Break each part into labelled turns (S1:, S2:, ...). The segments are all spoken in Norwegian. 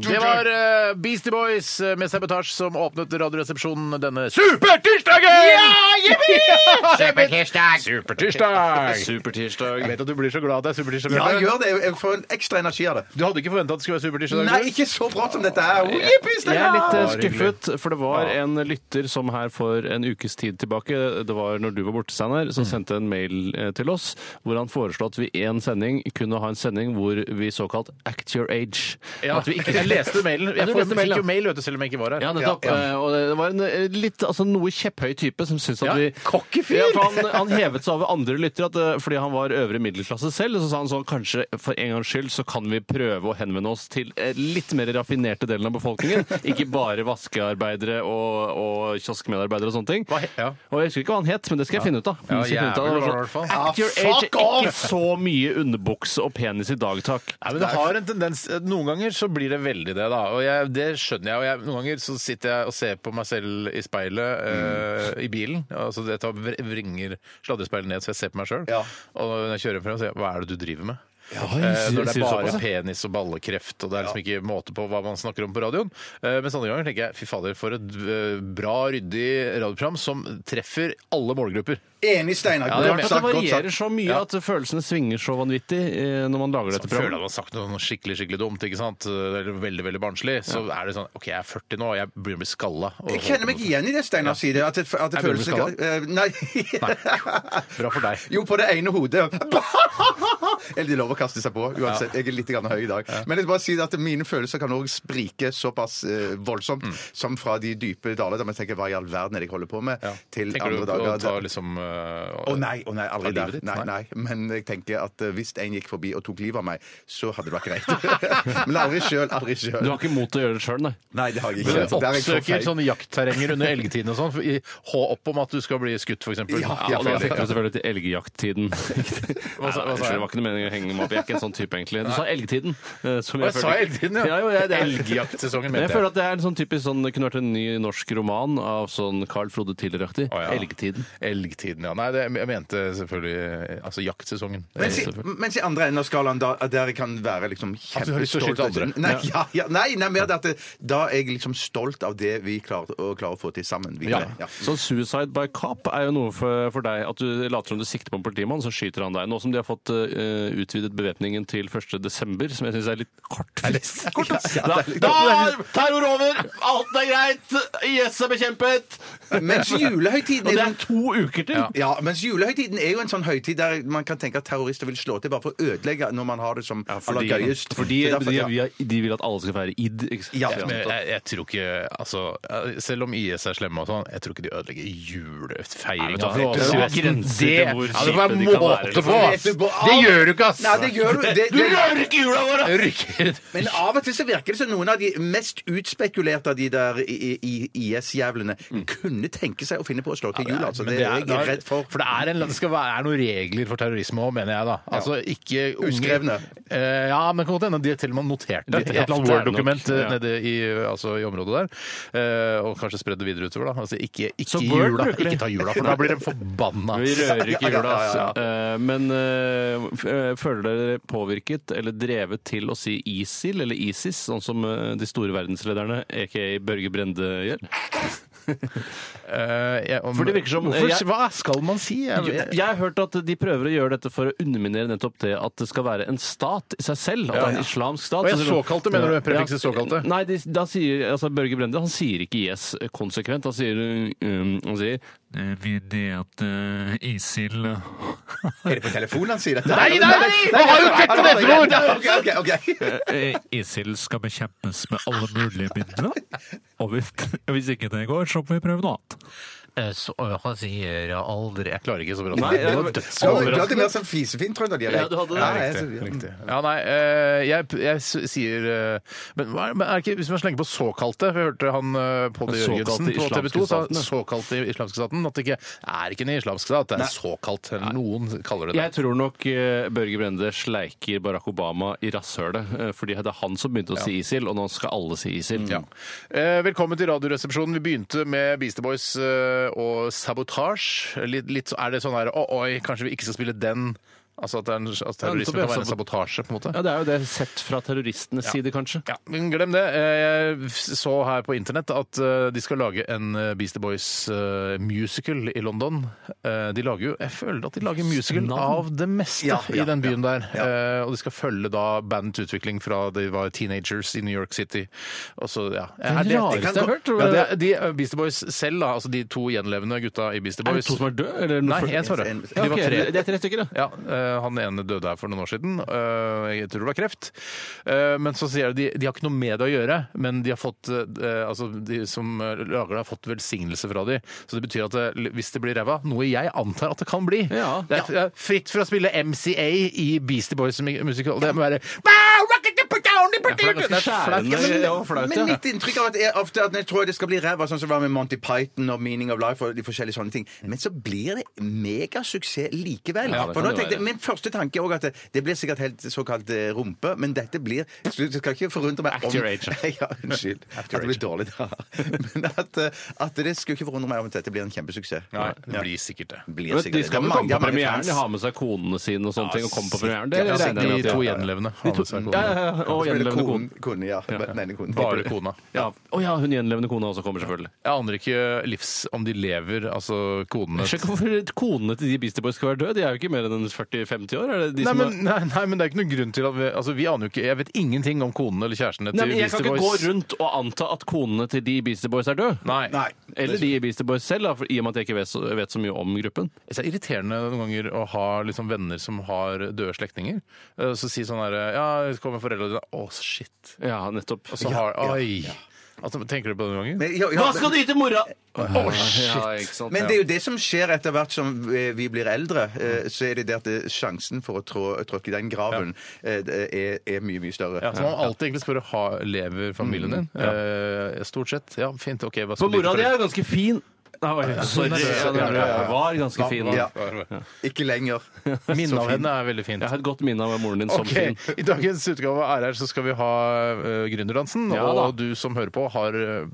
S1: Det var eh, Beastie Boys eh, med sabotasje som åpnet Radioresepsjonen denne supertirsdagen! Ja, Supertirsdag! Supertirsdag! Jeg vet at du blir så glad at det er supertirsdag.
S2: Ja,
S1: Bjarte.
S2: gjør det. Jeg får en ekstra energi av det.
S1: Du hadde ikke forventa at det skulle være supertirsdag?
S2: Nei,
S1: du?
S2: ikke så brått som dette her. Jippi,
S3: Jeg er litt eh,
S1: Bare
S3: skuffet, for det var
S1: Ja.
S3: en lytter som her for en ukes tid tilbake, det var når du var borte, Steinar, som
S1: Mm.
S3: sendte en mail eh, til oss hvor han foreslo at vi i en sending kunne ha en sending hvor vi såkalt act your age.
S1: Ja,
S3: At vi ikke
S1: jeg leste mailen.
S3: Ja,
S1: Jeg
S3: du
S1: får-
S3: leste mailen,
S1: fikk jo
S3: ja.
S1: mail, vet du, selv om jeg ikke var her.
S3: Ja, nettopp.
S2: Ja,
S3: Eh, Og det det var en eh, litt, altså noe kjepphøy type som syntes at
S1: Ja,
S3: vi
S1: cocky fyr!
S3: Ja, for han, han hevet seg over andre lyttere at, eh, fordi han var øvre middelklasse selv. Og så sa han sånn kanskje for en gangs skyld så kan vi prøve å henvende oss til eh, litt mer raffinerte delen av befolkningen. Ikke bare vaskearbeidere og, og kioskmedarbeidere og sånne ting.
S1: Hva he- ja.
S3: Og jeg husker ikke hva han het, men det skal jeg finne ut av.
S1: Ja,
S3: Det skal jeg finne ut av. Det var
S1: jævlig bra i hvert fall.
S3: sånn, Act your
S2: Ah,
S3: age,
S2: fuck
S3: ikke
S2: off!
S3: så mye underbukse og penis i dag, takk.
S1: Nei, men det har en tendens, Noen ganger så blir det veldig det, da. Og jeg, det skjønner jeg. og jeg, Noen ganger så sitter jeg og ser på meg selv i speilet eh, i bilen. altså Jeg tar, vr- vringer sladdespeilet ned så jeg ser på meg sjøl.
S2: Ja.
S1: Og når jeg kjører frem, så sier jeg hva er det du driver med?
S3: Oi,
S1: Eh, når det
S3: sier
S1: er
S3: du
S1: bare
S3: såpass, ja?
S1: penis og ballekreft, og det er liksom ikke måte på hva man snakker om på radioen. Eh, Mens andre ganger tenker jeg fy fader, for et eh, bra, ryddig radioprogram som treffer alle målgrupper.
S2: Enig, Steinar.
S1: det er
S2: Godt
S1: med.
S3: At det
S2: sagt, godt sagt.
S3: varierer så mye
S1: Ja.
S3: at følelsene svinger så vanvittig eh, når man lager
S1: Så
S3: dette
S1: føler jeg at
S3: programmet.
S1: man har sagt noe skikkelig skikkelig dumt, ikke sant? Eh, eller veldig veldig barnslig, så er det sånn OK, jeg er 40 nå, og jeg begynner å bli skalla. og-
S2: Jeg kjenner meg igjen i det Steinar sier. At det, at det
S1: Er du
S2: føles eh, Nei.
S1: Bra for deg.
S2: Jo, på det ene hodet. Eller det er lov å kaste seg på. Uansett, jeg er litt grann høy i dag. Men jeg vil bare si at mine følelser kan òg sprike såpass eh, voldsomt som fra de dype daler der man tenker hva i all verden er det jeg holder på med,
S1: Mm. Ja.
S2: til
S1: Tenker du
S2: andre
S1: på å ta
S2: dager.
S1: liksom eh,
S2: Å nei, å nei, aldri
S1: Ta
S2: der.
S1: livet ditt?
S2: Nei, nei.
S1: Nei.
S2: Men jeg tenker at eh, hvis en gikk forbi og tok livet av meg, så hadde det vært greit. Men aldri sjøl. Aldri sjøl.
S3: Du har ikke mot til å gjøre det sjøl, nei?
S2: Nei, det har jeg
S1: Men
S2: ikke.
S1: du
S2: Der er jeg så
S1: oppsøker sånn
S2: feig.
S1: sånne jaktterrenger under elgtiden og sånn, for- i håp om at du skal bli skutt, f.eks.
S2: Ja,
S3: Ja, og da
S2: for jeg-
S3: fikk du selvfølgelig til elgjakttiden. Hva
S1: sa- hva sa jeg?
S3: Unnskyld, det var ikke noe meningen å henge meg opp. Jeg er ikke en sånn type, egentlig. Du sa elgtiden. eh, som
S1: Jeg sa
S3: følte-
S1: elgtiden, ja.
S3: jo, jeg, det er-
S1: Elgjaktsesongen,
S3: Men jeg
S1: mente
S3: føler
S1: jeg.
S3: at det er en sånn typisk sånn, det kunne vært en ny norsk roman av sånn Carl Frode Tiller-aktig.
S1: Å, ja.
S3: Elgtiden.
S1: Elgtiden, ja. Nei, det, jeg mente selvfølgelig eh, altså jaktsesongen.
S2: Mens i, mens i andre enden av skalaen, da, eh, der jeg kan være liksom
S1: At du har lyst til å
S2: kjempestolt
S1: skyte andre.
S2: Nei, ja, ja, nei, nei, mer det at det, da er jeg liksom stolt av det vi klarer, å, klarer å få til sammen. Vi,
S3: Ja.
S2: ja.
S3: Så suicide by cop er jo noe for, for deg. At du later som du sikter på en politimann, så skyter han deg. Nå som de har fått eh, utvidet bevæpningen til 1.12., som jeg syns er litt kort frist. Kort, ass. Da, da er terror over! Alt er greit! IS er bekjempet!
S2: Mens julehøytiden
S3: Og det
S2: er sånn-
S3: er to uker til!
S2: ja, mens julehøytiden er jo en sånn høytid der man kan tenke at terrorister vil slå til bare for å ødelegge når man har det som aller gøyest.
S3: fordi
S2: Det er derfor-
S3: de,
S2: ja.
S3: de, de vil at alle skal feire id. Ikke sant?
S2: Ja,
S1: Men jeg, jeg tror ikke altså, Selv om IS er slemme og sånn, jeg tror ikke de ødelegger
S3: Nei,
S1: julefeiringa.
S3: men da- det er grenser til hvor
S1: det var
S3: kjipe de kan være,
S1: måte på!
S2: liksom.
S1: ass. Det gjør du ikke, ass!
S2: Nei, det gjør du. Det, det,
S1: ikke jula vår! Rykker.
S2: men av og til så virker det som noen av de mest utspekulerte av de der i- i- IS-jævlene kunne tenke seg å finne på å slå til jul. Altså, Mm. det er jeg redd for.
S1: For det er, en, det skal være, er noen regler for terrorisme òg, mener jeg da. Altså ikke unge-
S2: Uskrevne.
S1: Eh, ja, men kan godt hende de til og med noterte det.
S3: Det-
S1: Et eller annet
S3: det er nok,
S1: Word-dokument eh,
S3: ja.
S1: nede i, altså, i området der. Eh, og kanskje spredde det videre utover, da. Altså ikke,
S3: Så
S1: ikke
S3: Word
S1: jula.
S3: bruker de.
S1: Ikke ta jula, for da blir de forbanna. altså.
S3: Vi rører ikke
S2: Ja, ja,
S3: jula, ass.
S2: ja,
S3: Eh, Men eh, f- eh, føler dere påvirket eller drevet til å si ISIL eller ISIS, sånn som eh, de store verdenslederne, aka Børge Brende, gjør?
S1: Eh, jeg- om-
S3: For det virker som-
S1: Hvorfor-
S3: jeg-
S1: Hva skal man si? Jeg-
S3: Jo, Jeg har hørt at de prøver å gjøre dette for å underminere nettopp det at det skal være en stat i seg selv. At det er en islamsk stat.
S1: Og jeg
S3: Så sier de-
S1: såkalte, mener du, prefikset
S3: Ja.
S1: såkalte?
S3: Nei, de, da sier, altså, Børge Brende han sier ikke IS konsekvent. Han sier, um, han sier
S4: Vi det at eh, ISIL
S2: Er det på telefonen han sier dette?
S1: Nei, nei, nei! Man har jo tett på det fra ord!
S2: Ok, ok, ok.
S4: ISIL Eh, skal bekjempes med alle mulige midler. Og hvis, hvis ikke det går, så må vi prøve noe annet.
S5: eh, så å, han sier jeg aldri Jeg klarer ikke så bra.
S3: Nei,
S5: det var
S3: jeg-
S2: Ja, men
S5: dødsoverraskende.
S2: du
S1: altså.
S2: hadde mer sånn fisefin trønderdialekt.
S3: Ja, du hadde det.
S2: Ja, jeg-
S1: Ja, nei, eh, jeg, jeg s- sier eh, Men, hva er- men er det ikke, hvis man slenger på såkalte For jeg hørte han eh, Pål
S3: Den
S1: Jørgensen
S3: såkalte
S1: på TV 2 sa
S3: islamske staten, ja.
S1: såkalte islamske staten. At det ikke er ikke en islamsk stat, det er såkalt. eller Noen kaller det det.
S3: Jeg tror nok eh, Børge Brende sleiker Barack Obama i rasshølet. eh, Fordi det er han som begynte å si ISIL, og nå skal alle si ISIL.
S1: Eh, velkommen til Radioresepsjonen. Vi begynte med Beastie Boys eh, og Sabotage. Litt, litt, så- er det sånn her Å, oi, kanskje vi ikke skal spille den? Altså at, det er en, at terrorisme
S3: nettopp, ja,
S1: kan være en
S3: sabot-
S1: sabotasje, på en måte?
S3: Ja, det er jo det sett fra terroristenes side, kanskje.
S1: Ja, men glem det. Eh, Jeg så her på internett at eh, de skal lage en eh, Beastie Boys-musical i London. Eh, De lager jo, Jeg føler at de lager musical av det meste
S2: Ja, ja,
S1: i den byen der. Eh, Og de skal følge da bandets utvikling fra de var teenagers i New York City. Og så, ja. Er
S3: det rareste
S1: kan
S3: jeg har
S1: gå-
S3: hørt, tror jeg.
S1: Ja, det, de eh, Beastie Boys selv, da, altså de to gjenlevende gutta i Beastie
S3: Er
S1: Boys
S3: det to som er døde? Eller noe
S1: Nei,
S3: for-
S1: én som er
S2: En-
S1: død.
S3: Ja,
S1: De var
S3: ok,
S1: tre.
S3: Det er tre stykker, ja.
S1: Ja, eh, Han ene døde her for noen år siden. eh, jeg tror det var kreft. Eh, men så sier de de har ikke noe med det å gjøre, men de har fått eh, altså de som eh, lager det, har fått velsignelse fra de. Så det betyr at det, hvis det blir ræva, noe jeg antar at det kan bli
S3: Ja.
S1: Det er eh, fritt for å spille MCA i Beastie Boys-musikal. Det må være Det er
S3: ganske skjærende og flaut,
S2: Men
S3: ja.
S2: mitt inntrykk av at jeg, ofte at jeg tror det skal bli ræva, sånn som det var med Monty Python og Meaning of Life og de forskjellige sånne ting. Men så blir det megasuksess likevel.
S3: Ja, det
S2: For
S3: kan
S2: nå
S3: det
S2: tenkte jeg,
S3: være.
S2: Min første tanke er også at det, det blir sikkert helt såkalt eh, rumpe, men dette blir så Det skal ikke forundre meg om
S3: At your age.
S2: Ja, unnskyld. At det blir dårlig, da. Men at, eh, at det skulle ikke forundre meg om at dette blir en kjempesuksess.
S1: Nei, det blir sikkert det.
S2: Blir
S3: Men
S2: sikkert
S3: de
S2: det.
S3: skal
S2: Det
S3: jo
S2: er
S3: komme på
S2: mange- det er mange
S3: premieren,
S2: fans.
S3: ha med seg konene sine og sånne ting, og komme på premieren. Det
S1: Ja,
S3: regner jeg med
S1: de
S3: at de
S1: to
S3: har.
S1: gjenlevende. har med seg
S3: Ja,
S1: kone.
S3: ja, ja, Og
S2: Spiller
S3: gjenlevende kone.
S2: kon- Kone, ja. Den ene konen.
S1: Bare kona.
S3: Ja. Å ja, hun gjenlevende kona også kommer, selvfølgelig.
S1: Jeg aner ikke livs om de lever, altså konene
S3: Sjekk hvorfor konene til de Beastie Boys skal være døde. De er jo ikke mer enn 40-50 år. Er det de
S1: Nei
S3: som
S1: men, nei, nei, men det er ikke noen grunn til at vi, altså, vi aner jo ikke Jeg vet ingenting om konene eller kjærestene til
S3: Nei, men Jeg kan
S1: Beastie
S3: ikke
S1: Boys.
S3: gå rundt og anta at konene til de i Beastie Boys er døde.
S1: Nei.
S2: Nei.
S3: Eller de i Beastie Boys selv, da, for, i og med at jeg ikke vet så, vet så mye om gruppen.
S1: Det er irriterende noen ganger å ha liksom, venner som har døde slektninger. Eh, Så si sånn herre Ja, så kommer foreldrene dine Å, shit.
S3: Ja, nettopp.
S1: Og så har Oi. Altså, tenker du på det noen ganger?
S2: Men, ja, ja,
S3: Hva
S2: men-
S3: skal du gi til mora?!
S1: Å, shit.
S3: Ja, ikke sant?
S2: Men det er jo det som skjer etter hvert som eh, vi blir eldre. eh, Så er det det at eh, sjansen for å trå, tråkke i den graven eh, det er, er mye, mye større.
S1: Ja, så man må alltid egentlig spørre ha, lever familien din. Eh, stort sett. Mm, Ja, fint. OK. Hva
S3: For
S1: bli
S3: mora di
S1: foreldre?
S3: er jo ganske fin. Nei, oi, sorry. Ja, det var ganske fin. da.
S2: Ja. Ikke lenger.
S1: Minnet
S2: Så
S1: av
S2: fin.
S1: henne er veldig fint.
S3: Jeg har sånn et godt minne av moren din som
S1: Ok,
S3: fin.
S1: I dagens utgave av RR så skal vi ha eh, Gründerdansen.
S3: Ja da.
S1: og du som hører på, har, eh,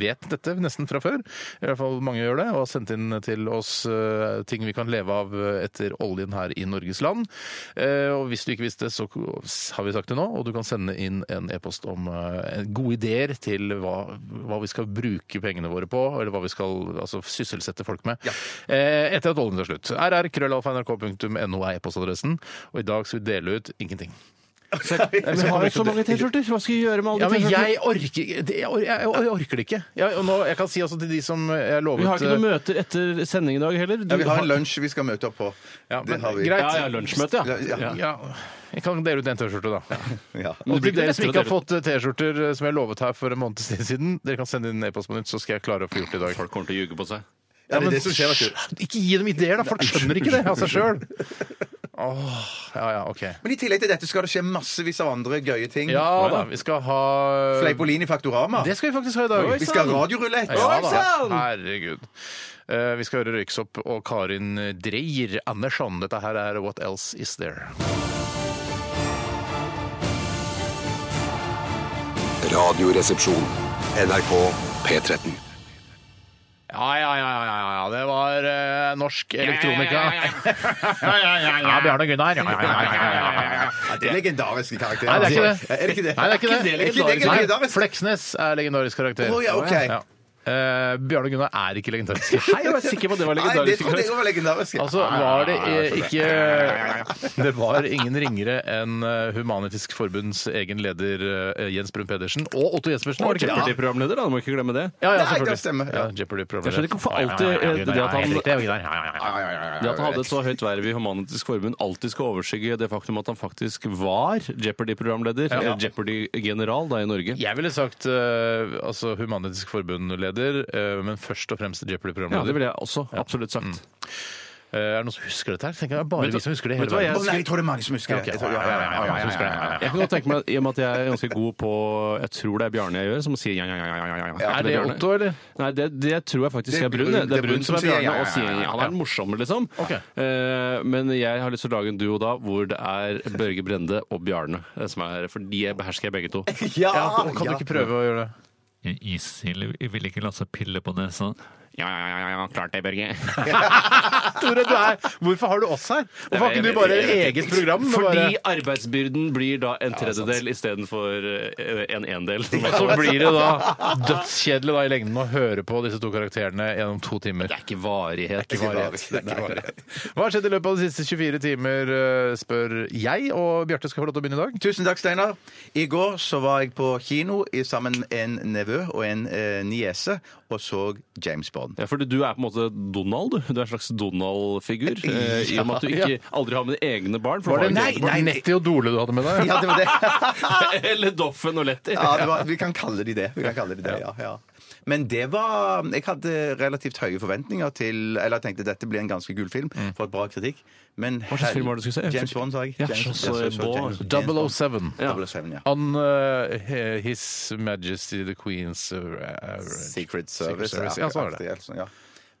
S1: vet dette nesten fra før. I hvert fall mange gjør det, og har sendt inn til oss eh, ting vi kan leve av eh, etter oljen her i Norges land. Eh, og hvis du ikke visste, så har vi sagt det nå, og du kan sende inn en e-post om eh, gode ideer til hva, hva vi skal bruke pengene våre på, eller hva vi skal altså, sysselsette folk med. Eh, etter at oljen tar slutt. rr.krøllalfa.nrk.no er e-postadressen, og i dag skal vi dele ut ingenting.
S3: Men jeg har jo så mange T-skjorter! Hva skal jeg gjøre med
S1: Ja,
S3: alle de
S1: men
S3: T-skjortene?
S1: jeg orker, ikke- det- jeg or- jeg, jeg orker det ikke. Jeg, og nå, jeg kan si altså til de som jeg lovet
S3: Vi har ikke noe møte etter sending i dag heller. Du
S2: Ja, vi har en lunsj vi skal møte opp på.
S1: Ja,
S2: det
S1: men
S2: har vi.
S1: greit.
S3: Ja, ja, lunsjmøte, ja.
S2: Ja,
S1: eh, ja, jeg kan dele ut en T-skjorte, da.
S2: ja.
S3: blir
S1: Og til
S3: ikke
S1: dere
S3: lettere å
S1: som ikke
S3: dele
S1: har fått eh, T-skjorter eh, som jeg lovet her for en måneds tid siden, dere kan sende inn en e-post på nytt, så skal jeg klare å få gjort det i dag.
S3: Folk kommer til å ljuge på seg.
S2: ja det er det som skjer, vet du.
S1: Ikke gi dem ideer, da! Folk skjønner ikke det av seg sjøl. Ja, ja, OK.
S2: Men i tillegg til dette skal det skje massevis av andre gøye ting.
S1: Ja da, vi skal ha
S2: Fleipolini Faktorama.
S1: Det skal vi faktisk ha i dag.
S2: Vi skal ha radiorulett.
S1: Ja, da. Herregud. Eh, Vi skal høre Røyksopp og Karin Dreyer Andersson. Dette her er What Else Is There.
S6: Radioresepsjon. NRK P13.
S1: Ja, ja, ja, ja, ja, ja. det var eh, norsk elektronika. Ja, Bjarne og Gunnar. Ja, ja, ja, ja, ja, ja, ja.
S2: Ja, det er legendariske karakterer.
S1: Nei, det er ikke
S2: altså.
S1: det.
S2: Er det ikke det?
S1: Nei, det er ikke det.
S2: Er ikke det
S1: Nei,
S2: legendarisk?
S1: Fleksnes er legendarisk karakter.
S2: Å, ja, ok.
S1: Eh, Bjarne og Gunnar er ikke legendarisk.
S3: Hei, jeg var sikker på at det var
S2: Nei, det
S3: legendarisk.
S2: trodde jeg var legendarisk.
S1: Altså, var det eh, ikke Det var ingen ringere enn eh, Human-Etisk Forbunds egen leder eh, Jens Brun Pedersen og Otto Jespersen. var det ikke?
S3: Jeopardy-programleder, da. Du må ikke glemme det.
S1: Ja, ja,
S2: Nei,
S1: selvfølgelig.
S2: det stemmer, ja.
S1: Ja, Jeopardy-programmet.
S3: Jeg skjønner ikke hvorfor alltid, eh, det at han-
S1: han
S3: Det at han hadde et så høyt verv i Human-Etisk Forbund alltid skal overskygge det faktum at han faktisk var Jeopardy-programleder, eller Jeopardy-general da i Norge.
S1: Jeg ville sagt eh, altså Human-Etisk Forbund-leder, programleder, eh, men først og fremst
S3: Ja, det
S1: Jeopardy-programleder.
S3: ville jeg også absolutt sagt.
S1: Eh, Er det noen som husker dette her? Tenker jeg, bare
S3: Vet du-
S1: vi som husker det i
S3: vet
S1: hele
S3: du hva jeg-
S2: Å, nei, jeg tror det er mange som husker
S1: Ok,
S2: det. Jeg tror- ja, ja, ja, ja, ja, ja, ja, ja, ja.
S3: Jeg kan godt tenke meg, I og med at jeg er ganske god på Jeg tror det er Bjarne jeg gjør, som sier ja, ja, ja. ja, ja, ja.
S1: Er det
S3: Bjarne?
S1: Otto, eller?
S3: Nei, det, det tror jeg faktisk
S2: Det er
S3: er Brun.
S2: Brun-
S3: Det, det er Brun som er
S2: sier ja,
S3: Bjarne
S2: ja,
S3: og
S2: ja,
S3: sier
S2: ja,
S3: ja. Han er den morsomme, liksom.
S1: Ok.
S3: Eh, men jeg har lyst til å lage en duo da hvor det er Børge Brende og Bjarne eh, som er For de behersker jeg begge to.
S2: Ja,
S1: Ja, og kan
S2: ja.
S1: du ikke prøve å gjøre det?
S4: Isild vil ikke la seg pille på nesa.
S3: Ja, ja, ja, ja, ja klart det, Børge.
S1: Tore, du er, hvorfor har du oss her? Hvorfor har ikke du bare eget program? med
S3: Fordi
S1: bare-
S3: arbeidsbyrden blir da en tredjedel istedenfor eh, en endel.
S1: så blir det da dødskjedelig da, i lengden å høre på disse to karakterene gjennom to timer. Det er ikke varighet. Det er ikke varighet. Hva har skjedd i løpet av de siste 24 timer, eh, spør jeg, og Bjarte skal få lov til å begynne i dag.
S2: Tusen takk, Steinar. I går så var jeg på kino i- sammen med en nevø og en eh, niese og så James Bond.
S3: Ja, fordi du er på en måte Donald, du. Du er en slags Donald-figur. eh, I og med at du
S1: Ja,
S3: ikke aldri har med dine egne barn. For
S1: Var det
S3: du har
S2: Nei,
S3: ikke
S2: nei, nei.
S1: Nettie og Dole du hadde med deg?
S2: Ja, det var det.
S3: egne barn. Eller Doffen og Letty.
S2: Ja, det var, vi kan kalle de det. Vi kan kalle de det, ja, ja. Men det var Jeg hadde relativt høye forventninger til Eller jeg tenkte dette blir en ganske kul film. For et bra kritikk. Men
S3: Hva slags film var det du skulle se?
S2: James Bond, sa jeg.
S3: Ja,
S2: James,
S3: så- så-
S2: jeg
S3: Bond.
S2: James Bond.
S1: 007.
S3: Ja.
S2: 007, ja.
S1: On oh eh, he- His Majesty the Queen's eh,
S2: Secret Service.
S1: Service, ja, så var det.
S2: aktig, altså, ja.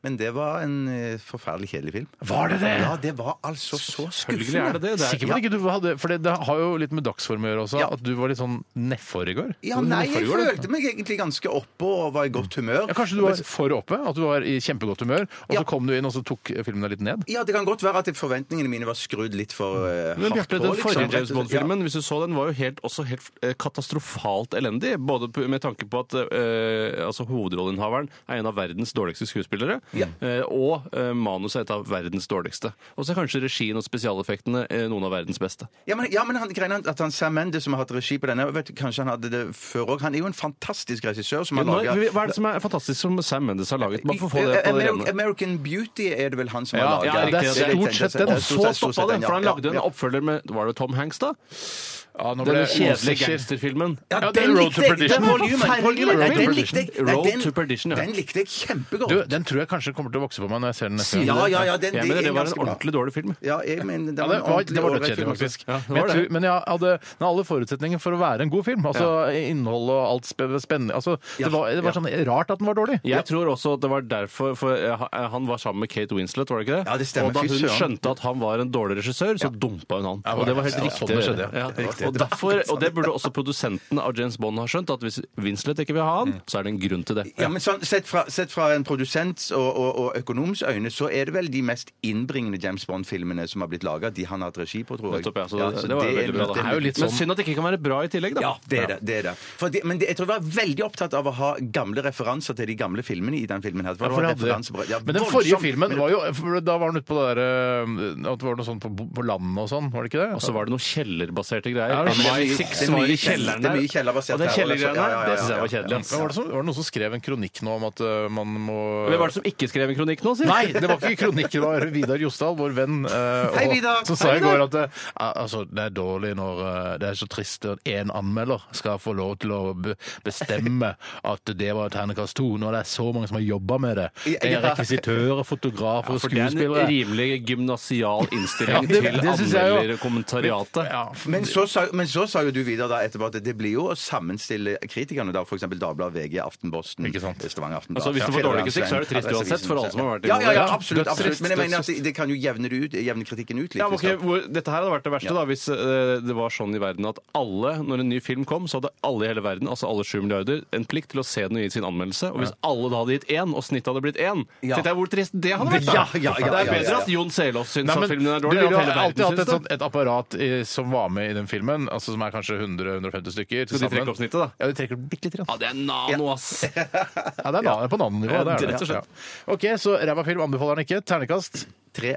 S2: Men det var en eh, forferdelig kjedelig film.
S1: Var det det?
S2: Ja, det var altså så
S3: Selvfølgelig
S2: skuffende.
S3: er det det. det
S1: Sikker
S3: er,
S1: på at ikke du hadde For det, det har jo litt med dagsform å gjøre også.
S2: Ja.
S1: At du var litt sånn nedfor i går.
S2: Ja, nei, jeg
S1: Hvorfor gjorde du det?
S2: følte meg egentlig ganske oppe og var i godt humør.
S1: Ja, kanskje du var for oppe? At du var i kjempegodt humør, og
S2: Ja.
S1: så kom du inn og så tok filmen deg litt ned?
S2: Ja, det kan godt være at forventningene mine var skrudd litt for eh,
S3: Men
S2: hardt
S3: Bjarte,
S2: på.
S3: den forrige
S2: liksom.
S3: James Bond-filmen hvis du så den, var jo helt, også helt eh, katastrofalt elendig. Både på- med tanke på at eh, altså, hovedrolleinnehaveren er en av verdens dårligste skuespillere, eh, og eh, manuset er et av verdens dårligste. Og så er kanskje regien og spesialeffektene eh, noen av verdens beste.
S2: Ja, men, ja, men han, greien er at han Sam Mendes, som har hatt regi på denne, og vet, du, kanskje han hadde det før òg Han er jo en fantastisk regissør som har
S3: Nå,
S2: laga
S3: hva er det som er fantastisk som Sam Mendes har laget? Bare for å få det på det rene.
S2: Eh, American Beauty er det vel han som
S3: Ja,
S2: har laget.
S3: ja, det er stort sett den. Og så stoppa den, for han lagde en
S2: ja.
S3: oppfølger med Var det Tom Hanks, da?
S1: Ja, nå
S3: Den
S1: ble-
S3: kjedelige
S1: Monster-
S3: gangsterfilmen.
S2: Ja,
S1: Ja, det er
S2: den
S1: Road to
S2: likte jeg!
S1: Perdition.
S2: Den volumen,
S3: Forferdelig
S2: volumen, nei,
S3: Road
S2: den
S3: to
S2: likte jeg-
S3: Perdition.
S2: nei,
S3: Road
S2: den-
S3: to Perdition, ja.
S2: Den likte jeg kjempegodt.
S1: Du, den tror jeg kanskje kommer til å vokse på meg når jeg ser den neste gang.
S2: ja, ja, ja, den,
S3: Jeg mener det var en
S2: ganske bra.
S3: ordentlig dårlig film.
S2: Ja, jeg mener det
S1: Ja,
S2: var
S1: det
S2: en
S1: var,
S2: ordentlig
S1: det var
S2: ålreit
S1: dødskjedelig,
S2: film,
S1: faktisk.
S3: Ja, det var
S1: men, jeg
S3: det.
S1: tror- men jeg hadde den har alle forutsetninger for å være en god film. Altså innhold og alt spe- spennende altså, Det var, det var sånn rart at den var dårlig.
S3: Jeg tror også at det var derfor For eh, han var sammen med Kate Winslet, var det ikke det?
S2: Ja, det stemmer.
S3: Og da
S2: Fy
S3: hun
S2: søren.
S3: skjønte at han var en dårlig regissør, så dumpa hun han. Og det var helt
S1: ja,
S3: riktig.
S1: sånn det skjedde, ja.
S3: Ja, Og, derfor, og det burde også produsenten av James Bond ha skjønt, at hvis Winslet ikke vil ha han, så er det en grunn til det.
S2: Ja, men sånn, sett, fra, sett fra en produsents og, og, og økonoms øyne, så er det vel de mest innbringende James Bond-filmene som har blitt laga, de han har hatt regi på, tror jeg.
S3: Nettopp, ja. Så det,
S2: så
S3: det var jo sånn-
S2: er
S3: veldig bra.
S2: nok-
S3: Da.
S2: det er nok-
S3: Men synd at det ikke kan være bra i tillegg, da.
S2: Ja, det er det. det, er det. For det men det, jeg tror jeg var veldig opptatt av å ha gamle referanser til de gamle filmene i den filmen. her. For
S1: Ja, for
S2: det var
S1: jeg hadde
S2: referanser på-
S1: det.
S2: ja,
S1: men den
S2: voldsomt.
S1: forrige filmen
S2: Men-
S1: var jo for Da var den ute på det der eh, At det var noe sånn på, på landet og sånn, var det ikke det?
S3: Og så var det noen kjellerbaserte greier.
S1: Ja, det
S3: My
S1: er
S2: mye-
S3: Six
S2: det er mye
S3: var i
S2: kjell-
S3: kjelleren
S2: det er
S3: der.
S2: mye kjellerbasert
S3: Og den
S2: her,
S3: kjellergreiene
S2: ja,
S3: der,
S2: ja, ja,
S3: det synes jeg var
S2: ja, ja.
S3: kjedelig.
S1: Men var, det som, var det noen som skrev en kronikk nå om at eh, man må
S3: Hvem var det som ikke skrev en kronikk nå, si?
S1: Nei, det var ikke kronikker, det var Vidar Jostal, vår venn, eh, og,
S2: Hei, Vidar.
S1: som sa
S2: Hei,
S1: i går at eh, altså, det er dårlig når eh, det er så trist at én anmelder skal få lov til å be- bestemme at det var ternekast to, når det er så mange som har jobba med det. Det er
S2: Ja.
S1: rekvisitører, fotografer,
S3: For det er en
S1: skuespillere.
S3: rimelig gymnasial innstilling
S1: Ja, det-
S3: til
S1: det synes jeg jo.
S3: anmelderkommentariatet.
S1: Ja,
S2: Men så, sa, men så sa jo du videre da etterpå at det blir jo å sammenstille kritikerne, da, f.eks. Dagbladet, VG, Aftenposten,
S1: Ikke sant.
S2: Stavanger Aftenblad
S3: Altså, hvis det var dårlig kritikk, så er det trist
S2: Adresseavisen,
S3: uansett for alle som har vært
S2: ja, ja, ja,
S3: involvert.
S2: absolutt,
S1: Dødstrist,
S2: absolutt. Men jeg mener at det, det kan jo jevne, det ut, jevne kritikken ut litt. liksom.
S3: Ja, men
S2: hvis
S3: ok,
S2: det-
S3: hvor, dette her hadde vært det verste da, hvis eh, det var sånn i verden at alle, når en ny film kom, så hadde alle i hele verden, altså alle sju milliarder, en plikt til å se den og gi sin anmeldelse. Og hvis alle da hadde gitt én, og snittet hadde blitt én,
S2: Ja.
S3: tenk deg hvor trist det hadde vært!
S2: Ja,
S3: da.
S2: ja, ja,
S3: det
S2: ja,
S3: er
S2: ja,
S3: bedre
S2: ja.
S3: at Jon Selås syns
S1: Nei,
S3: at
S1: men
S3: filmen er
S1: du
S3: dårlig,
S1: ville
S3: enn
S1: jo
S3: at hele
S1: alltid hatt
S3: verden
S1: et,
S3: syns
S1: sånt,
S3: det.
S1: et apparat i, som var med i den filmen, altså som er kanskje 100-150 stykker. til
S3: Skal de trekke
S1: sammen.
S3: opp snittet, da?
S1: Ja, de trekker opp bitte lite grann.
S3: Ja, det er nano, ass!
S1: Ja, det er na- på navnenivå. Det er det.
S3: Rett og slett.
S1: Ja. OK, så ræva film anbefaler han ikke. Ternekast.
S2: Tre.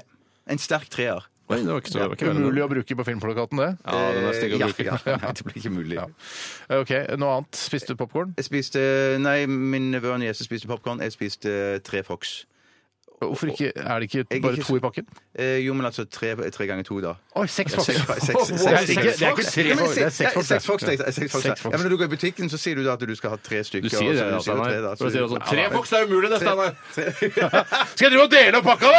S2: En sterk treer.
S3: Oi, det var ikke så det var ikke verre enn
S1: Umulig
S3: det.
S1: å bruke på filmplakaten, det.
S3: Ja, den er stygg å
S2: Eh, Ja,
S3: bruke.
S2: ja, ja, det blir ikke mulig.
S1: OK, noe annet? Spiste du popkorn?
S2: Jeg spiste Nei, min nevø og niese spiste popkorn. Jeg spiste tre Fox.
S1: Hvorfor ikke? Er det
S2: Jeg
S1: ikke
S2: er
S1: bare
S2: ikke
S1: to i pakken?
S2: Eh, jo, men altså tre, tre ganger to, da.
S1: Oi, seks
S2: Seks-
S1: Fox!
S2: seks- seks-
S1: Det er ikke-
S2: seks-
S1: det er ikke tre
S2: Ja, men
S1: Fox, det er seks
S2: ja,
S1: Fox.
S2: Seks Fox, det er seks Fox.
S1: Seks Fox.
S2: Ja, men når du går i butikken, så sier du da at du skal ha tre stykker.
S3: Du sier
S2: og
S3: det, altså,
S2: så
S3: da,
S2: du sier tre, da,
S3: Steinar.
S2: så
S3: Du sier også,
S1: sånn,
S2: Ja,
S3: Tre
S2: men-
S3: Fox, det er umulig, det,
S2: Tre-
S3: Steinar!
S1: Skal jeg drive og dele opp pakka, da,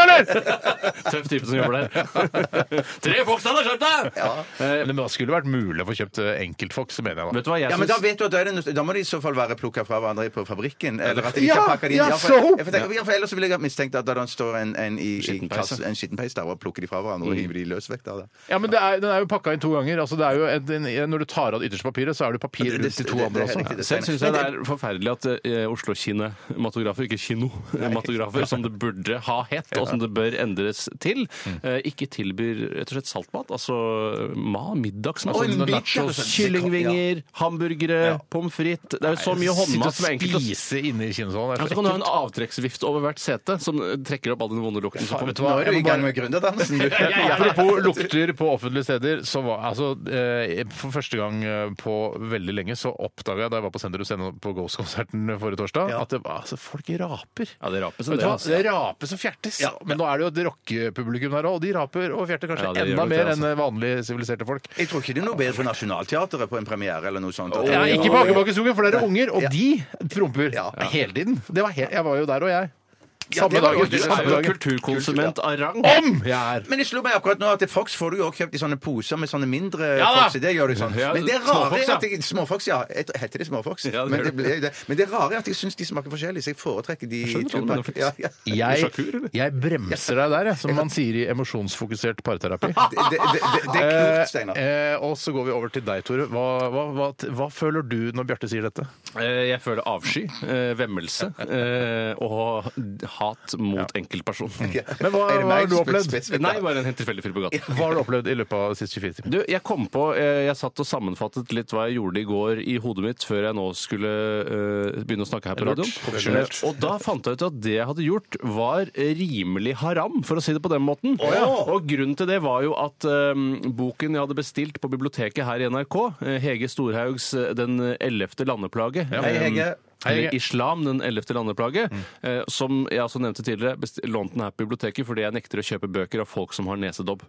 S1: eller?!
S3: Tøff type som jobber der. Tre Fox, Steinar, skjerp deg!
S1: Men det skulle vært mulig å få kjøpt eh, enkeltfox, mener jeg da.
S3: Eh, Vet du hva jeg
S2: Ja, men da,
S3: syns?
S2: vet du at da, er det, nødt- da må de i så fall være plukka fra hverandre på fabrikken. Eller at de ikke
S1: Ja,
S2: har pakket de inn.
S1: ja,
S2: for,
S1: så!
S2: jeg får tenke- ja, for ellers så ville jeg ha mistenkt at da det står en, en i i kass- en skittenpeis der og plukker de fra hverandre
S1: Mm.
S2: og hiver de løs vekk der. da.
S1: Ja, men det er, Den er jo pakka inn to ganger. altså det er jo en, en, Når du tar av det ytterste papiret, så er det papir
S2: Det- det-
S1: rundt de to
S2: det-
S1: andre
S2: det er helt
S1: også.
S2: riktig, det
S3: Selv
S2: stemmer.
S3: syns jeg det er forferdelig at eh, Oslo-kinematografer, ikke kinomatografer, som det burde ha hett, og som det bør endres til, eh, ikke tilbyr rett og slett saltmat. Altså ma, middagsmat.
S2: Oi,
S3: sånn
S2: middag,
S3: nachos,
S2: altså.
S3: Kyllingvinger, hamburgere, pommes frites. Det er jo så mye håndmat som er enkelt å
S1: Spise inni
S3: ja,
S1: kinesalen. er
S3: så
S1: så
S3: kan du ha en
S1: ekkelt.
S3: avtrekksvift over hvert sete som eh, trekker opp all den vonde lukten. som kommer.
S1: Faen, vet du hva?
S2: Nå er du i gang med gründerdansen, du.
S1: Apropos lukter på offentlige steder, så var altså eh, For første gang eh, på veldig lenge så oppdaga jeg da jeg var på Senter Scene på Ghost-konserten forrige torsdag, at det, var- altså, folk raper.
S3: Ja, det rapes en
S1: Vet du
S3: del.
S1: hva?
S3: altså.
S1: Det rapes og fjertes. Men nå er det jo et rockepublikum der òg, og de raper og fjerter kanskje
S3: Ja, det gjør
S1: enda
S3: nok det,
S1: mer
S3: altså.
S1: enn vanlige siviliserte folk.
S2: Jeg tror ikke det er noe bedre for Nationaltheatret på en premiere eller noe sånt. at-
S1: Ja, ikke på Akebakkesungen, for det er unger, og
S2: Ja.
S1: de promper
S2: Ja.
S1: hele tiden. Det var he jeg var jo der, og jeg. Samme
S2: det var jo-
S1: dagen.
S3: Du er
S1: Samme
S3: jo
S1: dagen.
S3: kulturkonsument av rang.
S1: Om jeg er!
S2: Men det slo meg akkurat nå at Fox får du jo også kjøpt i sånne poser med sånne mindre
S1: Ja da!
S2: Fox. Det gjør du sånn.
S3: Ja,
S2: Men det rare
S3: småfox,
S2: er
S3: ja.
S2: at jeg, Småfox, ja. Jeg tror- Heter det småfox?
S3: Ja, det
S2: men,
S3: gjør
S2: det ble, det. men det rare er at jeg syns de smaker forskjellig, så jeg foretrekker de
S3: skjønner hva du mener,
S2: tubaen.
S3: faktisk.
S2: Ja, ja.
S1: Jeg,
S3: Sjakur, eller?
S1: jeg bremser deg der, jeg, som man sier i emosjonsfokusert parterapi.
S2: Det, det, det, det- det er klokt, Steinar.
S1: Eh, eh, og så går vi over til deg, Tore. Hva, hva, hva, hva føler du når Bjarte sier dette?
S3: Eh, Jeg føler avsky, eh, vemmelse eh, og hat mot enkeltperson.
S1: Men hva,
S2: Er det
S1: hva
S2: meg
S1: har du
S2: som
S1: opplevd?
S2: spes- spes-
S3: Nei, bare en helt tilfeldig fyr på gata.
S1: Hva har du opplevd i løpet av de siste 24 timer?
S3: Du, jeg kom på, eh, jeg satt og sammenfattet litt hva jeg gjorde i går i hodet mitt før jeg nå skulle eh, begynne å snakke her på
S1: Lurt.
S3: radioen.
S1: Profesjonelt.
S3: Eh, Og da fant jeg ut at det jeg hadde gjort var rimelig haram, for å si det på den måten. Og grunnen til det var jo at eh, boken jeg hadde bestilt på biblioteket her i NRK, eh, Hege Storhaugs eh, Den ellevte landeplage
S2: Hei, Hege.
S3: Eller islam, den ellevte landeplage. Eh, som jeg altså nevnte tidligere, best- lånte den her på biblioteket fordi jeg nekter å kjøpe bøker av folk som har nesedobb.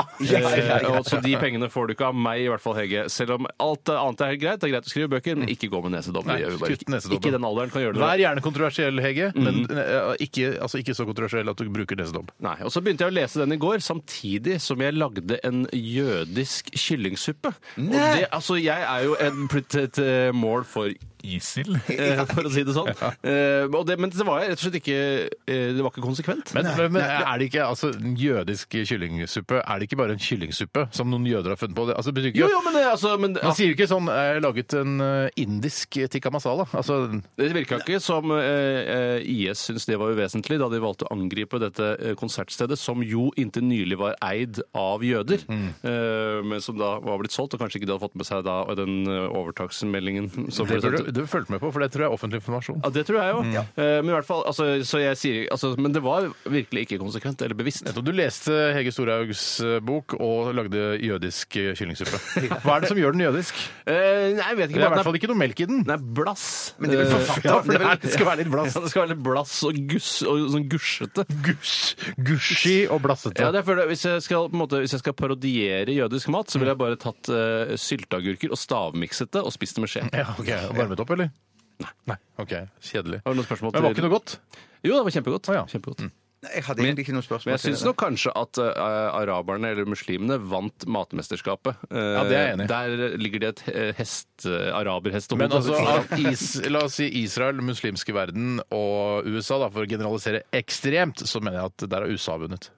S3: Eh, og så de pengene får du ikke av meg, i hvert fall, Hege. Selv om alt annet er helt greit. Det er greit å skrive bøker, men ikke gå med nesedobb.
S1: Nei,
S3: Det gjør vi bare
S1: kutt
S3: ikke.
S1: nesedobben.
S3: Ikke i den alderen kan gjøre det.
S1: Vær gjerne kontroversiell, Hege,
S3: Mm.
S1: men eh, ikke, altså, ikke så kontroversiell at du bruker nesedobb.
S3: Nei, og Så begynte jeg å lese den i går, samtidig som jeg lagde en jødisk kyllingsuppe. Og det, altså, Jeg er jo en, blitt et eh, mål for
S4: Isil?
S3: eh, for å si det sånn. Eh, og det, men det var rett og slett ikke eh, Det var ikke konsekvent.
S1: Men, men er det ikke altså, en jødisk kyllingsuppe Er det ikke bare en kyllingsuppe som noen jøder har funnet på? Det, altså, det betyr ikke,
S3: Jo, jo, men det, altså, men,
S1: Man sier jo ikke sånn eh, 'laget en eh, indisk tikka masala'. Altså,
S3: det virka ikke som eh, eh, IS syntes det var uvesentlig da de valgte å angripe dette eh, konsertstedet, som jo inntil nylig var eid av jøder, eh, men som da var blitt solgt, og kanskje ikke de hadde fått med seg da og den eh, overtaksmeldingen. som
S1: det
S3: ble sendt
S1: burde du fulgt med på, for det tror jeg er offentlig informasjon.
S3: Ja, det tror jeg jo. Eh, men i hvert fall, altså, så jeg sier, altså, men det var virkelig ikke konsekvent eller bevisst.
S1: Nettopp. Du leste Hege Storhaugs eh, bok og lagde jødisk eh, kyllingsuppe. Hva er det som gjør den jødisk?
S3: Eh, nei, jeg vet
S1: Det
S3: ikke.
S1: er i
S3: bare
S1: hvert
S3: at
S1: fall ikke noe melk i den.
S3: Den er blass.
S2: Men det er vel
S3: Eh,
S2: forfatter-
S3: ja, for
S2: det er vel-
S3: er- Ja, det skal være litt blass og, guss, og sånn gusjete.
S1: Gushy og
S3: Ja,
S1: blassete.
S3: det er for det. Hvis, jeg skal, på en måte, hvis jeg skal parodiere jødisk mat, så ville jeg bare tatt eh, sylteagurker og stavmikset det og spist det med skje.
S1: Ja, ok. Varmet opp, eller? Nei. Ok, Kjedelig.
S3: Har du noen spørsmål
S1: Men det var ikke noe godt?
S3: Jo, det var kjempegodt.
S1: Å, ja. Mm.
S3: kjempegodt.
S2: Nei, Jeg hadde egentlig ikke noe spørsmål.
S3: Men jeg syns nok kanskje at eh, araberne eller muslimene vant matmesterskapet. Eh,
S1: Ja, det er jeg enig i.
S3: Der ligger det et eh, hest, eh, araberhestehode.
S1: Men altså,
S3: foran.
S1: av is, la oss si Israel, den muslimske verden og USA, da, for å generalisere ekstremt, så mener jeg at der har USA vunnet.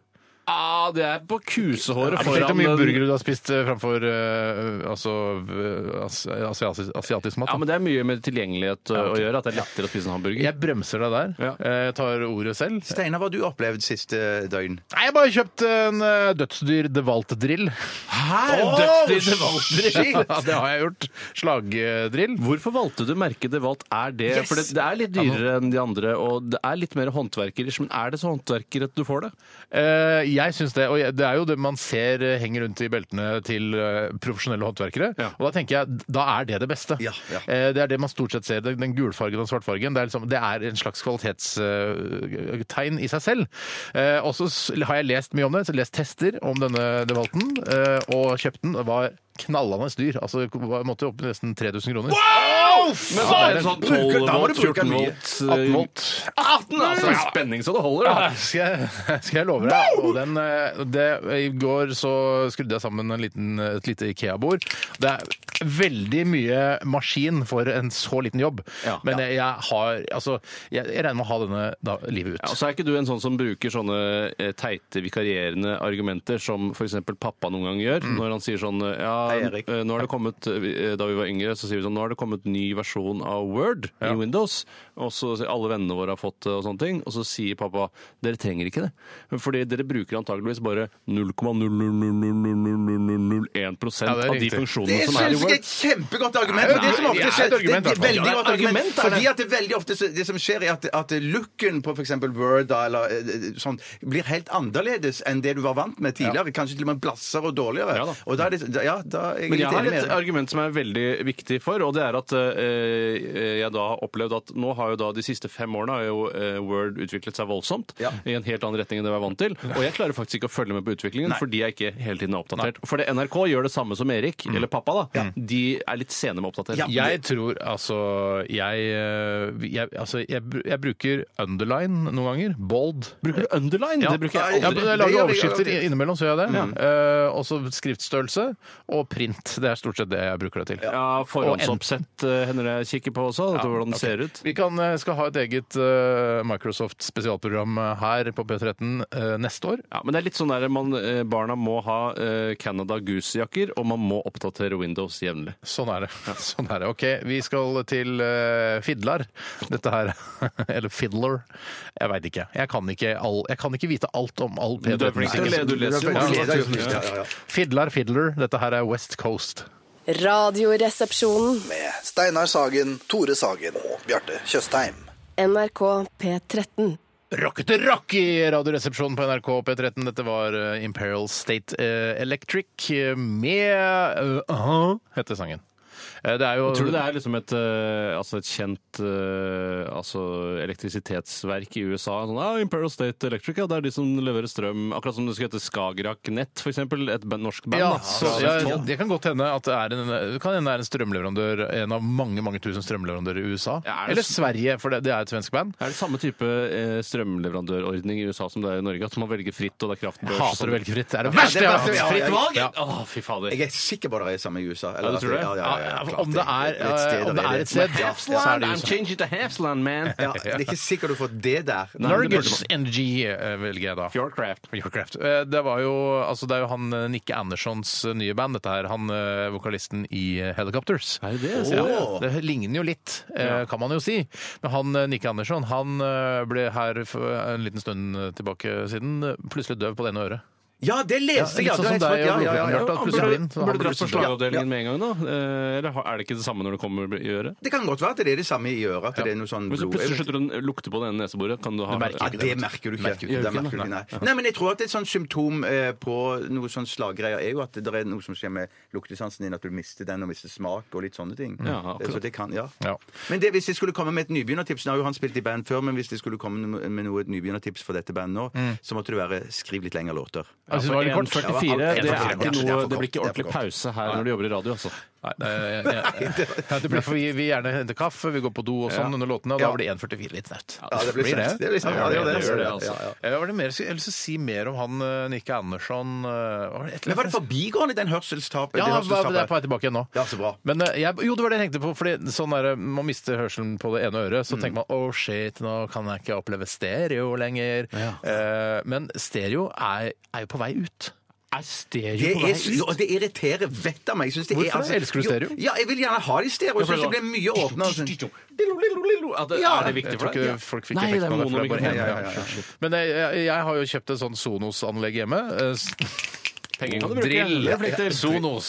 S3: ah, det er på kusehåret
S1: Tenk
S3: foran
S1: hvor mye
S3: den-
S1: burgere du har spist eh, framfor eh, altså, eh, as- asiatisk, asiatisk mat.
S3: Ja,
S1: da.
S3: men det er mye med tilgjengelighet eh, å gjøre. At det er lettere å spise en hamburger.
S1: Jeg bremser deg der.
S3: Ja.
S1: Eh, Jeg tar ordet selv.
S2: Steinar, hva har du opplevd siste døgn?
S1: Nei, jeg har bare kjøpt en eh, dødsdyr DeWalt-drill.
S3: Her!
S1: Dødsdyr DeWalt-drill! Ja, det har jeg gjort. Slagdrill.
S3: Hvorfor valgte du merket det valgt? Er det,
S2: Yes!
S3: For det, det er litt dyrere enn de andre, og det er litt mer håndverkerisk, men er det så håndverkerisk at du får det?
S1: Eh, jeg syns det. Og jeg- det er jo det man ser eh, henger rundt i beltene til eh, profesjonelle håndverkere.
S3: Ja.
S1: Og da tenker jeg da er det det beste.
S2: Ja, ja.
S1: Eh, Det er det man stort sett ser. Den den gulfargen og svartfargen. Det er, liksom, det er en slags kvalitetstegn i seg selv. Eh, Og så s- har jeg lest mye om det. Så lest tester om denne Devalten, eh, og kjøpt den. Det var knallende dyr. Altså, det var- måtte opp i nesten 3000 kroner.
S3: Men så er det sånn 12
S2: da må du
S3: volt,
S2: bruke
S3: 14
S2: mye.
S3: volt,
S1: 18 volt.
S3: 18, altså! Spenning så det holder, da.
S1: skal jeg, skal jeg love deg. Og den, eh, det, I går så skrudde jeg sammen en liten, et lite Ikea-bord. Det er veldig mye maskin for en så liten jobb.
S3: Ja.
S1: Men jeg, jeg har Altså, jeg, jeg regner med å ha denne da, livet ut.
S3: Ja, og så er ikke du en sånn som bruker sånne eh, teite, vikarierende argumenter som f.eks. pappa noen gang gjør, når han sier sånn eh,
S2: Hei,
S3: ja,
S2: Erik.
S3: eh, nå har det kommet, eh, vi- eh, Da vi var yngre, så sier vi sånn Nå har det kommet ny versjon av Word i Windows, og så sier alle vennene våre har fått det, og sånne ting, og så sier pappa dere trenger ikke det, fordi dere bruker antageligvis bare 0,00001
S1: Ja, det er
S3: av de
S1: riktig.
S3: funksjonene
S2: Det
S3: som er i
S2: syns jeg er
S3: Word.
S2: et kjempegodt argument. og Det som
S1: det er
S2: ofte
S1: et
S2: skjer, det
S1: argument,
S2: er et
S1: i hvert fall.
S2: veldig
S3: Ja,
S2: godt
S3: et argument,
S2: argument.
S3: er det.
S2: Fordi at det veldig ofte så- det som skjer, er at, at looken på f.eks. Word da, eller eh, sånn blir helt annerledes enn det du var vant med tidligere. Kanskje til og med blassere og dårligere.
S3: Ja da.
S2: Og da er det da- Ja, da er jeg
S3: Men
S2: litt
S3: jeg har
S2: enig med
S3: et
S2: deg.
S3: argument som er veldig viktig for, og det er at eh, jeg da har opplevd at nå har jo da de siste fem årene har jo eh, Word utviklet seg voldsomt
S2: Ja.
S3: i en helt annen retning enn det vi er vant til, og jeg klarer faktisk ikke å følge med på utviklingen fordi jeg ikke hele tiden er oppdatert. For det NRK gjør det samme som Erik, eller pappa da, de er litt sene med å oppdatere.
S2: Ja.
S1: Jeg tror altså jeg, eh, jeg, altså, jeg, br- jeg bruker underline noen ganger. Bold.
S3: Bruker du underline?
S1: Ja.
S3: Det bruker jeg
S1: Ja,
S3: aldri.
S1: men jeg
S2: Det gjør
S1: lager
S2: jeg
S1: overskrifter
S2: garantert.
S1: innimellom, så gjør jeg
S3: Mm.
S1: det. Eh, også skriftstørrelse og print. Det er stort sett det jeg bruker det til.
S3: Ja, forhåndsoppsett eh, hender det jeg kikker på også, vet du hvordan det
S1: ok.
S3: ser ut.
S1: Vi kan, eh, skal ha et eget eh, Microsoft-spesialprogram eh, her på P13 eh, neste år.
S3: Ja, men det er litt sånn der man, eh, barna må ha eh, Canada Goose-jakker, og man må oppdatere Windows jevnlig.
S1: Sånn er det. Sånn er det. OK, vi skal til eh, Fidlar. Dette her Eller Fiddler. Jeg veit ikke. Jeg kan ikke, all, jeg kan ikke vite alt om all
S3: Du er flink til å
S1: P13-musikk.
S3: le, du leser jo
S2: Ja,
S3: masse.
S2: det er jo- ja, ja, ja.
S1: Fidlar, Fiddler. Dette her er West Coast.
S7: Radioresepsjonen.
S8: med Steinar Sagen, Tore Sagen og Bjarte Tjøstheim.
S7: NRK P13.
S1: Rockete rock i Radioresepsjonen på NRK P13. Dette var eh, Imperial State eh, Electric eh, med eh, Aha, heter sangen. Eh, det er jo
S3: Tror du det er liksom et, eh, altså et kjent eh, altså elektrisitetsverk i USA? Sånn, ah, Imperial State Electric, ja, det er de som leverer strøm. Akkurat som det skulle hete Skagerrak Nett, f.eks. Et band- norsk band.
S1: Ja,
S3: da.
S1: så, ja, Altså, det kan godt hende at det er en, det kan hende det er en strømleverandør, en av mange mange tusen strømleverandører i USA.
S3: Ja, er det
S1: Eller
S3: s-
S1: Sverige, for det, det er et svensk band.
S3: Er det samme type eh, strømleverandørordning i USA som det er i Norge? At man velger fritt, og det er kraftbørs?
S1: Jeg hater å velge fritt. Det er det
S2: Ja,
S1: verste
S2: det er
S1: jeg
S2: verste,
S1: har
S2: ja, ja, ja.
S1: Fritt valg! Ja.
S3: Å, fy fader.
S2: Jeg er sikker på det er samme i USA. eller
S3: Ja, du
S2: at
S3: tror det?
S2: Ja, ja, ja, ja,
S1: Ja,
S2: klart
S1: Om det er
S2: Et sted
S1: eh, om det
S2: der
S1: er et sted,
S2: Ja,
S1: så er det
S3: I'm
S1: USA.
S3: changing to Hafsland, man.
S2: Ja, det er ikke sikkert du får det der.
S1: Norges Energy eh, velger jeg da.
S3: Fjordcraft.
S1: Warcraft. Eh, Det var jo altså det er jo han eh, Nick Andersons eh, nye band, dette her. Han eh, vokalisten i eh, Helicopters.
S3: Er det det? Jeg ser det.
S1: Ja, det ligner jo litt, eh, kan man jo si. Men han eh, Nick Andersson han eh, ble her for en liten stund tilbake siden eh, plutselig døv på det ene øret.
S2: Ja, det leste jeg!
S1: litt
S2: Ja,
S1: sånn
S2: det
S1: som deg
S2: er helt-
S1: og
S2: ja, ja, ja.
S1: Blodbjørn Hjort, at plutselig er det inn. så
S3: Burde dratt
S1: han
S3: på
S1: plutselig-
S3: slagavdelingen med en gang, da? Eh, Eller har- er det ikke det samme når det kommer i øret?
S2: Det kan godt være at det er det samme i øret. At det er noe sånn
S3: Hvis du
S2: blod...
S3: plutselig slutter å lukte på det ene neseboret, kan du ha
S1: Du merker
S2: Ja, det merker du ikke.
S1: Merker du ikke.
S2: Det merker du ikke, nei. nei, men jeg tror at et sånt symptom eh, på noe sånn slaggreier er jo at det er noe som skjer med luktesansen din, at du mister den og mister smak og litt sånne ting.
S3: Ja, akkurat.
S2: Så det kan, ja.
S1: Ja.
S2: Men det, hvis jeg skulle komme med et nybegynnertips Nå har jo han spilt i band før, men hvis jeg skulle komme med noe et nybegynnertips for dette bandet nå, så måtte det være skriv litt lengre låter.
S1: Jeg synes det var litt kort.
S3: 1,44, Altså,
S2: Ja,
S3: det, er
S2: det er
S3: ikke
S2: for
S3: noe,
S2: kort.
S3: det blir ikke
S2: Det er for
S3: ordentlig
S2: kort.
S3: pause her når du jobber i radio, altså.
S1: Nei, det, jeg, jeg, Ja, det blir for vi, vi gjerne henter kaffe, vi går på do og sånn under låtene, og da
S2: Ja.
S1: blir det 1,44 litt snaut.
S2: Ja, det blir snaut. Det blir snaut. Ja, det gjør det,
S3: det gjør det,
S2: ja,
S3: altså.
S2: ja, ja.
S1: Jeg vil mer, jeg vil si mer om han eh, Nikke Andersson eh, var det et eller
S2: Men var det
S1: annet-
S2: forbigående, den hørselstapet?
S1: Ja, hva- det
S2: det
S1: er på
S2: hørselstapet?
S1: vei tilbake igjen nå.
S2: Ja, så bra.
S1: Men eh, jeg, jo, det var det jeg tenkte på. Fordi sånn er, det, Man mister hørselen på det ene øret. Så
S2: Mm.
S1: tenker man oh shit, nå kan jeg ikke oppleve stereo lenger. Eh, men stereo er, er jo på vei ut.
S3: Er stereo
S2: Det, er, jo, og det irriterer vettet av meg. Jeg synes det er,
S1: Hvorfor
S2: altså,
S1: det? Elsker du
S2: jo,
S1: stereo?
S2: Ja, jeg vil gjerne ha det i stereo. Jeg synes det blir mye åpnere. sånn. Ja.
S3: Er det viktig
S1: Jeg
S3: for
S1: tror
S3: deg?
S1: ikke folk fikk
S3: Nei, det er
S1: effekten av det. for det er bare
S3: monomikrofon.
S1: én.
S2: Ja, ja, ja, ja.
S1: Men jeg, jeg, jeg har jo kjøpt et sånn Sonos-anlegg hjemme. eh, s-
S3: Penger kan du bruke.
S1: Drill.
S3: Det er flink til.
S1: Sonos.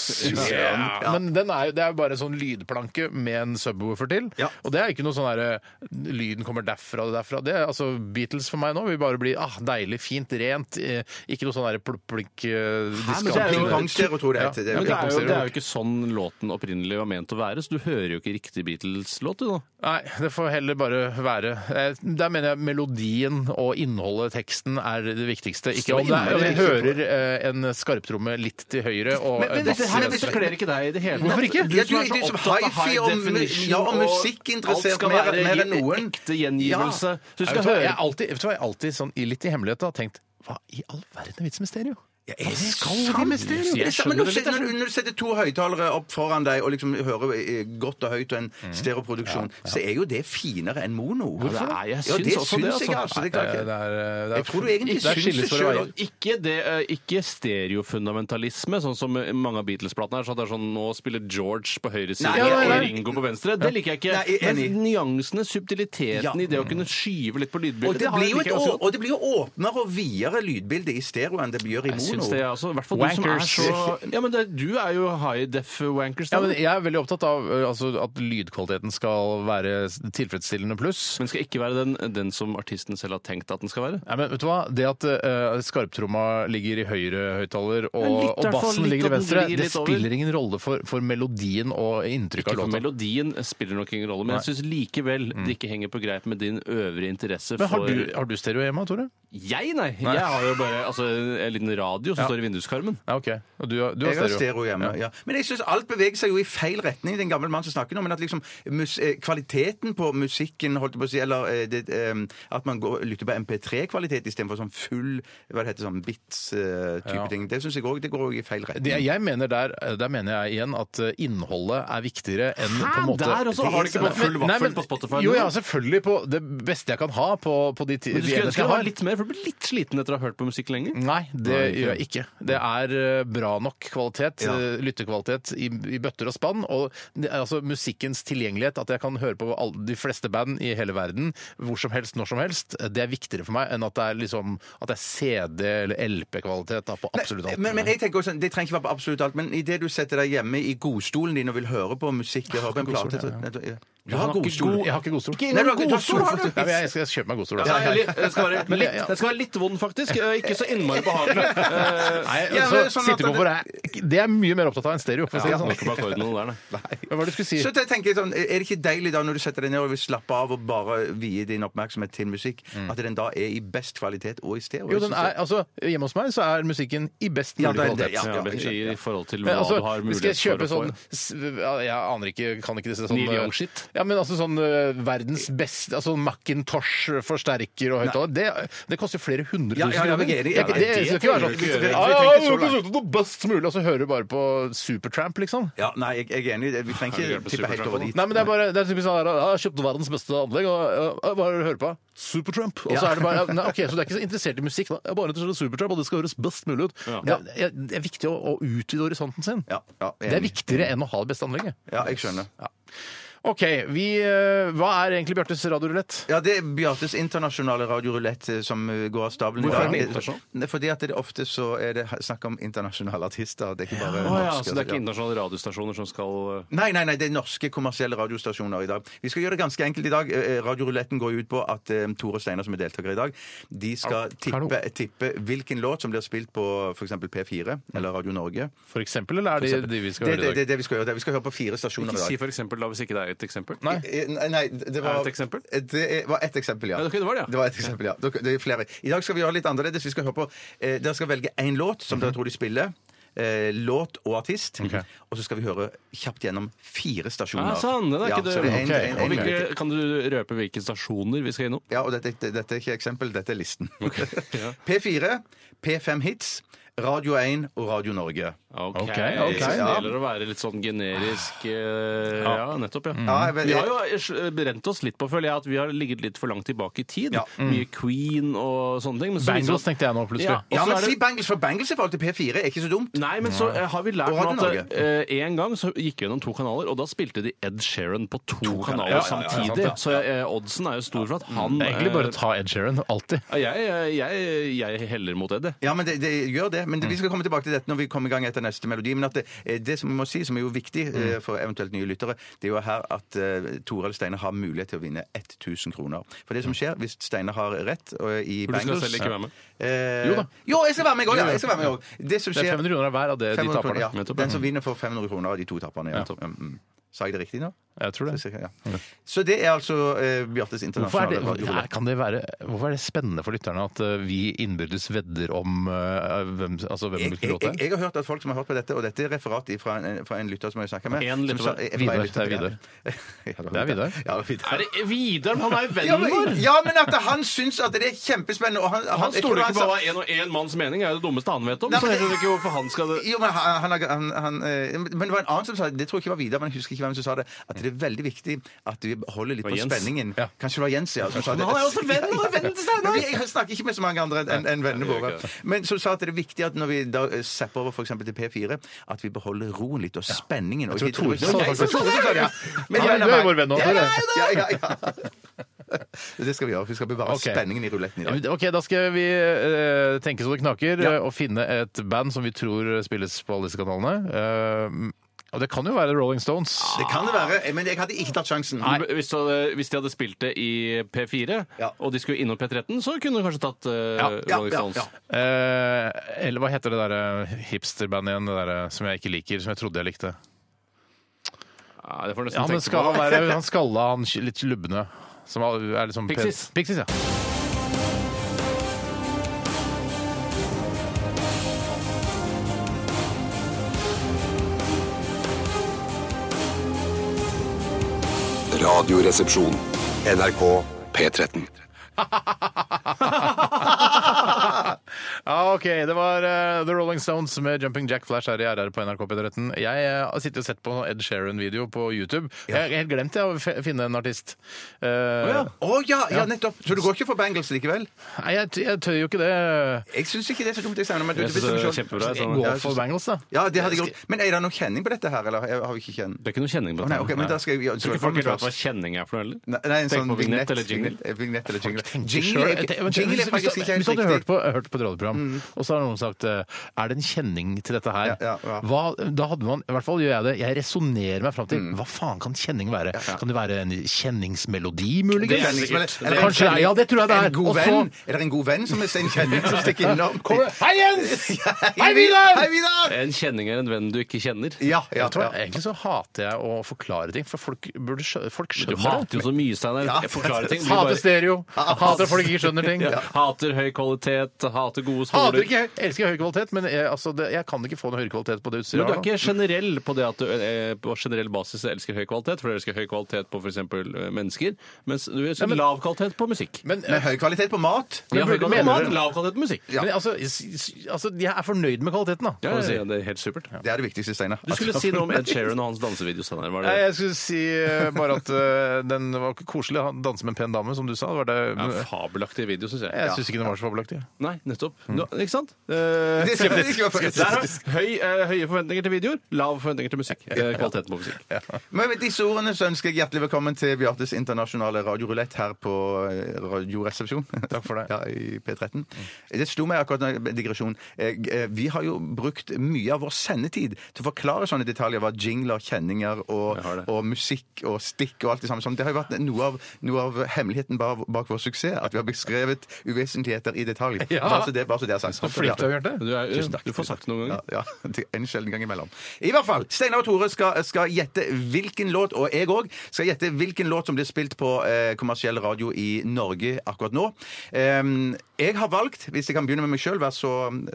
S3: Ja.
S1: Ja. Men den er, jo- det er jo bare sånn lydplanke med en subwoofer til. Og det er ikke noe sånn derre Lyden kommer derfra og derfra. Det er, altså, Beatles for meg nå vil bare bli ah, deilig, fint, rent. eh, Ikke noe sånn derre plupp-plunk eh,
S2: men det er jo-
S1: diskant.
S2: Pingpongstereo, tror jeg det heter.
S3: Men det
S2: Det er jo
S3: er, jo,
S1: pingpongstereo.
S3: det er jo ikke sånn låten opprinnelig var ment å være, så du hører jo ikke riktig Beatles-låt, du, da.
S1: Nei, det får heller bare være. Eh, Der mener jeg melodien og innholdet, teksten, er det viktigste. Ikke om det er, om jeg hører eh, en skarptromme litt til høyre og
S3: Men, men
S1: bass-
S3: dette her dette kler ikke deg i det hele tatt.
S1: Hvorfor ikke?
S3: Du
S2: Ja,
S3: som
S2: du-
S3: er
S2: du
S3: så
S2: som
S3: opptatt av
S2: hi-fi
S3: high
S2: og mu-
S3: definition
S2: ja, og
S3: alt
S2: musikkinteressert
S3: skal
S2: mer-
S3: være
S2: mer enn
S3: en
S2: noen.
S3: ekte gjengivelse. Så du
S1: Nei, vet
S3: skal
S1: du hva,
S3: høre
S1: jeg, har alltid, vet du hva, jeg har alltid sånn, i litt i hemmelighet har tenkt Hva i all verden er vitsen med stereo? Hva skal de med stereo?
S2: Det
S1: Jeg
S2: er samme
S1: skjønner
S2: når,
S1: det
S2: du
S1: litt.
S2: setter- når, du- når du setter to høyttalere opp foran deg og liksom hører eh, godt og høyt og en stereoproduksjon, så er jo det finere enn mono.
S3: det er- jeg
S2: Ja, det
S3: syns også det, eh,
S2: syns jeg,
S3: altså.
S2: altså. Det
S1: Det
S2: klarer
S1: er- det
S2: ikke.
S1: er- det er-
S2: Jeg tror du egentlig
S1: Der
S2: syns det
S1: skilles våre
S2: sjøl.
S1: veier.
S3: Ikke, det, eh, ikke stereofundamentalisme, sånn som mange av Beatles-platene er. Sånn at det er sånn nå spiller George på høyre side
S2: Nei, nei, nei.
S3: og Ringo på venstre. Det liker jeg
S2: Nei, jeg
S3: ikke.
S2: er enig.
S3: Men nyansene, subtiliteten
S2: Ja.
S3: i det å kunne skyve litt på
S2: Og
S3: lydbildet
S2: det,
S3: har
S2: blir
S3: jeg
S2: jo
S3: liker
S2: et,
S3: jeg ganske
S2: å-
S3: godt.
S2: og det blir jo åpnere og videre lydbilde i stereo enn det gjør i
S3: jeg
S2: mono.
S3: syns det, jeg også. I hvert fall du som er
S1: Wankers.
S3: så Ja, men det, du er jo high def wankers.
S1: Ja,
S3: da.
S1: men jeg er veldig opptatt av ø, altså, at lydkvaliteten skal være s- tilfredsstillende pluss.
S3: Men skal ikke være den, den som artisten selv har tenkt at den skal være?
S1: Nei, men vet du hva? Det at ø, skarptromma ligger i høyre høyttaler
S3: Men litt,
S1: og, og
S3: hvertfall,
S1: bassen
S3: litt
S1: ligger i
S3: at den
S1: venstre,
S3: vrir
S1: det
S3: litt over.
S1: spiller ingen rolle for, for melodien og inntrykket
S3: Ikke
S1: av
S3: for
S1: låta.
S3: melodien spiller nok ingen rolle, men jeg syns likevel det ikke henger på greip med din øvrige interesse
S1: Mm. Men har
S3: for
S1: du, har du stereo hjemme, Tore?
S3: Jeg, nei. Jeg har jo bare altså, en liten radio som står i vinduskarmen.
S1: Ja, OK. Og du, har- du har
S2: Jeg har
S1: stereo.
S2: stereo hjemme, ja. Men jeg syns alt beveger seg jo i feil retning, den gamle mannen som snakker nå. Men at liksom mus eh, kvaliteten på musikken, holdt jeg på å si, eller eh, det, eh, at man går, lytter på MP3-kvalitet istedenfor sånn full hva det heter, sånn bits-type
S1: Ja.
S2: ting, det syns jeg òg går jo i feil retning.
S1: Det, jeg mener der, der mener jeg igjen at eh, innholdet er viktigere enn
S3: Hæ?
S1: på en måte sånn
S3: Der også? Har du ikke på full
S1: Men- nei,
S3: vaffel
S1: men-
S3: på Spotify
S1: Jo,
S3: nå?
S1: ja, selvfølgelig på det beste jeg kan ha på, på de ti-
S3: Men du
S1: de
S3: skulle
S1: eneste
S3: ønske
S1: jeg
S3: det
S1: har.
S3: var litt mer, for du blir litt sliten etter å ha hørt på musikk lenge.
S1: Nei, det gjør jeg ikke. Det er eh, bra nok kvalitet, eh, lyttekvalitet, i, i bøtter og spann. Og det er altså musikkens tilgjengelighet, at jeg kan høre på alle, de fleste band i hele verden hvor som helst, når som helst, eh, det er viktigere for meg enn at det er, liksom, at det er CD- eller LP-kvalitet da, på absolutt alt.
S2: Men, men jeg tenker også, sånn, Det trenger ikke være på absolutt alt, men idet du setter deg hjemme i godstolen din og vil høre på musikk og høre på en plate så- Du har godstol.
S1: Jeg har ikke godstol.
S2: Nei, du har ikke- du har
S1: Godstol har du!
S2: godstol.
S1: Nei, men jeg skal jeg skal kjøpe meg godstol.
S3: Nei,
S1: altså.
S3: eller, Den skal, være litt, den skal være litt vond, faktisk. Eh, Ikke så innmari behagelig. Eh,
S1: Nei,
S2: Ja,
S1: altså,
S2: men sånn at
S1: sittebomber er, det er mye mer opptatt av enn stereo. For å si
S3: Jeg
S1: det
S3: holder ikke på
S1: sånn.
S3: akkorden der, nei.
S1: Hva var det du skulle si?
S2: Så jeg tenker sånn, Er det ikke deilig da når du setter deg ned og vil slappe av og bare vie din oppmerksomhet til musikk,
S3: Mm.
S2: at den da er i best kvalitet og i stereo?
S1: Jo, den er, altså, hjemme hos meg så er musikken i best
S2: Ja,
S1: mulig
S2: det er det,
S1: kvalitet.
S2: ja.
S3: Ja, I forhold til hva
S1: Men altså,
S3: du har
S1: skal jeg
S3: mulighet for
S1: kjøpe
S3: å få.
S1: sånn s- ja, Jeg aner ikke, kan ikke disse sånn
S3: Neil Young-shit?
S1: Ja, men altså sånn eh, verdens beste altså sånn Macintosh-forsterker og høyttaler. Det, det koster flere hundre
S2: Ja,
S1: tusen
S2: ja, ja, men jeg er enig.
S1: Det er ikke-
S2: Nei,
S1: det
S2: det
S1: skal ikke være
S2: trenger du ikke
S1: sånn
S2: gjøre.
S1: Ja,
S2: Vi
S1: ja, vi
S2: tenker så
S1: kan sette noe sånn best mulig, og så hører du bare på Supertramp, liksom.
S2: Ja, nei, jeg, jeg er enig. i det. Vi trenger
S3: Kan du
S2: ikke
S3: hjelpe
S2: tippe helt over dit.
S1: Nei, men det er bare det er typisk sånn her, «Ja, Jeg har kjøpt verdens beste anlegg, og ja, hva er det du hører på? Supertramp. Og så
S2: Ja.
S1: er det bare ja, nei, OK, så du er ikke så interessert i musikk, da. Jeg er bare interessert i Supertramp, og det skal høres best mulig ut. Det, er, det er viktig å, å utvide horisonten sin.
S2: Ja, ja,
S1: Det er viktigere enn å ha det beste anlegget.
S2: Ja, jeg skjønner.
S1: OK, vi eh, Hva er egentlig Bjartes radiorulett?
S2: Ja, Det er Bjartes internasjonale radiorulett eh, som eh, går av stabelen.
S3: Hvorfor er den
S2: Ja, det-
S3: internasjonal?
S2: Nei, Fordi at det ofte så er det he- snakk om internasjonale artister. Det er ikke
S3: Å
S2: bare
S3: ja,
S2: norske.
S3: så det er
S2: altså,
S3: ikke
S2: ja.
S3: internasjonale radiostasjoner som skal eh,
S2: Nei, nei, nei, det er norske kommersielle radiostasjoner i dag. Vi skal gjøre det ganske enkelt i dag. Eh, Radioruletten går jo ut på at eh, Tore og Steinar, som er deltakere i dag, de skal tippe, tippe hvilken låt som blir spilt på f.eks. P4 eller Radio Norge.
S1: For eksempel, eller er det de vi skal
S2: Det er
S1: høre
S2: det,
S1: i dag?
S2: det, det vi skal gjøre. Det. er- Vi skal høre på fire stasjoner i
S3: Ikke si
S2: dag.
S3: for eksempel, da, hvis ikke det er et eksempel.
S1: Nei.
S2: Eh, Nei, det var Eh,
S3: Er det et eksempel?
S2: Det er- var ett eksempel, ja.
S3: Ja, ok, det var det, ja.
S2: et eksempel, ja. Dere- Det er flere. I dag skal vi gjøre litt annerledes. Vi skal høre på, eh, Dere skal velge én låt som
S3: Mhm.
S2: dere tror de spiller. Eh, låt og artist. Og så skal vi høre kjapt gjennom fire stasjoner.
S3: Ah, sånn, det er
S2: ja,
S3: ikke
S2: så det er en-
S3: det.
S2: en- en-
S3: Og
S2: en-
S3: hvilke, kan du røpe hvilke stasjoner vi skal innom?
S2: Ja, og dette, dette er ikke eksempel, dette er listen. P4, P5 Hits, Radio 1 og Radio Norge.
S3: Ok,
S1: Ok,
S3: okay.
S1: ok.
S3: Så det
S2: Ja.
S3: gjelder å være litt sånn generisk eh, ja. nettopp, ja.
S2: Ja, jeg vet-
S3: Vi har jo eh, brent oss litt på, føler jeg, at vi har ligget litt for langt tilbake i tid.
S2: Ja. mm.
S3: Mye Queen og sånne ting. Men så liksom-
S1: Bangles, tenkte jeg nå
S3: Ja.
S1: plutselig.
S3: Og
S2: Ja,
S3: så
S2: men
S3: er det-
S2: si Bangles, for Bangles i forhold til P4 er ikke så dumt.
S3: Nei, men så eh, har vi lært
S2: Og
S3: nå
S2: Radio
S3: at eh, en gang så gikk vi gjennom to kanaler, og da spilte de Ed Sheeran på to, kanaler
S1: Ja, ja, ja, ja, sant
S3: samtidig.
S1: det.
S3: Så eh, oddsen er jo stor for at han
S2: Mm.
S1: Det er egentlig
S3: eh,
S1: bare å ta Ed Sheeran, alltid.
S3: ja, jeg, jeg, jeg, jeg heller mot Ed, jeg.
S2: Ja, men det, det gjør det. men det, vi skal komme tilbake til dette når vi kommer i gang etter neste melodi. Men at det, eh, det som vi må si, som er jo viktig eh, for eventuelt nye lyttere, det er jo her at eh, Toril Steine har mulighet til å vinne 1000 kroner. For det som skjer hvis Steine har rett og, i
S3: For du skal
S2: Bangles
S3: selv ikke være med.
S2: Eh,
S1: Jo da.
S2: Jo, jeg skal være med i går, ja. Jeg skal være med i går. Det som
S1: Det er
S2: skjer
S1: 500 kroner hver av det de
S2: 500
S1: taper.
S2: kroner,
S1: Ja.
S2: ja. Den som vinner, får 500 kroner av de to taperne. Ja. Mm, mm. Sa jeg det riktig nå?
S1: Jeg tror det.
S2: Så, cirka, ja. så det er altså eh, Bjartes
S1: Hvorfor er
S2: internasjonale
S1: det,
S2: radio.
S1: er, kan det være, hvorfor er det spennende for lytterne at eh, vi innbyrdes vedder om eh, hvem, altså hvem
S2: Jeg,
S1: hvilken
S2: jeg,
S1: låt det
S2: jeg,
S1: er?
S2: jeg har hørt at folk som har hørt på dette, og dette er referat fra en, fra en lytter som jeg snakka med
S3: En lytter,
S2: som sa-
S3: det
S2: fra en
S1: Vidar,
S2: lytter,
S1: det er Vidar.
S2: ja.
S1: Det er Vidar.
S2: Ja, det er Vidar.
S3: Er det Vidar? Han er jo
S2: Ja,
S3: vennen vår!
S2: men, ja, men at han syns at det er kjempespennende. Og han, han,
S3: Han
S2: jeg tror
S3: stoler ikke
S2: sa-
S3: på hva en og en manns mening er, det dummeste han vet om.
S2: Nei,
S3: Så
S2: men-
S3: jeg skjønner ikke hvorfor han skal
S2: Jo, men, han, han, han, han, eh, men det var en annen som sa det, det tror jeg ikke var Vidar, men jeg husker ikke hvem som sa det, at det er veldig viktig at vi holder litt
S3: Det var
S2: på
S3: Jens.
S2: spenningen. Kanskje det var Jens, ja. Som sa det.
S3: Men han er også venn, han er vennen til Steinar.
S2: Ja, Jeg snakker ikke med så mange andre enn enn- enn vennene våre. Men som sa at det er viktig at når vi da eh, zapper over f.eks. til P4, at vi beholder roen litt og spenningen. Og
S1: Jeg tror Tore sa det.
S2: Jeg tror Tore sa det, ja. Men
S1: Ja,
S2: jeg-
S1: du er vår venn nå,
S2: Ja,
S1: Tore.
S2: Ja, ja, ja. Det skal vi gjøre. Vi skal bevare
S1: Ok.
S2: spenningen i ruletten i dag.
S1: Ok, da skal vi eh, tenke så det knaker,
S2: Ja.
S1: eh, og finne et band som vi tror spilles på alle disse kanalene. Eh, og det kan jo være Rolling Stones.
S2: Det kan det være, men jeg hadde ikke tatt sjansen.
S3: Hvis, du hadde, hvis de hadde spilt det i P4,
S2: Ja.
S3: og de skulle innom P13, så kunne du kanskje tatt uh,
S2: ja,
S3: Rolling
S2: ja,
S3: Stones.
S2: ja.
S1: Eh, eller hva heter det derre hipsterbandet igjen, det derre som jeg ikke liker, som jeg trodde jeg likte?
S3: Nei, det får du nesten
S1: Ja, men
S3: tenke
S1: skal
S3: på.
S1: han være han skalla, han sk- litt lubne? Som er liksom
S3: Pixies.
S1: Pixies, ja.
S6: Radioresepsjon. NRK P13.
S1: Ja, OK. Det var eh, The Rolling Stones med 'Jumping Jack Flash' her i RR på NRK P13. Jeg eh, har sittet og sett på Ed Sheeran-video på YouTube. Jeg har helt glemt jeg, å f- finne en artist. Eh,
S2: Å ja, ja, nettopp. Så du går ikke for Bangles likevel?
S1: Nei, jeg, t- jeg tør jo ikke det.
S2: Jeg syns ikke det er så dumt. Jeg, sier, men du,
S3: Jeg synes
S2: du
S3: det
S2: bestemmer
S3: er
S2: selv.
S3: kjempebra. jeg,
S1: Gå
S3: Sånn.
S1: for Bangles, da.
S2: Ja, det hadde jeg gjort. Men er det noe kjenning på dette her, eller har vi ikke kjenning?
S3: Det er ikke noe kjenning på
S2: Å,
S3: dette.
S2: nei, ok, men da skal jeg- ja,
S3: jeg tror
S2: så
S3: ikke folk
S2: kommer
S3: vet hva
S2: først.
S3: kjenning er for noe heller.
S2: Nei, nei, en
S3: Tenk
S2: sånn
S3: på vignett
S2: vignett
S3: eller jingle.
S2: eh, Vignett eller jingle.
S1: Sure,
S2: Jingle er
S1: jeg- jeg-
S2: ikke- jingle er faktisk ikke
S1: Hvis
S2: helt
S1: du hadde hørt
S2: riktig. Mm.
S1: på, hørt på et radioprogram, og så har noen sagt eh, Er det en kjenning til dette her?
S2: Ja, ja, ja.
S1: Hva, da hadde man, i hvert fall gjør jeg det, jeg resonnerer meg fram til
S2: Mm.
S1: hva faen kan kjenning være? Kan det være en kjenningsmelodi,
S2: Det
S1: muligens?
S2: er sikkert-
S1: Eller kanskje det er- Ja, det tror jeg det er.
S2: En god
S1: Og så-
S2: venn? Er det en god venn som er en kjenning som stikker innom?
S1: Hei, Jens!
S2: Hei, Vidar! Hei, Vidar!
S3: En kjenning er en venn du ikke kjenner.
S2: Ja,
S1: Jeg
S2: ja,
S1: tror,
S2: ja.
S1: Egentlig så hater jeg å forklare ting, for folk, burde skjø folk
S3: Du
S1: skjønner
S3: hater jo så mye, Steinar.
S2: Ja.
S3: Jeg forklarer ting. blir
S1: Hater
S3: bare-
S1: stereo. Hater folk ikke skjønner ting.
S3: Ja. Hater høy kvalitet, hater gode skoler.
S1: Hater ikke, elsker høy kvalitet, men jeg, altså, det, jeg kan ikke få noe høyere kvalitet på det
S3: Men
S1: utstyret.
S3: du er
S1: her nå.
S3: ikke generell på det at du eh, på generell basis elsker høy kvalitet, for du elsker høy kvalitet på f.eks. mennesker, mens du elsker lav kvalitet på musikk.
S1: Men,
S2: Med høy kvalitet på mat?
S3: Ja, høy kvalitet
S1: burde-
S3: på
S1: mener
S3: mat,
S1: du-
S3: lav kvalitet på musikk.
S2: Ja.
S1: men altså, s- s- altså, jeg er fornøyd med kvaliteten, da.
S3: Ja,
S1: kan du si.
S3: ja, det er helt supert.
S2: Det er det viktigste, Steinar.
S3: Du skulle si noe om Ed Sheeran og hans dansevideo, Steinar. Var
S1: Nei,
S3: det
S1: jeg skulle si eh, bare at eh, den var ikke koselig. Han danser med en pen dame, som du sa. Det var det,
S3: ja,
S1: men,
S3: fabelaktig video, syns jeg.
S1: jeg syns ikke den var så fabelaktig.
S3: Nei, nettopp.
S1: Mm.
S3: Du, ikke sant?
S2: Det skal det skal være
S3: Der er høy, eh, høye forventninger til videoer, lav forventninger til musikk. Eh, Kvaliteten på musikk.
S2: Men med disse ordene så ønsker jeg hjertelig velkommen til Bjartes internasjonale radiorulett her på eh, Radioresepsjon. Takk for det. Ja, i P13. Det slo meg akkurat når jeg- digresjon. Eh, eh, Vi har jo brukt mye av vår sendetid til å forklare sånne detaljer, hva jingler, kjenninger og,
S3: Jeg har det.
S2: og musikk og stikk og alt det samme sånn. Det har jo vært noe av, noe av hemmeligheten bak, bak vår suksess, at vi har beskrevet uvesentligheter i detalj.
S1: Ja.
S2: Bare så det, bare så det er sagt. Så
S1: Flink til å gjøre det.
S3: Du, er, du får sagt det noen ganger.
S2: Ja, ja, det er en sjelden gang imellom. I hvert fall, Steinar og Tore skal, skal gjette hvilken låt, og jeg òg, skal gjette hvilken låt som blir spilt på eh, kommersiell radio i Norge akkurat nå. Ehm, jeg har valgt, hvis jeg kan begynne med meg sjøl, være så,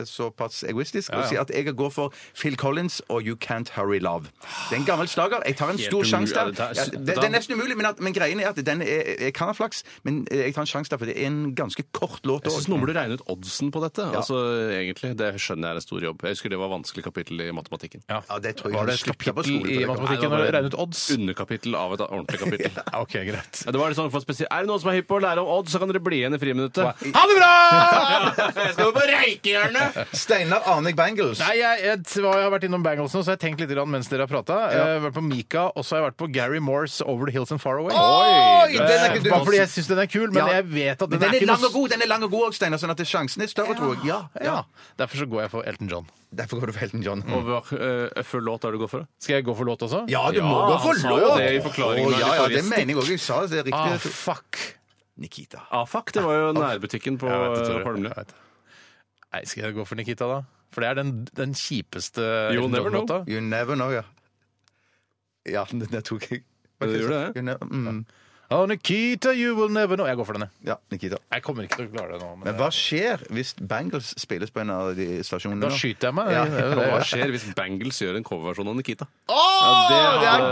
S2: såpass egoistisk, og si at jeg går for Phil Collins og You Can't Hurry Love. Det er en gammel slager. Jeg tar en
S3: Helt
S2: stor sjanse
S3: umulig.
S2: der.
S3: Ja, det
S2: Ja,
S3: tar-
S2: det, det er nesten umulig, men, at, men greien er at den er, jeg kan ha flaks, men eh, jeg tar en sjanse der, for det er en ganske kort låt
S3: Jeg synes
S2: òg.
S3: Noen burde regne ut oddsen på dette. Altså, egentlig, Det skjønner jeg er en stor jobb. Jeg husker det var vanskelig kapittel i matematikken.
S2: Ja, det tror jeg
S1: var
S2: han
S1: det et
S2: slutta på skolen
S1: kapittel
S2: for
S1: i
S2: det.
S1: matematikken
S3: Nei, det var
S1: når det
S3: bare-
S1: regnet ut odds?
S3: Underkapittel av et ordentlig kapittel.
S1: Ja, OK, greit.
S3: Ja, det var litt sånn for spesielt. Er det noen som er hypp på å lære om odds, så kan dere bli igjen i friminuttet.
S1: Ha det bra!
S3: Jeg skal jo på reikehjørnet!
S2: Steinar Arnek Bangles.
S1: Nei, jeg, jeg, t- hva- jeg har vært innom Bangles nå, så jeg har tenkt litt grann mens dere har prata. Jeg har vært på Mika, og så har jeg vært på Gary Moores Over the Hills and Far Away.
S2: Oi!
S1: Eh,
S2: Den er ikke du-
S1: Bare fordi jeg syns den er kul, men
S2: Ja.
S1: jeg vet at
S2: Men
S1: den,
S2: den er
S1: ikke
S2: lang og
S1: noe
S2: god, den er lang og god også, Steinar, sånn at sjansen er større, tror jeg. Ja.
S1: ja. Derfor så går jeg for Elton John.
S2: Derfor går du for Elton John.
S3: Og hva eh, for låt er det du går for?
S1: Skal jeg gå for låt også?
S2: Ja, du må
S3: Ja,
S2: gå for
S3: han sa jo
S2: låt!
S3: det i forklaringen
S2: Å, ja,
S3: av
S2: ja, det
S3: gitaristen.
S2: mener jeg òg. Jeg sa det riktig.
S1: Ah,
S2: Jeg tror-
S1: fuck!
S2: Nikita.
S3: Afak, det var jo nærbutikken på
S1: Jeg vet det,
S3: eh,
S1: Tore.
S3: Holmlia.
S1: Jeg vet det. Nei, skal jeg gå for Nikita, da? For det er den, den kjipeste
S3: You'll never know.
S1: Elton John-låta.
S2: You never know, ja. Ja, den der tok jeg.
S3: Ja, du gjorde det.
S2: You never, mm,
S1: Oh, Nikita, you will never know. Jeg går for denne.
S2: ja, Nikita.
S1: Jeg kommer ikke til å klare det nå. Men
S2: Men hva skjer hvis Bangles spilles på en av de stasjonene?
S1: da
S2: nå?
S1: skyter jeg meg.
S2: Ja.
S1: Det er jo det.
S3: Hva skjer hvis Bangles gjør en coverversjon av Nikita?
S2: Å,
S3: det er-
S2: det er-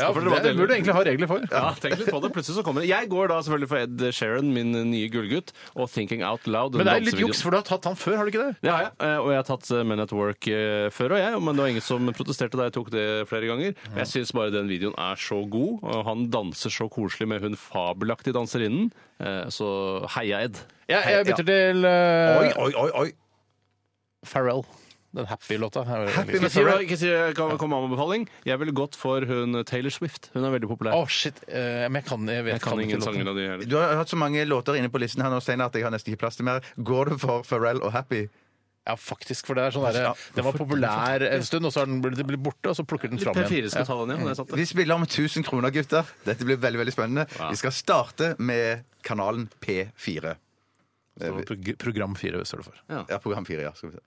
S1: Ja, for det, det burde du egentlig ha regler for.
S3: Ja, tenk litt på det. Plutselig så kommer det. Jeg går da selvfølgelig for Ed Sheeran, min nye gullgutt, og Thinking Out Loud.
S1: Men det er
S3: den
S1: litt
S3: dansevideoen.
S1: juks, for du har tatt han før, har du ikke det?
S3: Det har jeg, eh, og jeg har tatt eh, Men at Work eh, før, og jeg, men det var ingen som protesterte da jeg tok det flere ganger. Men Jeg syns bare den videoen er så god, og han danser så koselig med hun fabelaktige danserinnen. Eh, Så heia Ed.
S1: Ja, jeg bytter til
S2: Oi,
S1: uh,
S2: oi, oi, oi.
S1: Pharrell. Den happy-låta. Her er det
S2: Happy
S1: liksom-
S2: med
S3: Ikke si, ikke si jeg kan komme med anbefaling. Jeg ville gått for hun Taylor Swift. Hun er veldig populær.
S1: Å, shit. eh, men jeg kan, jeg vet,
S3: jeg kan ingen
S1: ikke låten.
S3: sanger av de heller.
S2: Du har hatt så mange låter inne på listen her nå, Steinar, at jeg har nesten ikke plass til mer. Går du for Pharrell og Happy?
S1: Ja, faktisk. For det er sånn derre
S2: Ja,
S1: Den var populær en stund, og så har den blitt blitt borte, og så plukker den fram
S3: P4
S1: igjen.
S3: skal ta den igjen. Det er sant, det.
S2: Vi spiller om 1000 kroner, gutter. Dette blir veldig veldig spennende. Vi skal starte med kanalen P4.
S1: Så prog- Program 4 står det for.
S2: Ja, program 4, ja. Skal vi se.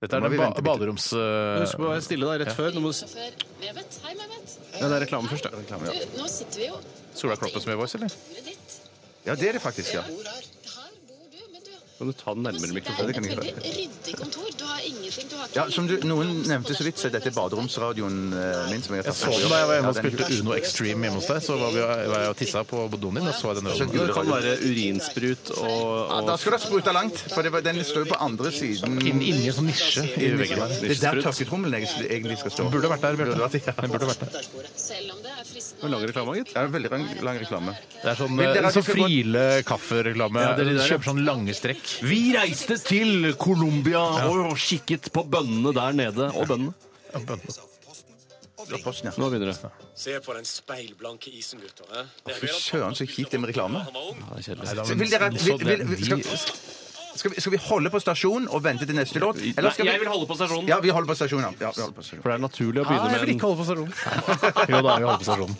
S1: Dette
S2: Nå må
S1: er den
S2: vi
S1: ba
S2: vente litt.
S1: baderoms... eh,
S3: Husk å være stille der rett før. Nå må du... s-
S9: Sjåfør Mehmet. Hei, Mehmet.
S3: Ja, det er reklame først, ja.
S9: Du, nå sitter vi jo
S1: Sola Kloppe eh, som er voice, eller?
S9: bordet ditt.
S2: Ja, det er det faktisk, ja.
S9: Bor her. Her bor du, men du
S3: Kan du ta den nærmere
S9: Det
S3: mikrofonen?
S9: er
S2: kan
S9: et
S2: jeg gjøre.
S9: veldig ryddig kontor. Du har ingenting. Du har ikke
S2: Ja, som du, Noen
S9: blomster
S2: nevnte
S9: på
S2: så vidt, så er dette
S9: dashbordet, forresten.
S2: baderomsradioen eh, min. som jeg har
S1: Jeg
S2: tatt
S1: så den da jeg var hjemme og
S2: Ja, den-
S1: spilte Uno Extreme hjemme hos deg. Så var, vi, var jeg og tissa på doen din, og så jeg den radioen.
S3: Det kan være urinsprut og,
S2: Ja,
S3: og
S2: da skal du ha spruta langt, for det var, den står jo på andre siden.
S1: Inn- Inni en sånn nisje i veggen der.
S2: Det er der tørketrommelen egentlig- egentlig skal stå.
S1: Burde vært der, Bjarte. Den burde vært der.
S9: Selv om det er fristende.
S3: Lang reklame, gitt.
S2: Ja, det er veldig lang, lang reklame.
S1: Det er sånn,
S2: Vil dere at
S1: sånn
S2: vi skal gå-
S1: frile kaffereklame.
S3: Ja, det er de der, ja.
S1: Kjøper sånn lange strekk.
S3: Vi reiste til Colombia og kikket på bøndene der nede. Og bøndene.
S2: Ja, posten, ja.
S3: Nå begynner det.
S10: Se på den speilblanke isen, gutter. eh? Det er
S2: Fy søren, så kjipt det med reklame. Sånn
S10: Han var ung.
S3: Ja, det er kjedelig.
S1: da-
S2: Så Vil dere, vil, vil, vil, skal,
S1: De-
S2: skal, vi, skal vi holde på stasjon og vente til neste låt? Eller skal vi,
S3: holde på stasjonen. Ah,
S2: ja, vi holder på stasjon. Ja. Ja, vi holder på stasjon.
S3: For det er naturlig å
S1: Nei,
S3: begynne
S1: jeg vil
S3: med
S1: ikke
S3: en
S1: holde på stasjonen. Jo da, vi holder på stasjonen.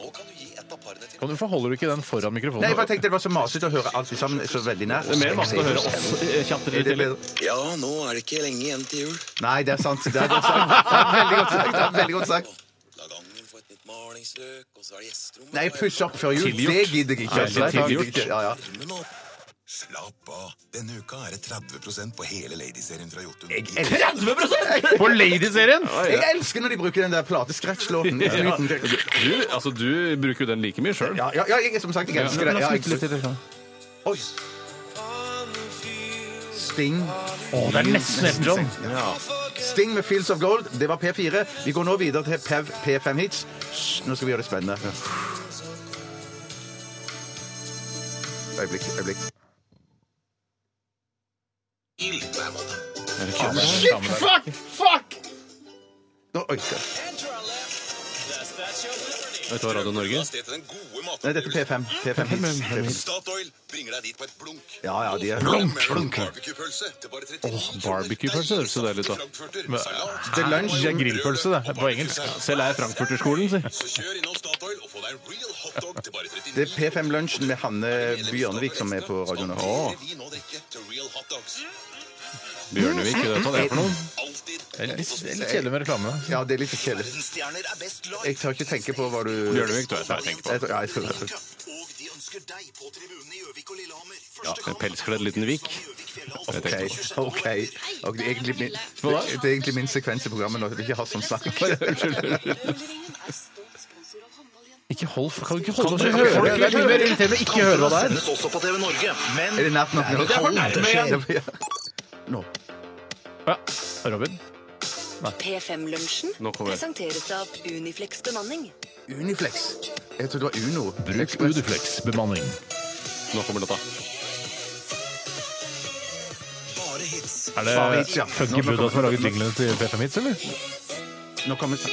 S1: Kan du forholder du ikke den foran
S2: Nei, jeg bare
S1: mikrofonen?
S2: tenkte det var så masete å høre alt sammen så veldig nært.
S3: Det er mer vanskelig å høre oss eh, tjatre
S2: Er
S3: litt
S2: det
S3: til.
S2: bedre?
S10: Ja, nå er det ikke lenge igjen til jul.
S2: Nei, det er sant. Det er godt sagt. Det er veldig godt sagt. Det er veldig godt sagt.
S10: La gangen få et nytt malingsløk, og så er det gjesterommet.
S2: Nei, pusse opp før jul. Det gidder jeg ikke.
S3: Nei,
S2: altså.
S3: litt
S2: Det gidder jeg ikke. Ja, ja.
S11: Slapp av. Denne uka er det 30 på hele Lady-serien fra Jotun.
S1: På Lady-serien!
S2: Jeg elsker når de bruker den der plateskretslåten.
S3: Ja.
S2: Uten-
S3: Du, altså, du bruker jo den like mye sjøl.
S2: Ja, ja, ja, jeg, som sagt, jeg elsker det. Ja, jeg, Oi. Sting.
S1: Det er nesten Elton John.
S2: Sting med 'Fields of Gold'. Det var P4. Vi går nå videre til PEV P5 Hits. Hysj, Nå skal vi gjøre det spennende. Øyeblikk, øyeblikk. Shit, fuck! Fuck! Nå, oi,
S3: Vet du hva Radio Norge
S2: Nei, dette er P5. P5 Hits.
S10: Statoil bringer deg dit på et blunk.
S2: Ja, ja, de er
S10: Barbecue-pølse til bare 39 kroner.
S3: barbecue-pølse høres jo deilig ut, da.
S10: Frankfurter,
S1: Men-
S10: salat,
S1: Det er lunsj, det er grillpølse, det. På engelsk.
S3: Selv er jeg Frankfurterskolen, si.
S10: Så Altså, kjør innom Statoil og få deg en real hotdog til bare 39
S2: Det er P5 Lunsjen med Hanne Bjørnevik som er på radioen.
S10: Skal vi nå drikke til real hotdogs?
S3: Bjørnevik, vet du hva det er for noe?
S10: Alltid.
S1: Det er litt, litt kjedelig med reklame.
S2: Ja, det er litt kjedelig.
S10: Verdensstjerner er best lag.
S2: Jeg tør ikke tenke på hva du
S3: Bjørnevik, du vet hva jeg tenker på.
S2: Jeg tror- ja, jeg tror det.
S10: Og de ønsker deg på tribunene i Gjøvik og Lillehammer.
S3: Ja, en pelskledd liten vik. Jeg
S2: OK.
S3: tenker på.
S2: ok. Og det, er egentlig min,
S3: Hva da?
S2: det er egentlig min sekvens i programmet nå. at Vi ikke har sånn snakk.
S9: Rulleringen er stolt sponsor av håndballjentene.
S1: Ikke hold, kan du ikke holde
S2: du høre det?
S1: Det er mye mer irriterende å ikke høre hva det er.
S10: Sendes også på TV Norge, men
S2: Er det nært nok? nå?
S10: det er for nærme igjen.
S2: Ja, Nå.
S1: Ja, Robin.
S9: P5-lunsjen
S3: Nå kommer jeg.
S9: presenteres av Uniflex bemanning.
S2: Uniflex. Jeg trodde det var Uno.
S1: Bruk Udeflex-bemanning.
S3: Nå kommer låta.
S1: Er det
S2: Bare hits, ja.
S1: Funky Buddha som har laget jinglene til PFM Hits, eller?
S2: Nå kommer sang.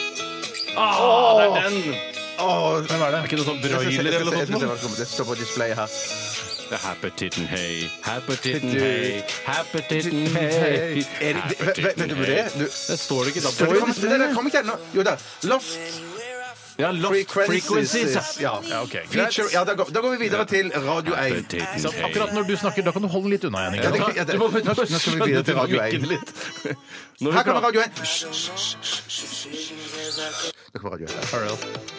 S3: Ah, det er den!
S2: Åh,
S1: Hvem er det?
S3: Er ikke det sånn
S2: jeg skal se-
S3: broiler
S2: jeg skal se-
S3: eller
S2: jeg
S3: noe
S2: skal se
S3: sånt?
S2: hva det kommer. Det står på displayet her.
S3: Happertitten hei, happertitten hei, happertitten hei.
S2: Er det- vet- vet- vet du hvor det er? Du-
S3: Det står det ikke da.
S2: Står det kommer- det der kommer ikke ennå. Jo da. Lost
S3: Ja, lost frequencies.
S2: Ja,
S1: Ja, ok, greit.
S2: Feature, ja da, går, da går vi videre til Radio 1.
S1: Så akkurat når du snakker, da kan du holde litt unna igjen.
S2: Ja, det- ja, det- nå- nå skal vi videre til Radio 1. Her kommer Radio 1. Hysj, hysj, hysj, hysj, hysj, hysj. Det kommer Radio 1.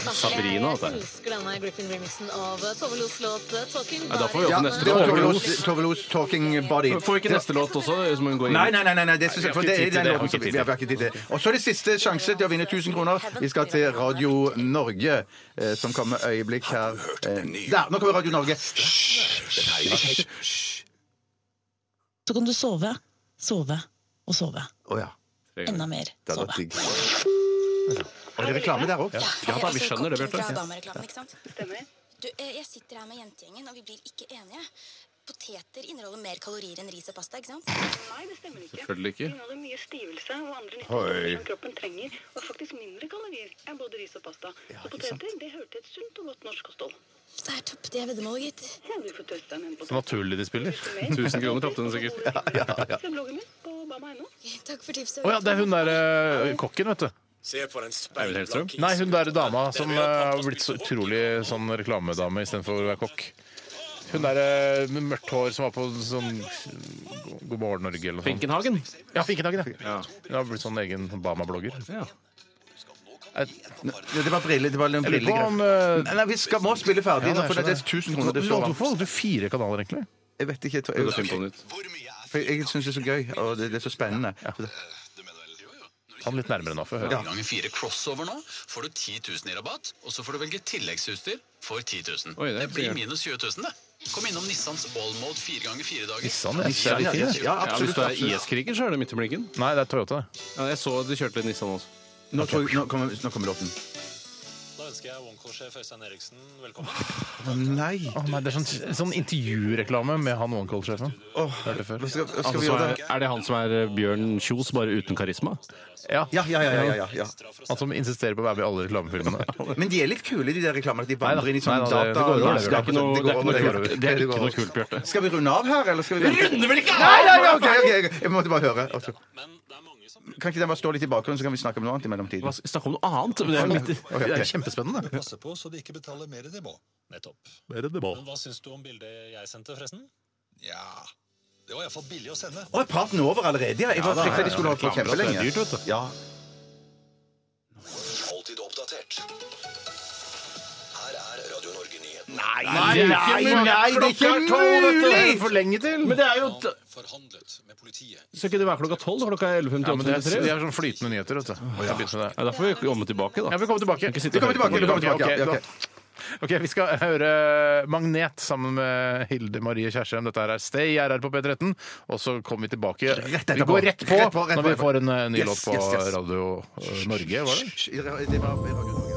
S3: Sabrina, altså. dette her.
S9: elsker denne Griffin-remixen av Tove Los låt eh, Talking
S3: Nei, da får vi
S9: Body.
S3: åpne
S2: Ja,
S3: neste
S2: det var
S3: låt.
S2: Tove Los- Tove Los' 'Talking Body'.
S3: Får vi ikke neste låt også? Som hun går inn? i?
S2: Nei, nei, nei, nei, nei, det synes jeg, for
S3: vi
S2: det
S3: har ikke
S2: er
S3: tid til
S2: den
S3: det, vi har
S2: låten
S3: ikke tid
S2: som
S3: til
S2: vi har ikke tid til. Og så er det siste sjanse til å vinne 1000 kroner. Vi skal til Radio Norge, eh, som kommer øyeblikk her. Eh, Der, nå kommer Radio Norge. Hysj!
S12: Så kan du sove, sove og sove.
S2: Å ja.
S12: Enda mer
S2: Det hadde
S12: sove.
S2: vært digg. Og det er reklame der òg.
S3: Ja da, vi skjønner det,
S9: Fra
S3: Bjarte.
S9: damereklamen, ikke sant? Du, eh, jeg sitter her med jentegjengen, og vi blir ikke enige. Poteter inneholder mer kalorier enn ris og pasta, ikke sant? Nei, det stemmer ikke.
S3: Selvfølgelig ikke.
S9: inneholder mye stivelse og andre
S3: Hoi. som
S9: kroppen trenger, og faktisk mindre kalorier enn både ris og pasta. så poteter, det hører til et sunt og godt norsk kosthold. Det er topp det veddemålet, gitt. Ja, du får teste en
S1: Så naturlig de spiller.
S3: 1000 kroner tapte hun sikkert.
S1: Ja, ja, ja.
S9: Se bloggen min på bama.no. Takk for tipset.
S1: Å ja, det er hun der eh, kokken, vet du.
S10: Se på den
S3: Eivind Hellstrøm?
S1: Nei, hun der dama som eh, har blitt så utrolig sånn reklamedame istedenfor å være kokk. Hun der eh, med mørkt hår som var på sånn God morgen, Norge eller noe sånt.
S3: Finkenhagen?
S1: Ja, Finkenhagen, ja. Hun har blitt sånn egen Bama-blogger.
S2: Det var briller. Det var noen
S1: Jeg lurer på
S2: briller.
S1: om, eh,
S2: Nei, nei, vi skal, må spille ferdig nå, for det er 1000 kroner det står om.
S1: Hvorfor holder du fire kanaler, egentlig?
S2: Jeg vet ikke. Jeg, tror-
S3: Prøv å finne på noe nytt.
S2: for jeg syns det er så gøy, og det, det er så spennende.
S1: Ta den litt nærmere nå, for å
S13: Ja.
S1: høre.
S13: Ganger fire crossover nå, får du 10 000 i rabatt, og så får du velge tilleggsutstyr for 10 000.
S1: Oi, det
S13: det,
S1: er
S13: blir
S1: mye.
S13: minus 20 000, det. Kom innom Nissans all-mode 4 ganger 4 dager.
S1: Nissan, sånn, ja. Nissan, ja, ja, ja, absolutt,
S3: Hvis du er
S1: absolutt.
S3: IS-kriger, så er det midt i blinken.
S1: Nei, det er Toyota. det.
S3: Ja, jeg så de kjørte litt Nissan også.
S2: Nå, tror jeg, nå, kommer, nå kommer låten.
S14: Da ønsker jeg OneCall-sjef Øystein Eriksen velkommen.
S2: Å nei.
S1: Å nei, Det er sånn, sånn intervjureklame med han OneCall-sjefen. Det er det før.
S3: Altså, så er, er det han som er eh, Bjørn Kjos, bare uten karisma?
S1: Ja.
S2: Ja, ja, ja, ja, ja, ja.
S1: Han som insisterer på å være med i alle reklamefilmene.
S2: Men de er litt kule, de der reklamene. at De vandrer inn i sånn
S1: nei, det-
S2: data...
S1: det går over,
S2: og
S1: det er ikke noe-
S2: landskap,
S1: det er ikke noe
S2: går over,
S1: kult.
S2: går over.
S1: Det er ikke
S2: går
S1: noe
S2: over.
S1: kult, Bjarte.
S2: Skal vi runde av her, eller skal vi
S1: Runder vel ikke av!
S2: Nei, nei, nei, ok, ok, ok. Jeg måtte bare høre. Altså. Kan ikke den bare stå litt i bakgrunnen, så kan vi snakke om noe annet i mellomtiden?
S3: Snakke om noe annet? men Det er, midt i-
S2: Ok, ok.
S3: det er kjempespennende.
S14: Passe på så de ikke betaler mer enn de må. Nettopp.
S3: Mer enn de må.
S14: Men hva syns du om bildet jeg sendte, forresten? Ja Det var iallfall billig å sende.
S2: Å, er praten over allerede? Ja, jeg
S14: Ja,
S2: var
S14: da,
S2: frykta de skulle
S14: ja,
S2: holde på
S14: ja, reklamer,
S2: kjempelenge.
S14: det er dyrt, vet
S2: Ja.
S11: Alltid oppdatert. Her er Radio Norge Nyheten.
S1: Nei, det er ikke mulig! for lenge til! Men det er jo
S3: Skal ikke det være klokka tolv? Klokka er 11.58?
S1: ja, men det er, de er sånn flytende nyheter, vet du. Vi skal begynne med det.
S3: Ja, da får vi komme tilbake, da.
S1: Ja, vi kommer tilbake.
S3: ikke sitte og Vi kommer høre på tilbake,
S2: vi kommer tilbake, ja,
S1: Ok,
S2: ok.
S1: godt. Ok, Vi skal høre Magnet sammen med Hilde Marie Kjersheim. Dette her er Stay RR på P13. Og så kommer vi tilbake. Vi
S2: etterpå.
S1: går rett på
S2: Rett på, rett
S1: når vi
S2: på, rett på.
S1: får en eh, ny
S2: Yes,
S1: låt på
S2: yes, yes.
S1: Radio eh, Norge, var det?
S2: Hysj, Det var Radio Norge.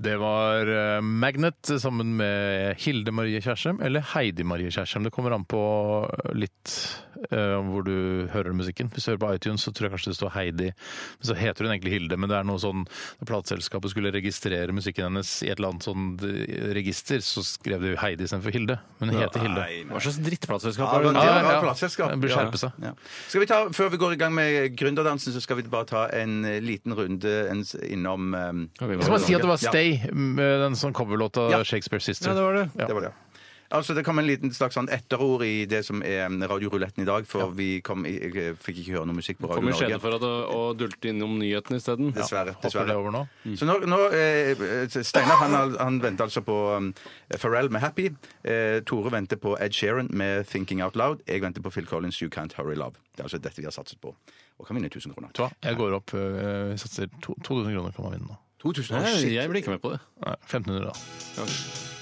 S1: Det var eh, Magnet sammen med Hilde Marie Kjersheim, eller Heidi Marie Kjersheim. Det kommer an på litt eh, hvor du hører musikken. Hvis du hører på iTunes, så tror jeg kanskje det står Heidi. Men så heter hun egentlig Hilde, men det er noe sånn Da plateselskapet skulle registrere musikken hennes i et eller annet sånn eh, register, så skrev de Heidi istedenfor Hilde. Men hun heter Hilde.
S3: Nei, Hva slags drittplateselskap
S2: Ja,
S3: er det?
S2: det var- det var
S1: ja.
S2: plateselskap.
S1: Den bør skjerpe seg.
S2: Ja. Skal vi ta, Før vi går i gang med gründerdansen, så skal vi bare ta en eh, liten runde en, s- innom um,
S1: Jeg skal bare si at det var Stay, med den sånn coverlåta
S2: Ja.
S1: Shakespeare Sister.
S2: Ja. Det var det. Altså, det kom en liten slags sånn etterord i det som er um, radioruletten i dag, for vi kom, i- jeg eh, fikk ikke høre noe musikk på Radio
S3: Kommer i skjeden
S2: Norge.
S3: for at å, å dulte innom nyhetene isteden.
S2: Dessverre. dessverre.
S1: nå?
S2: Så nå, nå eh, Steinar han, har- han venter altså på um, Pharrell med 'Happy'. Eh, Tore venter på Ed Sheeran med 'Thinking Out Loud'. Jeg venter på Phil Collins' 'You Can't Hurry Love'. Det er altså dette vi har satset på. Og kan vinne 1000 kroner.
S1: Vet du hva? Jeg går opp, eh, satser to- 2000 kroner kan man vinne nå.
S2: 2000
S3: Nei,
S2: Å, shit.
S3: jeg blir ikke med på det.
S1: Nei, altså. 1500 da.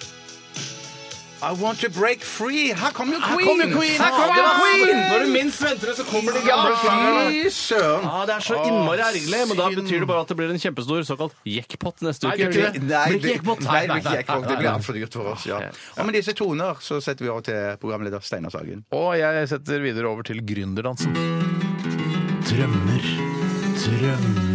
S2: I want to break free! Her kommer jo Queen!
S3: kommer Queen!
S2: Her kommer
S3: Ja, det var-
S2: Queen!
S3: Når du minst venter det, så kommer de gamle
S2: Ja,
S3: slagerne.
S2: fy søren!
S3: Ja, det er så innmari ergerlig, men da betyr det bare at det blir en kjempestor såkalt jackpot neste
S1: Nei,
S3: uke.
S1: det
S3: gjør
S1: blir
S3: det
S1: ikke
S3: ikke?
S2: Nei,
S3: Blir
S2: det,
S3: ikke jackpot.
S2: nei, det blir ikke jackpot. Det blir altfor dyrt for oss. Ja. Og med disse toner så setter vi over til programleder Steinar Sagen.
S1: Og jeg setter videre over til gründerdansen. Drømmer, drømmer,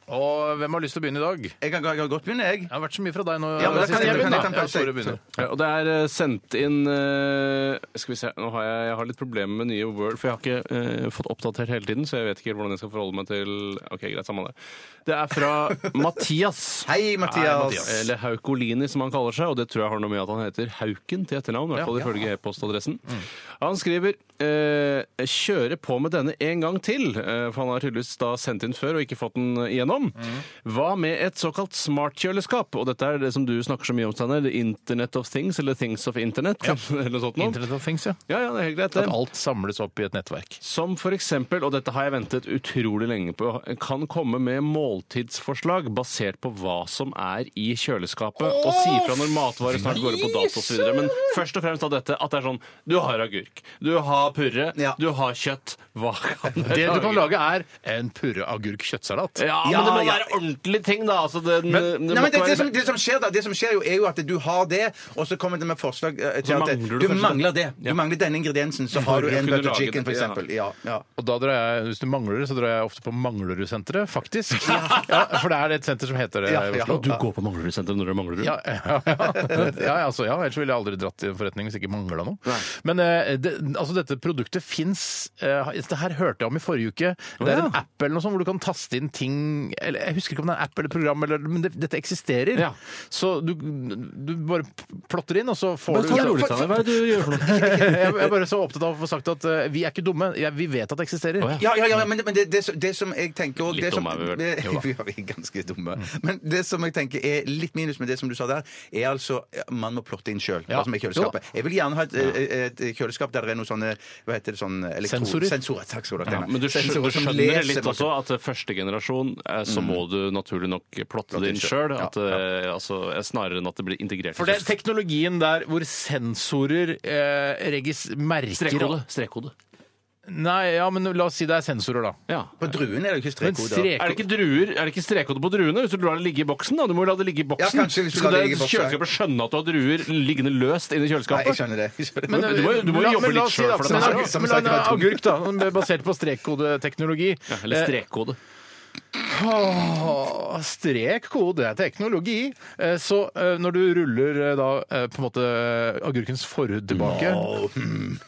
S1: Og hvem har lyst til å begynne i dag?
S2: Jeg kan, godt begynne, jeg.
S1: Det har vært så mye fra deg nå.
S3: Ja, men da
S1: sist.
S3: kan jeg begynne,
S1: begynner,
S3: da.
S1: da. Ja, Tore begynner.
S3: Ja, og det er eh, sendt inn eh, Skal vi se, nå har jeg, jeg har litt problemer med nye Word, for jeg har ikke eh, fått oppdatert hele tiden, så jeg vet ikke helt hvordan jeg skal forholde meg til Ok, greit, samme det. Det er fra Mathias.
S2: Hei, Mathias.
S3: Eller Haukolini, som han kaller seg, og det tror jeg har noe med at han heter Hauken til etternavn, i hvert fall
S1: Ja. Mm.
S3: ifølge e-postadressen. Han skriver eh, 'kjøre på med denne en gang til', eh, for han har tydeligvis da sendt inn før og ikke fått den igjennom.
S1: Mm.
S3: Hva med et såkalt smartkjøleskap? Og dette er det som du snakker så mye om, Steinar. det Internet of Things, eller Things of Internet. eller noe sånt noe.
S1: Internet of Things, ja.
S3: ja, det er helt greit.
S1: At alt samles opp i et nettverk.
S3: Som for eksempel, og dette har jeg ventet utrolig lenge på, kan komme med måltidsforslag basert på hva som er i kjøleskapet, og si fra når matvarer snart går ut på dato osv. Men først og fremst av dette at det er sånn Du har agurk, du har purre, du har kjøtt. Hva kan jeg
S1: Det du kan
S3: lage?
S1: lage, er en purreagurk-kjøttsalat.
S3: Ja, men det må være ordentlige ting, da. Altså, det,
S1: Men-
S3: det
S2: Nei,
S3: må
S2: men det,
S3: ikke
S2: det,
S3: være-
S2: som, det, som skjer da, det som skjer jo er jo at du har det, og så kommer det med forslag eh, til
S3: Så
S2: at
S3: mangler du
S2: du,
S3: kanskje
S2: mangler det.
S3: det.
S2: Du mangler denne ingrediensen, så har du
S1: For å
S2: en
S1: kunne
S2: butter
S1: lage
S2: chicken,
S1: det,
S2: for eksempel. Ja.
S1: Og da drar jeg, Hvis du mangler det, så drar jeg ofte på Manglerudsenteret, faktisk. Ja, for det er et senter som heter det.
S3: Ja,
S1: her i
S3: ja.
S1: Oslo.
S3: Og du går på Manglerudsenteret når du mangler du?
S1: Ja, ja, ja. ja, altså, ja, ellers ville jeg aldri dratt i en forretning hvis jeg ikke mangla noe. Men eh, det, altså, dette produktet fins Det her hørte jeg om i forrige uke. Det er en app eller noe sånt hvor du kan taste inn ting eller, Jeg husker ikke om det er en app eller program, eller, men det, dette eksisterer. Så du, du bare plotter inn, og så får
S3: Bare ta det
S1: du liksom
S3: rolig, Steinar. Hva er det du gjør for noe?
S1: jeg jeg er bare så opptatt av å få sagt at eh, vi er ikke dumme, jeg, vi vet at det eksisterer.
S2: Ja, ja, ja, men, men det, det, som- det som jeg tenker også,
S1: Litt
S2: det som,
S1: dumme er vi vel? Jo da.
S2: vi er ganske dumme.
S3: Mm.
S2: Men det som jeg tenker er litt minus med det som du sa der, er altså ja, man må plotte inn sjøl hva
S1: Ja.
S2: som er i kjøleskapet. Jeg vil gjerne ha et, eh, et kjøleskap der det er noe sånne hva heter det, sånn elektro-
S3: Sensorer.
S2: Sensorer. Takk skal du ha.
S3: Ja,
S2: Steinar.
S3: men du skjønner,
S2: Sensorer
S3: du
S2: som
S3: skjønner
S2: leser Mm.
S3: litt
S2: hva
S3: også at eh, første generasjon eh, så må du naturlig nok plotte det inn sjøl. Altså, eh, snarere enn at det blir integrert. i
S1: For det er
S3: kjøleskapet.
S1: teknologien der hvor sensorer eh, regis merker
S3: Strekkode. Strekkode.
S1: Nei, ja, men la oss si det er sensorer, da.
S2: På druen er det ikke
S1: Men
S2: strekkode.
S1: strek-
S3: Er det ikke druer? Er det ikke strekkode på druene? Hvis du lar det ligge i boksen, da. Du må jo la det ligge i boksen.
S2: Ja, kanskje hvis du
S3: Skal
S2: lar det
S3: det
S2: ligge i boksen.
S3: kjøleskapet skjønne at du har druer liggende løst inni
S2: Nei,
S3: kjøleskapet?
S2: jeg skjønner det. Jeg skjønner det.
S3: Men, du må, du må
S1: La-
S3: jo jobbe
S1: men la
S3: litt
S1: oss si
S3: sjøl
S1: da,
S3: for
S1: men
S3: dette.
S1: agurk-
S3: her.
S1: Men la en agurk, da. Basert på strekkodeteknologi. Eh,
S3: Ja, eller strekkode.
S1: Åh, strek kode, det er teknologi. Eh, Så eh, når du ruller eh, da eh, på en måte agurkens forhud tilbake,
S3: hmm,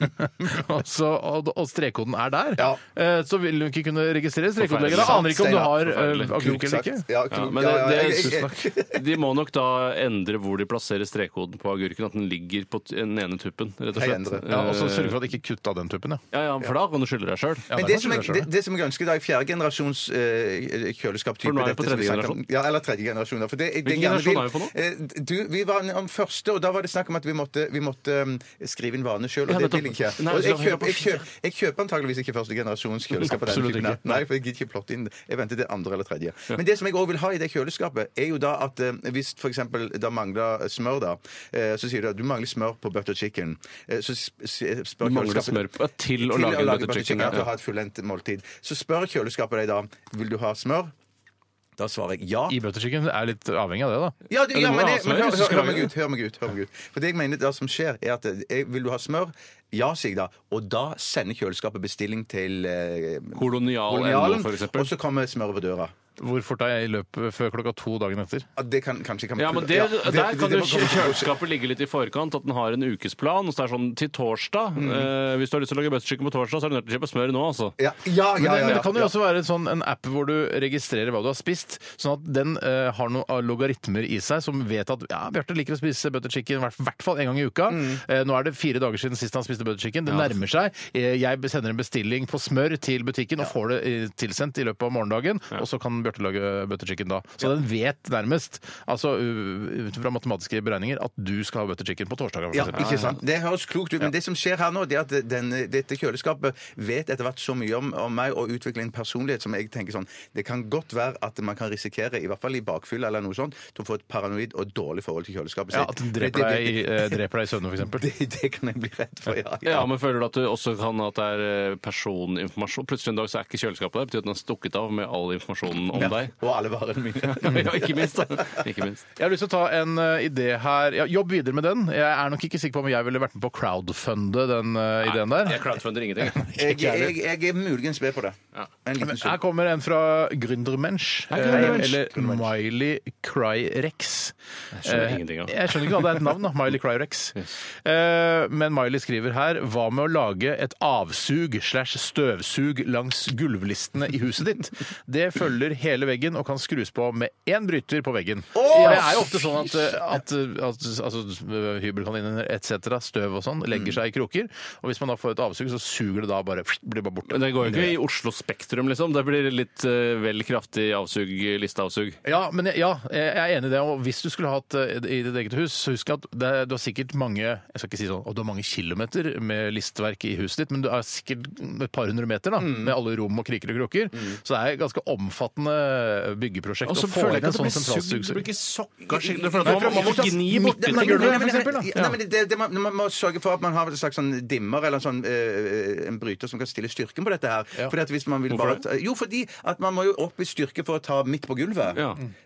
S1: og, så, og, og strekkoden er der, eh, så vil du ikke kunne registrere strekkodeleger. Da aner ikke om du har eh, agurk eller ikke.
S3: Ja, men det, det, de må nok da endre hvor de plasserer strekkoden på agurken. At den ligger på t- den ene tuppen, rett og slett. Eh,
S1: Ja, og så sørge for at ikke kutt av den tuppen, ja.
S3: Ja, ja, for da kan du skylde deg sjøl.
S2: Men det som, jeg, det, det som jeg ønsker, da, i fjerde generasjons eh, kjøleskaptype
S3: For nå er vi på
S2: dette som vi
S3: tredje
S2: snakker om.
S3: generasjon.
S2: Ja, eller tredje generasjon. Da. For det,
S3: Hvilken generasjon er vi på nå?
S2: nå? Eh, Du, vi var om første, og da var det snakk om at vi måtte, vi måtte um, skrive inn varene sjøl, og
S3: Ja,
S2: det
S3: nettopp.
S2: vil jeg ikke.
S3: Nei,
S2: Og
S3: så
S2: jeg,
S3: da-
S2: kjøper, jeg, kjøper, jeg kjøper antageligvis ikke første generasjons kjøleskap. av den
S3: Absolutt
S2: typen,
S3: ikke.
S2: Nei, for jeg gidder ikke plotte inn. Jeg venter til andre eller tredje. Men det som jeg òg vil ha i det kjøleskapet, er jo da at eh, hvis f.eks. det mangler smør, da, eh, så sier du at du mangler smør på butter chicken. Eh, så s- s- spør
S3: Du mangler
S2: kjøleskapet-
S3: smør på- til å lage en butter chicken,
S2: At du
S3: ja.
S2: har et fullendt måltid. Så spør kjøleskapet deg da vil du ha smør. Da svarer jeg ja.
S1: I butterchicken er litt avhengig av det, da.
S2: Ja, du, ja, men, jeg, men hør, hør, hør meg
S1: ut.
S2: ut. hør meg ut, hør meg ut. For det jeg mener det som skjer, er at jeg, vil du ha smør? Ja, sier jeg da. Og da sender kjøleskapet bestilling til eh,
S3: Kolonial NO, for eksempel.
S2: og så kommer smøret på døra.
S1: Hvor fort er jeg i løpet før klokka to dagen etter?
S2: Ja, Det kan kanskje kan
S3: Ja, men det,
S2: Ja,
S3: Der kan jo
S2: det må komme-
S3: kjøleskapet ligge litt i forkant. At den har en ukesplan. og Så det er sånn til torsdag.
S2: Mm.
S3: eh, hvis du har lyst til å lage butterchicken på torsdag, så er du nødt til å kjøpe smør nå, altså.
S2: Ja, ja,
S1: Men, det-
S2: ja, ja,
S1: men det
S2: ja,
S1: kan jo
S2: ja.
S1: også være en sånn, en app hvor du registrerer hva du har spist, sånn at den eh, har noen av logaritmer i seg som vet at ja, Bjarte liker å spise butter chicken i hvert- hvert fall en gang i uka.
S2: Mm.
S1: Eh, nå er det fire dager siden sist han spiste butter chicken. Det nærmer seg. Eh, jeg sender en bestilling på smør til butikken og får det eh, tilsendt i løpet av morgendagen, og så kan Bjarte lage butter chicken da. Så den vet nærmest, altså u- ut fra matematiske beregninger, at du skal ha butter chicken på torsdagen. for
S2: Ja,
S1: eksempel.
S2: ikke sant? Det høres klokt ut, men det som skjer her nå, det er at den, dette kjøleskapet vet etter hvert så mye om, om meg og utvikler en personlighet som jeg tenker sånn Det kan godt være at man kan risikere, i hvert fall i bakfylla eller noe sånt, til å få et paranoid og dårlig forhold til kjøleskapet
S1: Ja, at den dreper deg, i- eh, dreper deg i søvne, f.eks.
S2: Det, det kan jeg bli redd for, ja.
S3: Ja, men føler du at du også kan at det er eh, personinformasjon? Plutselig en dag så er ikke kjøleskapet der. Betyr at den er stukket av med all informasjonen om
S1: Ja.
S3: deg.
S2: Og alle varene mine.
S3: ja, ikke minst. da. Ikke minst.
S1: Jeg har lyst til å ta en eh, idé her. Ja, jobb videre med den. Jeg er nok ikke sikker på om jeg ville vært med på å crowdfunde den eh, ideen der.
S3: Jeg crowdfunder ingenting.
S2: Jeg, jeg, jeg er muligens med på det. En liten
S1: Her
S2: stund.
S1: kommer en fra Gründermensch.
S2: Hei,
S1: eh,
S2: Gründermensch.
S1: Eller Miley Cryrex.
S3: Jeg skjønner ingenting av.
S1: Jeg skjønner ikke hva det er et navn, da. Miley Cryrex. Eh, Men Miley skriver her Hva med å lage et avsug slash støvsug langs gulvlistene i huset ditt? Det følger hele veggen og kan skrus på med én bryter på veggen.
S15: Åh!
S1: det er jo ofte sånn at, eh, at, eh, at altså, eh, hybelkaniner etc., støv og sånn,
S3: Mm.
S1: legger seg i kroker. Og hvis man da får et avsug, så suger det da bare blir bare borte.
S3: Men det går jo ikke i Oslo Spektrum, liksom. Det blir litt eh, vel kraftig avsug, listeavsug.
S1: Ja, men jeg, ja, jeg er enig i det. Og hvis du skulle hatt eh, i ditt eget hus, så husk at det, du har sikkert mange jeg skal ikke si sånn, og du har mange kilometer med listverk i huset ditt, men du har sikkert et par hundre meter da,
S3: Mm.
S1: med alle rom og kriker og kroker. Så det er et ganske omfattende byggeprosjekt
S3: Og så
S1: å få
S3: føler jeg
S1: inn
S3: ikke at
S1: en
S3: det
S1: sånn
S3: blir sugd. Det
S1: sentralsugsug.
S3: blir ikke sokka skikkelig. for
S2: Nei,
S3: at Man man må gni bort
S2: Nei,
S3: litt
S2: nei,
S3: av gulvet,
S2: nei,
S3: for
S2: nei,
S3: eksempel.
S2: nei,
S3: da.
S2: nei, men det- det- Man man må sørge for at man har en slags sånn dimmer eller en, sånn, eh, en bryter som kan stille styrken på dette her. Fordi at hvis man vil
S3: Hvorfor
S2: bare... Jo, fordi at man må jo opp i styrke for å ta midt på gulvet.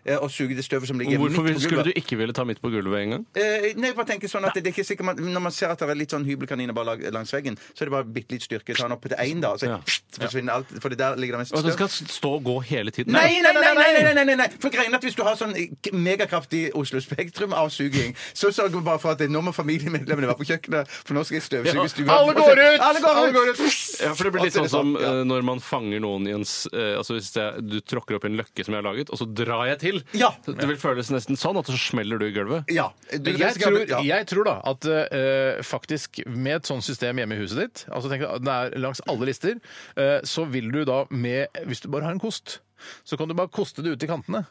S2: Eh, Og suge det støvet som ligger
S3: Og Hvorfor
S2: midt på
S3: skulle
S2: gulvet.
S3: du ikke ville ta midt på gulvet en gang?
S2: Eh, nei, jeg bare tenker sånn at det er ikke sikkert man, Når man ser at det er litt sånn hybelkaniner bare lag- langs veggen, så er det bare bitte litt styrke. Ta den opp til én, da, så forsvinner alt. For det der ligger det mest
S3: Og den skal
S2: støv.
S3: stå og gå hele tiden?
S2: Nei, nei, nei! nei, nei, nei, nei, nei. For greien er at Hvis du har sånn k- megakraftig Oslo Spektrum-avsuging, så sørger du bare for at nå må familiemedlemmene være på kjøkkenet, for nå skal jeg
S3: Ja.
S2: støvsuge stua.
S3: Alle går ut!
S2: Alle går ut!
S3: Alle går ut! Ja, for det blir litt sånn
S2: Og så er
S3: som
S2: det
S3: eh, når man fanger noen i en s- eh, Altså hvis jeg, du tråkker opp i en løkke som jeg har laget, og så drar jeg til. Så Det vil føles nesten sånn at så smeller du i gulvet.
S2: Ja. Du,
S1: Jeg tror, jeg tror da at eh, faktisk med et sånt system hjemme i huset ditt, altså tenk deg at det er langs alle lister, eh, så vil du da med Hvis du bare har en kost, så kan du bare koste det ut til kantene.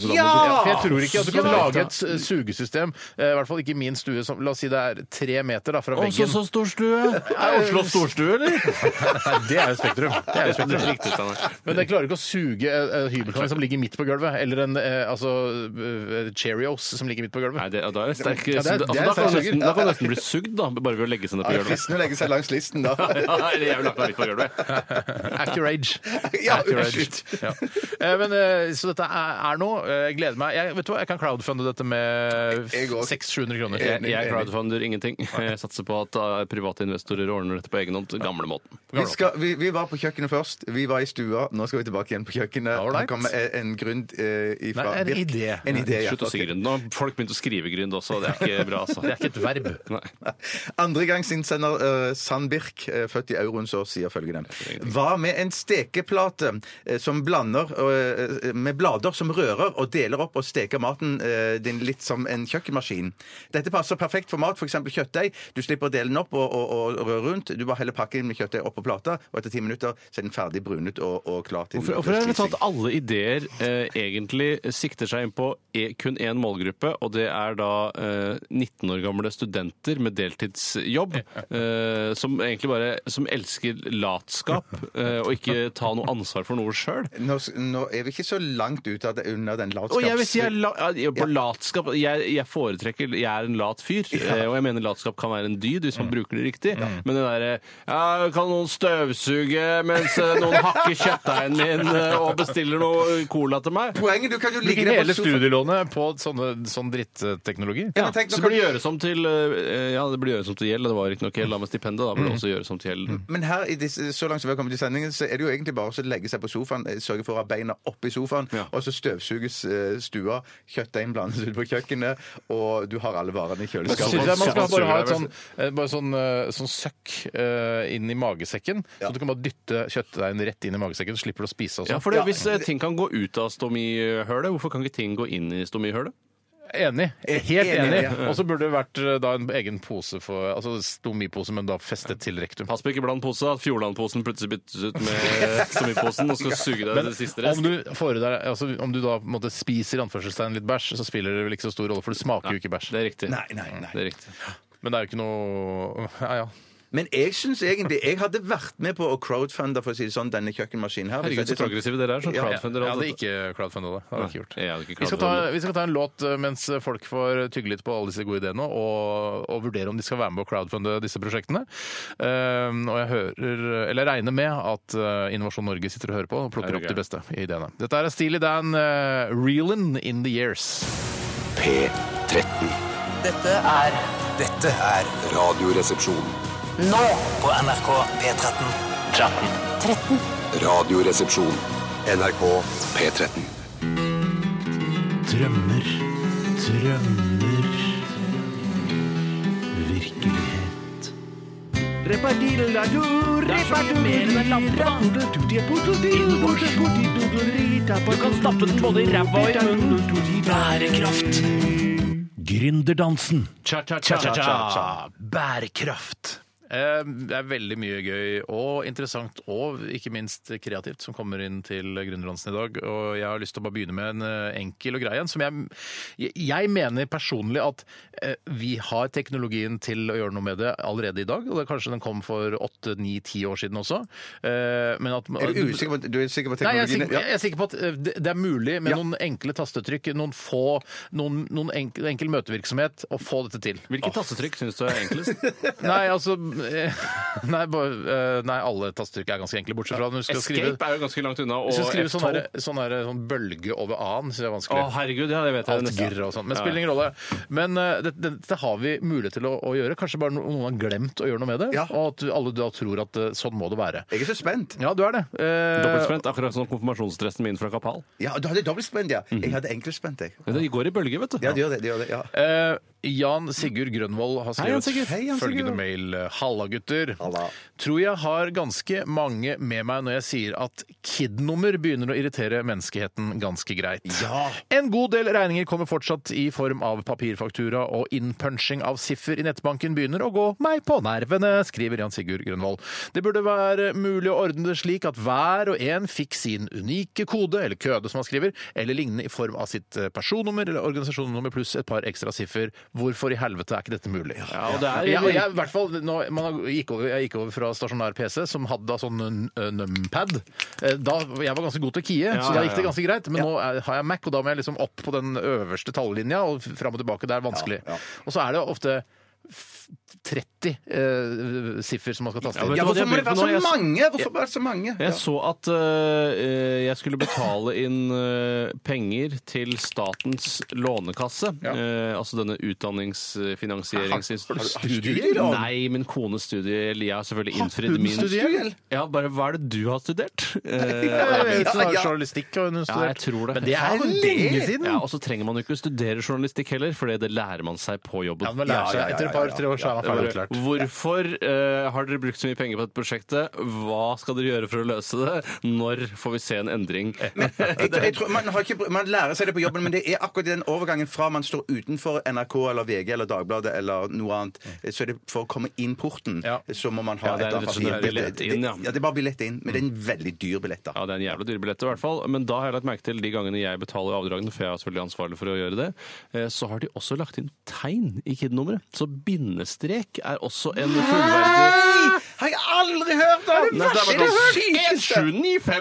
S3: Så da må
S1: Ja!
S3: du-
S1: For jeg tror ikke at du kan
S3: Ja!
S1: lage et s- sugesystem, eh, i hvert fall ikke i min stue, som la oss si det er tre meter da, fra
S3: Å, så
S1: veggen.
S2: sånn.
S3: så stor stue! Er Oslo storstue, eller?
S1: Nei, det er jo Spektrum. Det er jo
S3: Det
S1: spektrum.
S3: er riktig, Steinar.
S1: Men jeg klarer ikke å suge eh, eh, hybelkanin som ligger midt på gulvet, eller en eh, altså, eh, Cheerios som ligger midt på gulvet.
S3: Nei, det, da er det sterk
S1: Ja, det er-
S3: altså,
S1: det er
S3: Da kan
S1: sterk
S3: du
S1: suger.
S3: nesten, da kan du nesten bli sugd, da, bare ved å legge seg ned
S2: Ja,
S3: på
S2: det er
S3: gulvet.
S2: fristende å legge seg langs listen, da.
S3: Ja, eller jeg vil lagt meg midt på gulvet.
S1: Accurage.
S2: Ja,
S1: Accurage.
S2: unnskyld.
S1: Ja. Eh, Men, eh, så dette er, er noe. Eh, Jeg gleder meg. Jeg, vet du hva, jeg kan crowdfunde dette med
S2: Jeg går.
S1: 600-700 kroner.
S3: Jeg, jeg crowdfunder ingenting. Jeg satser på at eh, private investorer ordner dette på egen hånd. Gamlemåten.
S2: Vi, skal, vi, vi var på kjøkkenet først. Vi var i stua. Nå skal vi tilbake igjen på kjøkkenet.
S1: All right.
S2: Her kommer en- en grunn eh, ifra
S1: Nei, en
S2: Birk.
S1: idé.
S2: En idé ja.
S3: Slutt å si
S2: Ok.
S3: Grynd. Nå har folk begynt å skrive Grynd også. Det er ikke bra, altså.
S1: Det er ikke et verb.
S3: Nei.
S2: Andregangsinnsender uh, Sandbirk, eh, født i euroens år, sier følgende. Hva med en stekeplate eh, som blander eh, eh, med blader som rører og deler opp og steker maten eh, din litt som en kjøkkenmaskin? Dette passer perfekt for mat, f.eks. kjøttdeig. Du slipper å dele den opp og, og, og røre rundt. Du bare heller pakken med kjøttdeig opp på plata, og etter ti minutter så er den ferdig brunet og, og klar til
S3: Hvorfor, hvorfor er det sånn at alle ideer eh, egentlig sikter seg inn på e, kun én målgruppe, og det er da eh, 19 år gamle studenter med deltidsjobb eh, som egentlig bare som elsker latskap eh, og ikke ta noe ansvar for noe sjøl?
S2: nå, s- nå er vi ikke så langt ut av det, under den
S3: Og jeg vil si jeg, er
S2: latskaps...
S3: la, ja, på latskap jeg, jeg foretrekker Jeg er en lat fyr, eh, og jeg mener latskap kan være en dyd hvis man bruker det riktig. Men det derre ja, Kan noen støvsuge mens eh, noen hakker kjøttdeigen min eh, og bestiller noe eh, cola til meg?
S2: Poenget, du kan jo ligge
S1: Ligger
S2: der på
S1: hele
S2: sofaen.
S1: studielånet på sånne, sånn dritteknologi?
S2: Ja,
S3: Ja,
S2: men tenk, nå
S3: så
S2: kan-
S3: burde det gjøres om til eh, Ja, det burde gjøres om til gjeld. og Det var ikke nok gjeld da med stipendet. Da burde det også gjøres om til gjeld.
S2: Men her, i disse, så langt som vi har kommet i sendingen, så er det jo egentlig bare å legge seg på sofaen, eh, sørge for å ha beina oppi sofaen, og så støvsuges eh, stua, kjøttdeigen blandes ut på kjøkkenet, og du har alle varene i
S1: Jeg synes
S2: kjøleskapet.
S1: det er- Man skal bare ha et sånn, eh, bare sånn, eh, sånn søkk eh, inn i magesekken, så du kan bare dytte kjøttdeigen rett inn i magesekken, så slipper du å spise og sånn.
S3: Ja, for det, Hvis eh, ting kan gå ut av stomihølet, hvorfor kan ikke ting gå inn i stomihølet?
S1: Enig. Helt
S3: E- Enig,
S1: enig.
S3: ja.
S1: Og så burde det vært eh, da en egen pose for Altså stomipose, men da festet til rektum.
S3: Pass på ikke bland posa. at Fjordlandposen plutselig byttes ut med stomiposen og skal suge deg
S1: Men
S3: det siste
S1: om
S3: rest.
S1: du, får i deg, altså, om du da på en måte, spiser i anførselstegn litt bæsj, så spiller det vel ikke så stor rolle, for det smaker jo ikke bæsj.
S3: Det er riktig.
S2: Nei, nei, nei.
S3: Det er riktig.
S1: Men det er jo ikke noe Ja, ja.
S2: Men jeg syns egentlig Jeg hadde vært med på å crowdfunde for å si det sånn, denne kjøkkenmaskinen her.
S3: Herregud, så progressive dere er. Så crowdfunder altså.
S1: Jeg hadde
S3: alt.
S1: ikke crowdfunda det. Det hadde jeg ikke gjort.
S3: Jeg hadde ikke
S1: Vi skal, ta, vi skal ta en låt eh, mens folk får tygge litt på alle disse gode ideene og, og vurdere om de skal være med på å crowdfunde disse prosjektene. Ehm, og jeg hører, eller regner med at eh, Innovasjon Norge sitter og hører på og plukker opp de beste ideene. Dette er Steely Dan, uh, 'Reelin' in the Years'.
S6: P13.
S16: Dette er
S6: Dette er Radioresepsjon.
S16: nå på NRK P13. 13.
S7: 13.
S6: Radioresepsjon. NRK P13.
S15: Drømmer, drømmer Virkelighet Du kan stappe den både i ræva og i munnen Bærekraft Gründerdansen
S1: Cha-cha-cha. Bærekraft. Eh, Det er veldig mye gøy og interessant og ikke minst kreativt som kommer inn til Gründerdansen i dag. Og jeg har lyst til å bare begynne med en eh, enkel og grei en. Som jeg, jeg- jeg mener personlig at eh, vi har teknologien til å gjøre noe med det allerede i dag. Og det er kanskje den kom for åtte, ni, ti år siden også. Eh, Men at,
S2: Er du usikker på, du er sikker på
S1: Nei, jeg er,
S2: teknologien?
S1: sikker, jeg er sikker på at eh, det det er mulig med
S2: Ja.
S1: noen enkle tastetrykk, noen få, noen, noen enkel, enkel møtevirksomhet, å få dette til.
S3: Hvilke tastetrykk syns du er enklest?
S1: Nei, altså eh, Nei, bare, eh, nei alle tastetrykk er ganske enkle, bortsett fra når du skal skrive
S3: Escape er jo ganske langt unna.
S1: hvis du
S3: Og
S1: skriver sånn,
S3: F12.
S1: der, sånn, der, sånn bølge over a-en, syns jeg er
S3: Å,
S1: vanskelig.
S3: herregud, ja, det vet jeg.
S1: Alt
S3: nesten.
S1: gyrr og sånn. Men
S3: Ja, ja.
S1: spiller ingen rolle. Men eh, det- det- dette har vi mulighet til å, å gjøre. Kanskje bare no- noen har glemt å gjøre noe med det, og at alle da tror at eh, sånn må det være.
S2: Jeg er så spent.
S1: Ja, du er det. Eh,
S3: Dobbeltspent, akkurat som konfirmasjonsdressen min fra Kapal.
S2: Ja, du hadde dobbeltspent, ja. Jeg hadde enkeltspent, jeg.
S3: Men Det går i bølger, Mhm. vet du.
S2: Ja, det gjør det. det, gjør det ja.
S1: Eh, Jan Sigurd Grønvold har
S3: Hei, Jan
S1: skrevet
S3: Sigurd. Hei, Jan Sigurd.
S1: følgende mail. eh, Halla, gutter. Tror jeg har ganske mange med meg når jeg sier at KID-nummer begynner å irritere menneskeheten ganske greit. En god del regninger kommer fortsatt i form av papirfaktura, og innpunching av siffer i nettbanken begynner å gå meg på nervene, skriver Jan Sigurd Grønvold. Det burde være mulig å ordne det slik at hver og en fikk sin unike kode, eller køde som han skriver, eller lignende i form av sitt eh, personnummer eller organisasjonsnummer pluss et par ekstra siffer. Hvorfor i helvete er ikke dette mulig? Ja,
S3: og det er-
S1: jeg, og jeg, i hvert fall, nå, man har- gikk over, Jeg gikk over fra stasjonær PC, som hadde da sånn n- ø, numpad. Eh, Da, jeg var ganske god til å kie,
S3: Ja,
S1: så da gikk
S3: ja,
S1: det
S3: ja.
S1: ganske greit. Men nå er, har jeg Mac, og da må jeg liksom opp på den øverste tallinja, og fram og tilbake. Det er vanskelig. Og så er det ofte f- 30 eh, siffer som man skal taste
S3: Ja,
S1: inn.
S3: vet
S2: ja
S3: du hva de
S2: hvorfor
S3: har
S2: må
S3: begynt med
S2: det være
S3: nå?
S2: så
S3: Jeg-
S2: mange? Hvorfor bare så mange? Ja.
S3: Jeg så at eh, jeg skulle betale inn eh, penger til Statens lånekasse. eh, altså denne
S1: Har- har du- har du
S3: utdanningsfinansieringsinstituttet.
S1: studiegjeld?
S3: Nei, min kones studiegjeld. Jeg har selvfølgelig
S1: hun
S3: innfridd min
S1: studiegjeld?
S3: Ja, bare hva er det du har studert? Eh,
S1: Så har Journalistikk har hun
S3: ja, jeg
S1: studert.
S3: tror det.
S1: Men det er jo lenge siden!
S3: Ja, Og så trenger man jo ikke studere journalistikk heller, for det lærer man seg på jobben.
S1: Ja, man lærer seg Etter et par-tre år så er man ferdig
S3: Bare,
S1: utlært.
S3: Hvorfor eh, har dere brukt så mye penger på dette prosjektet? Hva skal dere gjøre for å løse det? Når får vi se en endring?
S2: Jeg, tror- jeg tror, man, har ikke, man lærer seg det på jobben, men det er akkurat i den overgangen fra man står utenfor NRK eller VG eller Dagbladet eller noe annet, så er det for å komme inn porten, så må man ha
S3: Ja, det er
S2: et
S3: litt sånn
S2: papir-
S3: billett inn, ja.
S2: Det, det er bare billett inn, men det er en veldig dyr billett, da.
S3: Ja, det er en jævla dyr billett i hvert fall. Men da har jeg lagt merke til de gangene jeg betaler avdragene, for jeg er selvfølgelig ansvarlig for å gjøre det, eh, så har de også lagt inn tegn i KID-nummeret. Så bindestrek er også en fullverdig
S2: Ah, Har jeg aldri hørt om!
S3: Nei, det er bare sånn,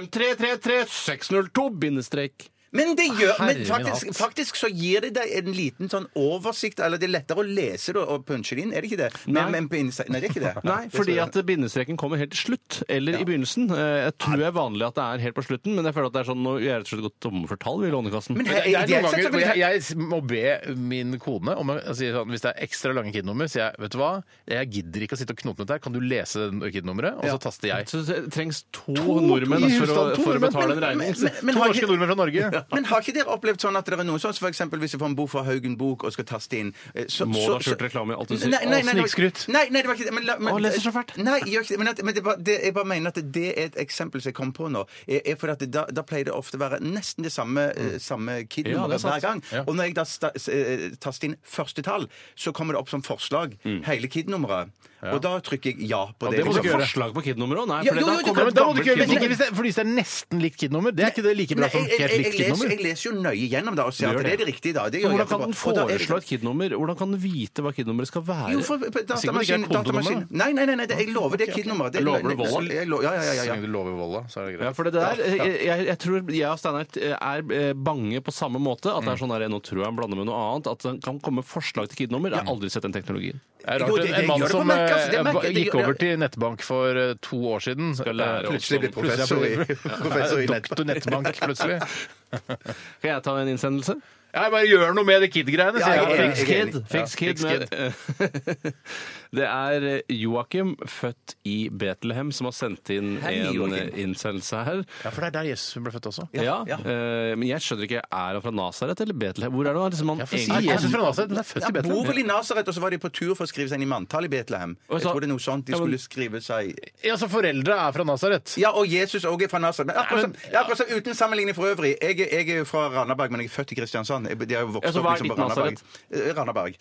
S2: sykeste!
S3: 17953333602 bindestrek.
S2: Men det gjør men
S3: Herre
S2: faktisk,
S3: min hatt.
S2: faktisk så gir det deg en liten sånn oversikt, eller det er lettere å lese det og punche det inn, er det ikke det?
S3: Nei.
S2: Men, men på Insta- Nei, det er ikke det.
S3: Nei, fordi at bindestreken kommer helt til slutt, eller i begynnelsen. Eh, Jeg tror det er vanlig at det er helt på slutten, men jeg føler at det er sånn, nå er jeg rett og slett gått tomme for tall i Lånekassen.
S1: Men det, det er noen ganger hvor jeg, jeg må be min kone om å si sånn, Hvis det er ekstra lange KID-nummer, sier jeg vet du hva, jeg gidder ikke å sitte og knote med dette her, kan du lese den KID-nummeret? Og så taster jeg.
S3: Så det trengs to, nordmenn
S1: i
S3: for å,
S1: husstand, to
S3: for å
S1: nordmenn.
S3: betale en
S1: Men-
S3: regning.
S1: men- men- To norske nordmenn fra Norge.
S2: Men har ikke dere opplevd sånn at det er noen sånn som for eksempel hvis jeg får en bok fra Haugen Bok og skal taste inn eh, så,
S3: Må
S2: så-
S3: da skjult reklame i alt du sier.
S2: Nei, nei, nei,
S3: Å,
S2: nei,
S3: snikskryt.
S2: Nei, nei, det var ikke det. Men, la- men,
S3: Å, leser så fælt.
S2: Nei, jeg gjør ikke det. Men, at, men det, er bare- det, jeg bare mener at det er et eksempel som jeg kom på nå. Er, er fordi at da, da pleier det ofte å være nesten det samme, eh, samme
S3: Mm. Ja,
S2: kid-nummeret
S3: det er sant.
S2: hver gang.
S3: Ja.
S2: Og når jeg da sta- s- eh, taster inn første tall, så kommer det opp som forslag hele kid-nummeret. Og da trykker jeg ja
S3: Mm. Ja,
S2: på det.
S3: det må du
S2: liksom.
S3: ikke gjøre. Forslag på KID-nummeret òg? Nei,
S2: Ja,
S3: for
S2: jo,
S3: da
S2: jo, du
S3: kommer et
S2: kan- da må du
S3: gammelt
S2: ikke gjøre-
S1: Men
S3: KID-nummer.
S1: ikke hvis det, fordi hvis det er nesten likt KID-nummer, det er ikke det like bra
S2: Nei,
S1: som
S2: jeg, jeg,
S1: helt likt
S2: jeg, leser, jeg leser jo nøye gjennom det og
S3: Du
S2: ser at
S3: gjør
S2: det er
S3: det.
S2: det riktige. Da. Det
S3: Men
S2: gjør jeg
S3: hvordan kan den
S2: etterpå. Og da er det-
S3: foreslå et KID-nummer? Hvordan kan den vite hva KID-nummeret skal være?
S2: Jo, for for-
S3: Det er sikkert
S2: datamaskin,
S3: ikke er kodenummer,
S2: datamaskin.
S3: da.
S2: Nei, nei, nei, nei, det- jeg lover det
S3: Ok,
S2: er
S3: ok.
S2: KID-nummeret. Det-
S3: Lover du Volla?
S2: Jeg lo- Ja, ja, ja, ja, ja.
S1: Så lenge du lover Volla, så er det greit.
S3: Ja, for det der,
S1: Ja, ja.
S3: jeg, jeg, jeg tror jeg og Steinar er eh, bange på samme måte. At det er sånn der, nå tror jeg han blander med noe annet. At det kan komme forslag til KID-nummer. Jeg har aldri sett den teknologien.
S1: Det er
S3: Jo,
S1: rart.
S3: det- det
S1: En mann
S3: gjør det på
S1: som
S3: Mac, altså, det
S1: eh,
S3: Mac, det
S1: gikk
S3: gjør-
S1: over til nettbank for eh, to år siden
S3: lære oss
S1: eh,
S3: om-
S1: plutselig er-
S3: Plutselig er-
S1: Ja, Doktor nettbank, plutselig.
S3: Kan jeg ta en innsendelse?
S1: Ja, jeg bare gjør noe med det kid-greiene. sier
S3: Ja,
S1: jeg.
S3: Fix Kid. Fix
S1: Ja,
S3: Kid. med- det er eh, Joakim, født i Betlehem, som har sendt inn
S1: Hei,
S3: en eh,
S1: Joakim.
S3: innsendelse her.
S1: Ja, for det er der Jesus ble født også.
S3: Ja, eh, Men jeg skjønner ikke, er han fra Nasaret eller Betlehem? Hvor er det han liksom han
S2: for sier
S3: egentlig-
S2: Jesus fra
S1: Nasaret, men er født
S2: Han bor vel i Nasaret, og så var de på tur for å skrive seg inn i manntall i Betlehem. Jeg tror det er noe sånt de
S1: Ja, men-
S2: skulle skrive seg
S1: Ja, så foreldre er fra Nasaret.
S2: Ja, og Jesus òg er fra Nasaret. Men akkurat som, ja, akkurat som uten sammenligning for øvrig. Jeg, er- jeg er jo fra Randaberg, men jeg er født i Kristiansand. Jeg, de har jo vokst
S3: Ja, så
S2: opp
S3: hva er
S2: liksom
S3: ditt
S2: på Randaberg.
S3: Nasaret?
S2: Eh, Randaberg.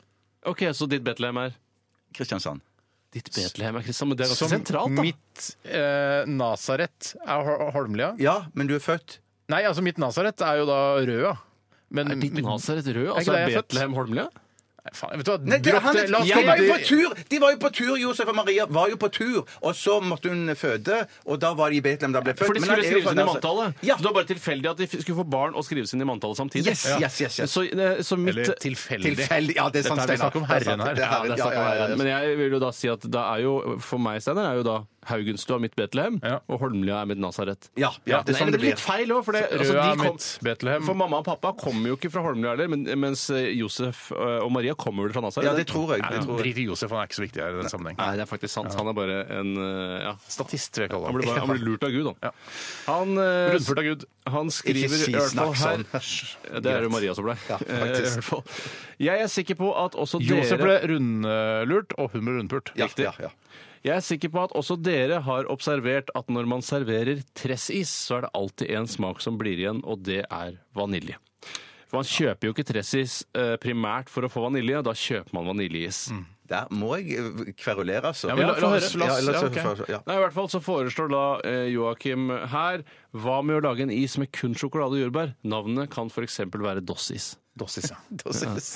S3: Ok, så ditt Betlehem er
S2: Kristiansand.
S3: Ditt Betlehem er Kristian, men det er ganske
S1: Som
S3: sentralt, da.
S1: Altså, mitt eh, Nasaret er Ho- Holmlia.
S2: Ja, men du er født?
S1: Nei, altså mitt Nasaret er jo da Røa. Men,
S3: Er ditt Nasaret rød?
S1: ikke
S3: Altså
S1: der
S3: er
S1: jeg er født?
S3: Betlehem Holmlia?
S1: Nei, faen, vet du hva?
S2: Nei, det,
S1: Dropp
S2: han,
S1: det. La oss
S2: de,
S1: gå
S2: var jo på
S1: videre.
S2: tur, de var jo på tur, Josef og Maria var jo på tur, og så måtte hun føde, og da var de i Betlehem da ble født.
S3: For de
S2: Men
S3: skulle
S2: han er jo
S3: skrives
S2: fra
S3: inn i
S2: Nasaret.
S3: manntallet. Så det var bare tilfeldig at de f- skulle få barn og skrives inn i manntallet samtidig.
S2: Yes, yes, yes, yes.
S3: Så, eh, så mitt,
S1: Eller tilfeldig.
S2: Tilfeldig, ja, det er sant,
S1: Dette er vel
S2: Steinar.
S1: snakk om
S2: Det er
S1: herren
S2: sant,
S1: her.
S3: Ja, det
S2: det er
S3: er snakk om
S2: Ja, ja, ja, ja.
S3: æren. Men jeg vil jo da si at da er jo, for meg, Steinar, er jo da Haugenstua mitt Betlehem, og Holmlia er mitt Nasaret.
S2: Ja, ja, det er
S3: Nei, men
S2: sånn det
S3: det blir
S2: blir.
S3: litt feil òg, for, det-
S1: Så
S3: altså,
S1: Røa er
S3: de kom-
S1: mitt Betlehem.
S3: for mamma og pappa kommer jo ikke fra Holmlia heller, men, mens eh, Josef eh, og Maria kommer vel fra Nasaret.
S2: Ja, det tror jeg. Det
S1: Nei,
S2: tror jeg.
S1: Drit i Josef, han er ikke så viktig her i den sammenheng.
S3: Nei, det er faktisk sant. Han er bare en eh, ja.
S1: Statist, vil jeg kalle
S3: Han ble, bare, han ble lurt av Gud, han. Han, eh,
S1: Rundført av Gud.
S3: han skriver
S1: Ikke si
S3: i hvert fall
S1: snakk
S3: her Det er
S1: sånn. Greit.
S3: jo Maria som ble.
S1: Ja,
S3: Eh,
S1: faktisk.
S3: i hvert fall. Jeg er sikker på at også
S1: Josef
S3: dere
S1: ble rundlurt, og hun ble rundpult.
S3: Riktig. Jeg er sikker på at også dere har observert at når man serverer tressis, så er det alltid en smak som blir igjen, og det er vanilje. For man kjøper jo ikke tressis eh, primært for å få vanilje, da kjøper man vaniljeis.
S2: Der må jeg eh, kverulere, altså.
S3: Ja, men la- la oss- la oss-
S2: Mm. Ja, la oss-
S3: ja, ok.
S2: ja.
S3: Nei, I hvert fall så foreslår da eh, Joakim her hva med å lage en is med kun sjokolade og jordbær? Navnet kan f.eks. være Dossis.
S1: Dossis, ja.
S2: Dossis.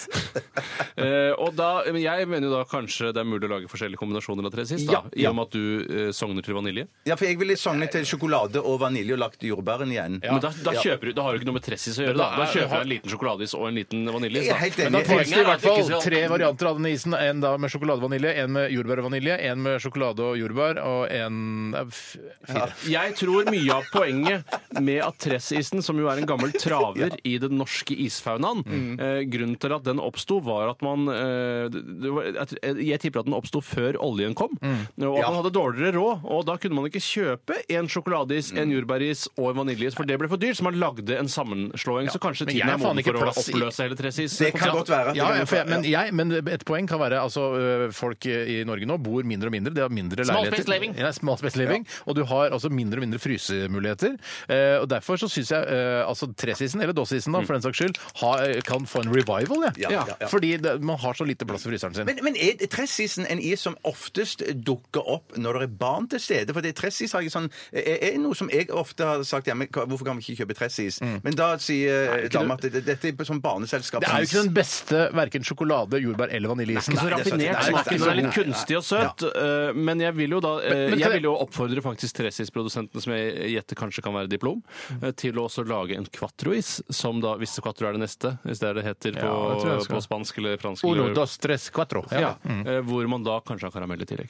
S3: Eh, og da, men jeg mener jo da kanskje det er mulig å lage forskjellige kombinasjoner av tressis, da,
S2: Ja, ja.
S3: i og med at du eh, sogner til vanilje.
S2: Ja, for jeg ville sognet til sjokolade og vanilje og lagt jordbæren igjen.
S3: Men da, da, kjøper du, da har du ikke noe med tressis å gjøre. Da, da kjøper du en liten sjokoladeis og en liten vaniljeis.
S2: Jeg er helt enig.
S3: Men
S1: Da
S3: da
S1: finnes
S3: poenget
S1: det i
S3: er sånn-
S1: hvert
S3: at vi
S1: fall
S3: ikke
S1: tre
S3: skal-
S1: varianter av denne isen. En da med sjokoladevanilje, en med jordbær og vanilje, en med sjokolade og jordbær, og en det er f- fire.
S3: Jeg tror mye av poenget med at tressisen, som jo er en gammel traver i den norske isfaunaen
S1: Mm.
S3: eh, Grunnen til at den oppsto, var at man eh, det var, at- Jeg tipper at den oppsto før oljen kom. Og at
S1: Mm. Ja.
S3: man hadde dårligere råd. Og da kunne man ikke kjøpe en sjokoladeis, en
S1: Mm.
S3: jordbæris og en vaniljeis, for det ble for dyrt. Så man lagde en sammenslåing. Så kanskje
S1: Men jeg
S3: tiden
S1: har
S3: er
S1: faen
S3: moden
S1: ikke
S3: for å
S1: plass i-
S3: oppløse hele tressis.
S2: Det kan godt
S1: Ja,
S2: være. Det
S1: ja,
S2: kan
S1: for jeg,
S2: godt være,
S1: men, jeg, men et poeng kan være altså, ø, folk i Norge nå bor mindre og mindre. De har mindre
S3: Small
S1: leiligheter.
S3: space living.
S1: Ja, small space living. Og du har altså mindre og mindre frysemuligheter. Eh, og Derfor så syns jeg eh, altså tressisen, eller dossisen da, for den saks skyld, ha, øh, kan få en revival. jeg.
S2: Ja, ja, ja.
S1: Fordi det, man har så lite plass i fryseren sin.
S2: Men, men er tressisen en is som oftest dukker opp når det er barn til stede? For det er tressis har jeg sånn, er, er noe som jeg ofte har sagt hjemme hva- Hvorfor kan vi ikke kjøpe tressis? Men da sier dama at det- dette er sånn barneselskap.
S1: det er jo ikke sånn den beste verken sjokolade, jordbær eller vaniljeisen.
S3: Ikke så raffinert. Smaken
S1: så
S3: er litt
S1: god.
S3: kunstig og søt. eh, Men jeg vil jo da eh,
S1: Men-
S3: Jeg
S1: men kan jeg-
S3: vil jo oppfordre faktisk Tresis-produsenten, som jeg gjetter kanskje kan være diplom, eh, til å også lage en quatrois, som da, hvis quatro er det neste, hvis det er det heter på,
S1: Ja, det tror jeg jeg skal.
S3: på spansk eller fransk
S1: Uno,
S3: eller-
S1: dos, tres, cuatro.
S3: ja. eh, Hvor man da kanskje har karamell i tillegg.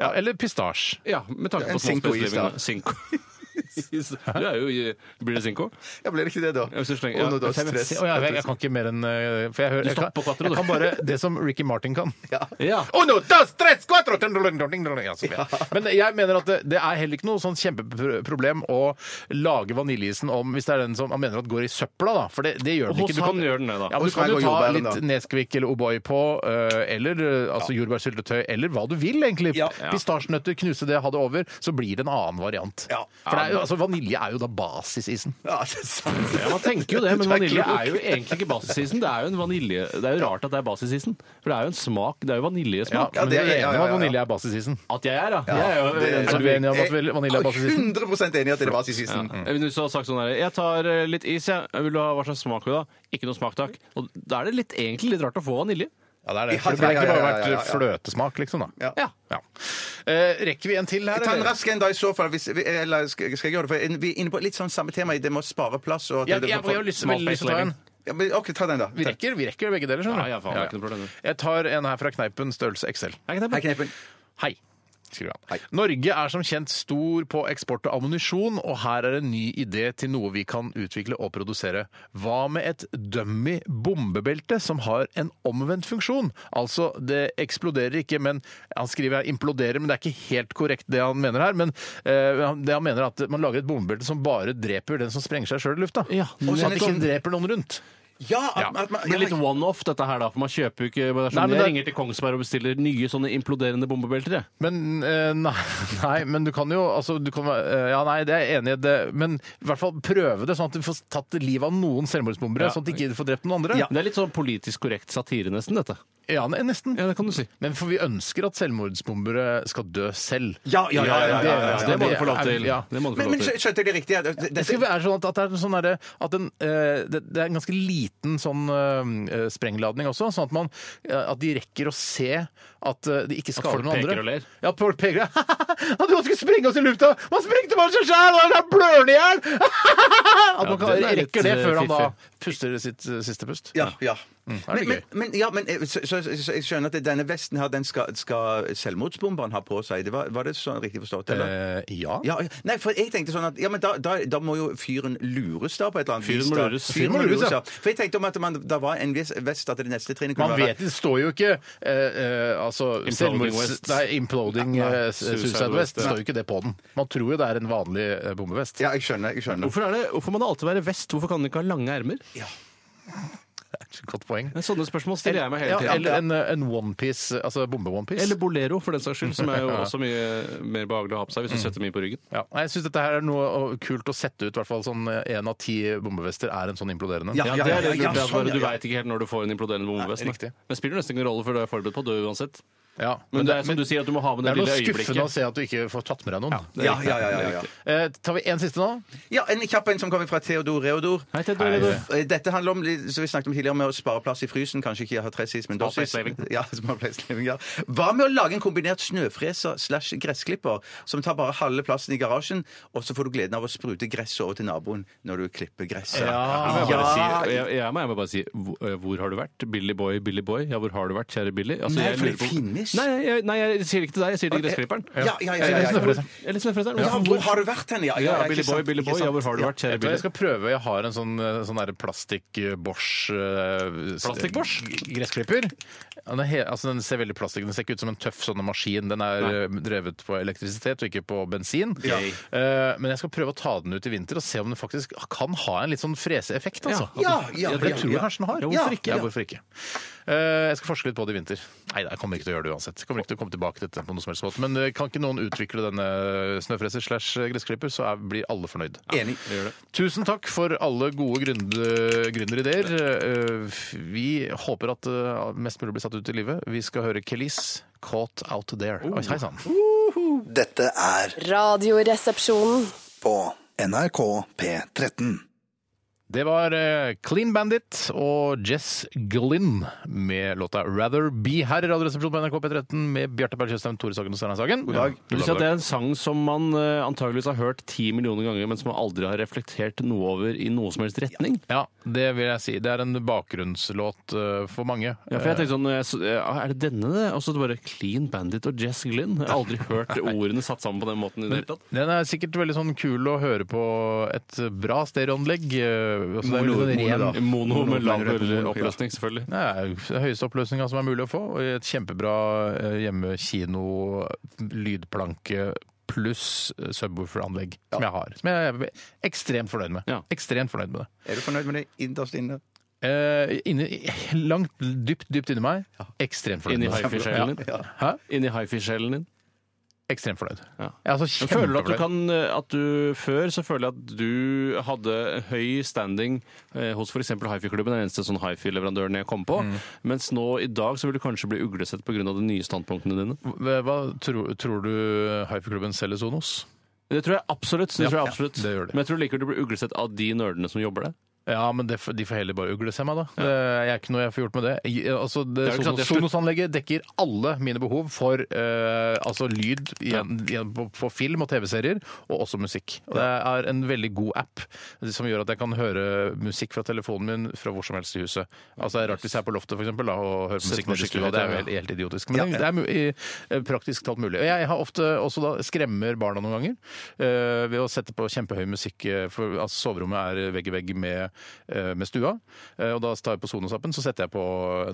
S1: Ja, eller pistasje.
S3: Ja, med tanke
S2: En
S3: på small
S2: cinco-is,
S3: space living,
S2: da.
S3: da. Cinco. Du er jo, blir det cinco?
S2: Ja, blir det ikke det, da?
S3: Jeg synes det er-
S2: Og når
S3: ja.
S2: du har
S1: Fem-
S2: stress.
S1: Å, ja, jeg, jeg kan ikke mer enn eh, For jeg hører
S3: Du
S1: jeg
S3: stopper på
S1: kan,
S3: quattro,
S1: jeg
S3: du.
S1: kan bare det som Ricky Martin kan.
S3: Ja.
S1: Uno, dos, tres, cuatro, dun, dun, dun, dun, dun, ja, så bra. Men jeg mener at det, det er heller ikke noe sånn kjempeproblem å lage vaniljeisen om hvis det er den som man mener at går i søpla, da. For det, det gjør den
S3: Hos
S1: ikke.
S3: han gjør den det, da.
S1: Ja, men
S2: Hos
S1: du kan
S2: meg
S1: jo
S2: går
S1: ta
S2: jordbæren,
S1: litt
S2: da.
S1: Nesquik eller O'boy på, eh, eller eh, altså jordbærsyltetøy, eller hva du vil, egentlig.
S2: Ja.
S1: Pistasjenøtter, knuse det, ha det over. Så blir det en annen variant.
S2: Ja.
S1: For det er jo altså, vanilje er jo da basisisen.
S2: Ja, det er sant.
S3: Ja, man tenker jo det, men vanilje er jo egentlig ikke basisisen. Det er jo en vanilje Det er jo rart at det er basisisen, for det er jo en smak Det er jo vaniljesmak.
S1: Ja, det er-
S3: Men vi
S1: ja, ja,
S3: enig om
S1: ja, ja.
S3: at vanilje
S1: er basisisen.
S3: At jeg er, da.
S1: Ja,
S3: jeg er jo
S1: det-
S3: er du enig om at vel- vanilje er basisisen?
S2: 100 enig i at det er basisisen.
S3: Ja. Men Hvis du hadde sagt sånn her Jeg tar eh, litt is, jeg. Jeg Vil du ha hva slags smak vil du ha? Ikke noe smak, takk. Og da er det litt, egentlig litt rart å få vanilje.
S1: Ja, det er det.
S3: Ja,
S1: For det burde
S3: ja,
S1: egentlig
S3: ja,
S1: bare
S3: ja, ja,
S1: vært
S3: ja.
S1: fløtesmak, liksom. da.
S2: Ja.
S1: Ja. Eh, rekker vi en til her?
S2: Ta en
S1: eller?
S2: rask en da i så fall, hvis, eller skal, skal jeg gjøre det? For vi er inne på litt sånn samme tema, det med å spare plass. Og,
S1: Ja, jeg- jeg har lyst- veldig lyst til å ta en.
S2: Ja, men, ok, ta den da.
S1: Vi rekker, vi rekker begge deler, skjønner du.
S2: Ja, ja, faen, det er ikke noe problem.
S1: Jeg tar en her fra Kneipen, størrelse XL. Hei,
S2: Kneipen. Hei, Kneipen.
S1: Hei. Skriver han. Norge er som kjent stor på eksport av ammunisjon, og her er en ny idé til noe vi kan utvikle og produsere. Hva med et dummy bombebelte som har en omvendt funksjon? Altså, det eksploderer ikke, men han skriver her imploderer, men det er ikke helt korrekt det han mener her. Men eh, han- det han mener er at man lager et bombebelte som bare dreper den som sprenger seg sjøl i lufta. Ja, og
S3: nettopp.
S1: sånn at det ikke dreper noen rundt.
S2: Ja,
S3: det er litt one-off, dette her, da. For man kjøper jo ikke det er sånn,
S1: Nei, men
S3: Jeg
S1: det-
S3: ringer til Kongsberg og bestiller nye sånne imploderende bombebelter, jeg.
S1: Men eh, nei, nei, men du kan jo altså, du kan, være- eh, Ja, nei, det er jeg enig i. Det, men i hvert fall prøve det, sånn at du får tatt livet av noen selvmordsbombere.
S3: Ja.
S1: Sånn at de ikke får drept noen andre.
S3: Ja. Det er litt sånn politisk korrekt satire, nesten, dette.
S1: Ja, ne- nesten.
S3: Ja, det kan du si.
S1: Men for vi ønsker at selvmordsbombere skal dø selv.
S2: Ja, ja, ja, ja, ja, ja, ja.
S1: Det-
S2: Det må
S3: du få lov til.
S1: Ja.
S3: Det må du få
S2: Men,
S3: lov
S2: men
S3: til.
S2: skjø- skjønte jeg det riktig? Ja, det- det-
S1: Det skal være sånn at, at det er sånn derre- at en, eh, det, det er en ganske liten sånn eh, sprengladning også, sånn at, man, eh, at de rekker å se at eh, de ikke skader
S3: folk
S1: noen andre.
S3: peker og ler.
S1: Ja, folk peker og ler. At man skulle sprenge oss i lufta! Man sprengte bare seg sjæl! Og der blør han i hjel! At man kan,
S2: den er litt, eh,
S1: rekker det før han da
S2: fiffig.
S1: puster sitt eh, siste pust.
S2: Ja, ja.
S1: Mm, er det
S2: Men, men,
S1: gøy.
S2: men, ja, men eh, så, så, så, så jeg skjønner at denne vesten her, den skal, skal selvmordsbomberen ha på seg. Det var, var det sånn riktig forstått? Eller?
S1: ja.
S2: Nei, for jeg tenkte sånn at ja, men da, da, da må jo fyren lures da på et eller annet
S1: Fyren
S2: vis.
S1: må
S2: da.
S1: lures.
S2: Fyren må lures, ja. For jeg tenkte om at man, da var en vis- vest at det neste trinnet kunne
S1: Man vet det står jo ikke eh, eh, altså,
S2: Imploding
S1: selvmords-
S2: West.
S1: Nei, Imploding
S2: Nei,
S1: eh,
S2: Suicide
S1: Suicide
S2: West,
S1: West. Det
S2: ja.
S1: står jo ikke det på den. Man tror jo det er en vanlig eh, bombevest.
S2: Ja, jeg skjønner. jeg skjønner.
S3: Hvorfor, er det, hvorfor må det alltid være vest? Hvorfor kan den ikke ha lange ermer?
S1: Godt poeng.
S3: Men Sånne spørsmål stiller jeg meg hele
S1: Ja,
S3: tiden.
S1: eller en, en onepiece, altså bombe-onepiece.
S3: Eller bolero, for den saks skyld, som er jo
S1: Ja.
S3: også mye mer behagelig å ha på seg hvis du setter mye på ryggen.
S1: Ja. Nei, Jeg syns dette her er noe å- kult å sette ut. I hvert fall sånn Én av ti bombevester er en sånn imploderende.
S3: Ja, det er det lurt, at bare
S1: ja,
S3: Du
S1: ja.
S3: veit ikke helt når du får en imploderende bombevest.
S1: Nei, riktig.
S3: da. Men det spiller nesten ingen rolle, for du er forberedt på å dø uansett.
S1: Ja,
S3: Men det er som du sier, at du må ha med det
S1: er noe
S3: lille
S1: skuffende å
S3: øyeblikket.
S1: se at du ikke får tatt med deg noen.
S3: det er Ja, riktig. ja, ja, ja, ja.
S1: Eh, tar vi en siste nå?
S2: Ja, En kjapp en som kommer fra Theodor Reodor.
S1: Hei, Theodor Reodor.
S2: Eh, Dette handler om litt- som vi snakket om tidligere, med å spare plass i frysen. Kanskje ikke ha tressis, men dossis.
S3: Småpleislaving.
S2: Ja, småpleislaving, ja. Hva med å lage en kombinert snøfreser slash gressklipper som tar bare halve plassen i garasjen, og så får du gleden av å sprute gress over til naboen når du klipper gresset?
S3: Jeg, må
S2: Ja.
S3: bare si, jeg, jeg må jeg må bare si hvor, eh, hvor har du vært? Billy Boy, Billy Boy. Ja, hvor har du vært, kjære Billy? Altså,
S2: Nei,
S3: jeg
S2: for
S3: lurer
S2: det finnes.
S3: Nei, jeg, nei, jeg sier det ikke til deg, jeg sier det til gressklipperen.
S2: Ja, ja, ja, ja, ja, ja.
S3: Eller snøfreseren. Eller snøfreseren.
S2: Ja, hvor har du vært hen? Ja, ja, ja, ikke
S3: Billy Boy,
S2: sant,
S3: Billy
S2: ikke
S3: Boy. Ja,
S2: sant.
S3: hvor har du vært,
S1: Jeg
S3: kjære
S1: tror jeg
S3: Billy?
S1: skal prøve. Jeg har en sånn, eh, sånn eh, der plastikk-Bosch
S3: Plastikk-Bosch?
S1: Gressklipper. Ja, Den, er he- altså, den ser veldig plastikk Den ser ikke ut som en tøff sånn maskin. Den er eh, drevet på elektrisitet og ikke på bensin.
S3: Ja.
S1: Eh, men jeg skal prøve å ta den ut i vinter og se om den faktisk kan ha en litt sånn freseeffekt. Altså.
S2: Ja, ja,
S1: For det
S2: ja,
S1: tror jeg
S2: ja.
S1: kanskje den har.
S2: Ja, hvorfor ikke?
S1: Ja, hvorfor ikke? Eh, jeg skal forske litt på det i vinter. Nei, jeg kommer ikke til å gjøre det uansett. Jeg kommer ikke til å komme tilbake til dette på noen som helst måte. Men eh, kan ikke noen utvikle denne snøfreser slash gressklipper, så er, blir alle fornøyd.
S2: Enig.
S1: Tusen takk for alle gode gründe- gründerideer. Eh, Vi håper at eh, mest mulig blir satt ut i livet. Vi skal høre Kelis, 'Caught Out There'.
S3: Oh.
S1: Oi, Hei sann.
S8: Dette er
S7: Radioresepsjonen.
S8: på NRK P13.
S1: Det var eh, Clean Bandit og Jess Glynn med låta 'Rather Be' her i Radioresepsjonen på NRK P13 med Bjarte Berg Tjøstheim, Tore Sagen og Steinar Sagen. God dag.
S3: Du vil si at det er en sang som man eh, antageligvis har hørt ti millioner ganger, men som man aldri har reflektert noe over i noe som helst retning?
S1: Ja, det vil jeg si. Det er en bakgrunnslåt eh, for mange.
S3: Ja, for jeg tenkte sånn, når jeg, så- ja, Er det denne, det? Og så bare Clean Bandit og Jess Glynn. Jeg har aldri hørt ordene satt sammen på den måten. i det hele tatt.
S1: Den er sikkert veldig sånn kul å høre på et bra stereoanlegg. eh, altså, det er
S3: Mono,
S1: litt sånn ren-
S3: mono med lav
S1: Mono, mono, ja.
S3: oppløsning, selvfølgelig.
S1: Det er jo høyeste oppløsninga som er mulig å få. og Et kjempebra eh, hjemmekino, lydplanke pluss eh, subwoofer-anlegg som jeg har. Som jeg er ekstremt fornøyd med. Ekstremt fornøyd med det.
S2: Er du fornøyd med det innerst inne?
S1: Eh, inni- langt, dypt, dypt inni meg. Ekstremt fornøyd
S3: Inni
S1: med det.
S3: hifi-sjelen din.
S1: Hæ?
S3: Inni hifi-sjelen din.
S1: Ekstremt fornøyd.
S3: Jeg
S1: er altså
S3: Men føler du at du
S1: kjempefornøyd.
S3: kan eh, at du, Før så føler jeg at du hadde høy standing eh, hos f.eks. hifi-klubben, den eneste sånn hifi-leverandøren jeg kom på.
S1: Mm.
S3: Mens nå i dag så vil du kanskje bli uglesett pga. de nye standpunktene dine.
S1: Hva, hva tror, tror du hifi-klubben selger Sonos?
S3: Det tror jeg absolutt. Det
S1: Ja,
S3: tror jeg
S1: ja,
S3: absolutt.
S1: det gjør det.
S3: Men jeg tror likevel du blir uglesett av de nerdene som jobber der.
S1: Ja, men det, de får heller bare ugle seg meg, da. Det er ikke noe jeg får gjort med det. Jeg, altså, det,
S3: Det er jo ikke sant,
S1: Sonos-
S3: det er slutt.
S1: Sonos-anlegget dekker alle mine behov for eh, altså lyd igjen, igjen, på, på film og TV-serier, og også musikk. Og det er en veldig god app som gjør at jeg kan høre musikk fra telefonen min fra hvor som helst i huset. Altså, det er rart hvis jeg er på loftet for eksempel, da, og hører
S3: Sett
S1: musikk nede i
S3: musikk i
S1: stua. Det er jo
S3: høyttaler,
S1: helt,
S3: ja.
S1: helt idiotisk. Men
S3: Ja, ja.
S1: det er mu- i- eh, praktisk talt mulig. Og jeg har ofte også da skremmer barna noen ganger eh, ved å sette på kjempehøy musikk. eh, For altså, soverommet er vegg i vegg med, eh, med stua. Eh, Og da tar jeg på Sonos-appen, så setter jeg på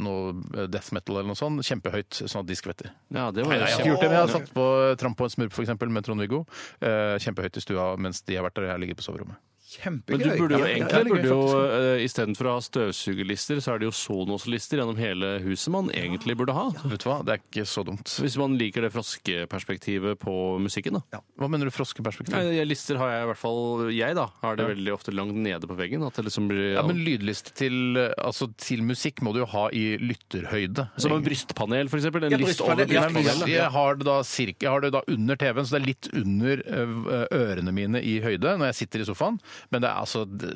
S1: noe eh, death metal eller noe sånt kjempehøyt, sånn at de skvetter.
S3: Ja, det var
S1: Nei,
S3: jo
S1: jeg har ikke gjort det, men jeg har satt på eh, Tramp på en smurp for eksempel, med Trond-Viggo. eh, Kjempehøyt i stua mens de har vært der og jeg ligger på soverommet.
S3: Men du burde jo egentlig burde jo,
S1: faktisk.
S3: eh, istedenfor å ha støvsugerlister, så er det jo Sonos-lister gjennom hele huset man egentlig burde ha.
S1: Vet du hva, det er ikke så dumt.
S3: Hvis man liker det froskeperspektivet på musikken, da.
S1: Hva mener du froskeperspektiv?
S3: Nei, jeg- lister har jeg i hvert fall Jeg, da. Har det veldig ofte langt nede på veggen. At det liksom blir
S1: Ja, men lydliste til, eh, altså, til musikk må du jo ha i lytterhøyde.
S3: Som en brystpanel, for eksempel. En
S1: Ja,
S3: list over
S1: brystpanel, ja,
S3: brystpanelet.
S1: Jeg har det, da, cirka, jeg har det da under TV-en, så det er litt under eh, ørene mine i høyde når jeg sitter i sofaen. Men det er altså det-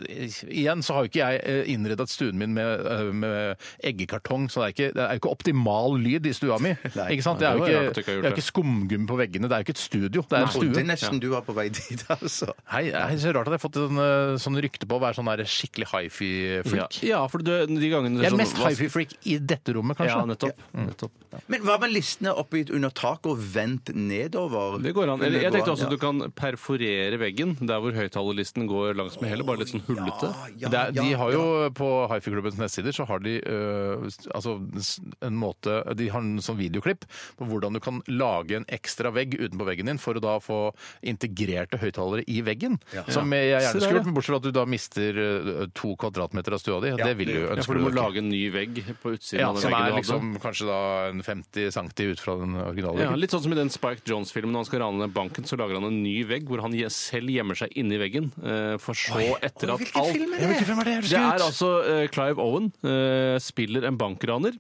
S1: Igjen så har jo ikke jeg eh, innredet stuen min med, eh, med eggekartong, så det er, ikke, det er jo ikke optimal lyd i stua mi. Ikke sant? Det er jo
S3: Nei, det var rart at du ikke har gjort
S1: ikke, det er jo
S3: det.
S1: ikke skumgummi på veggene, det er jo ikke et studio, det er en
S2: Jeg trodde
S1: stue.
S2: nesten du var på vei dit, altså.
S1: Hei, det er så rart at jeg har fått sånn, eh, sånn rykte på å være sånn der skikkelig Sånn,
S3: Ja,
S1: hifi-freak.
S3: ja, for du, de gangene sånn
S1: Jeg er mest sånn. hifi-freak i dette rommet, kanskje.
S3: Ja, nettopp. nettopp.
S2: Men hva med listene oppgitt under taket og vendt nedover?
S3: Det går an. Eller,
S2: Det
S3: jeg
S2: går
S3: tenkte også at
S2: an,
S3: du kan perforere veggen der hvor høyttalerlisten går langs med hele, bare litt sånn hullete.
S1: det er, de har jo På Hifi-klubbens nettsider så har de øh, altså, s- en måte De har en sånn videoklipp på hvordan du kan lage en ekstra vegg utenpå veggen din for å da få integrerte høyttalere i veggen.
S3: Ja.
S1: Som jeg
S3: Se
S1: gjerne
S3: der,
S1: skulle
S3: ja.
S1: gjort, men bortsett fra at du da mister øh, to kvadratmeter av stua di. det vil du jo
S3: Ja,
S1: ønske
S3: for du må
S1: deg ikke.
S3: lage en ny vegg på utsiden
S1: Ja,
S3: av den
S1: som
S3: veggen
S1: er
S3: du hadde.
S1: liksom kanskje da en 50 cm ut fra den originale.
S3: Ja,
S1: veggen.
S3: litt sånn som i den Spike Jones-filmen når han skal rane den banken, så lager han en ny vegg hvor han je- selv gjemmer seg inni veggen. eh, For så etter at alt
S1: film er det? Ja, hvilken film er det? Er det
S3: Det er
S1: skutt?
S3: altså eh, Clive Owen eh, spiller en bankraner.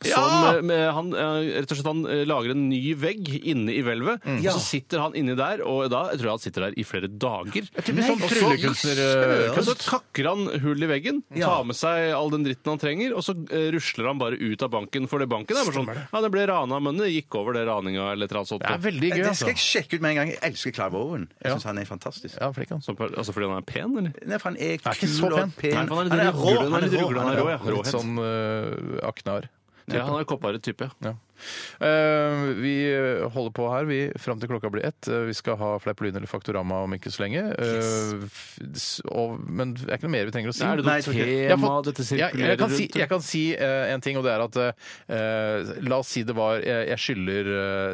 S3: Som,
S1: Ja!
S3: eh, med, han, eh, rett og slett, han eh, lager en ny vegg inne i hvelvet, og
S1: Mm. Ja.
S3: så sitter han inni der. Og da jeg tror jeg han sitter der i flere dager.
S1: typisk sånn
S3: Og så- øh,
S1: tryllekunstnerkunst.
S3: Og så kakker han hull i veggen,
S1: Ja.
S3: tar med seg all den dritten han trenger, og så eh, rusler han bare ut av banken. For det banken er bare sånn Ja, det ble rana, men det gikk over det raninga eller et eller annet sånt.
S2: Det
S3: altså.
S1: altså.
S2: skal jeg sjekke ut med en gang. Jeg elsker Clive Owen. Jeg syns han er fantastisk.
S1: Ja, flink han.
S3: Som, altså fordi han er pen, eller?
S2: Nei, for han er
S1: Er ikke
S2: kul
S1: så
S2: og
S1: pen.
S2: pen.
S3: Nei, for han er litt ruglete, han er litt ruglete, han er rå, ja.
S1: Litt
S3: Råhet.
S1: sånn øh, aknar.
S3: Ja, han er kopphåret type.
S1: Ja. Eh, vi holder på her vi, fram til klokka blir ett. Eh, vi skal ha Fleipolin eller Faktorama om ikke så lenge. Eh, f- s- og, men det er ikke noe mer vi trenger å si.
S3: Nei, er det noe
S1: jeg tror ikke.
S3: tema
S1: Jeg har fått-
S3: dette
S1: jeg, jeg kan
S3: sirkulerer
S1: si,
S3: rundt?
S1: jeg kan si eh, en ting, og det er at eh, La oss si det var Jeg, jeg skylder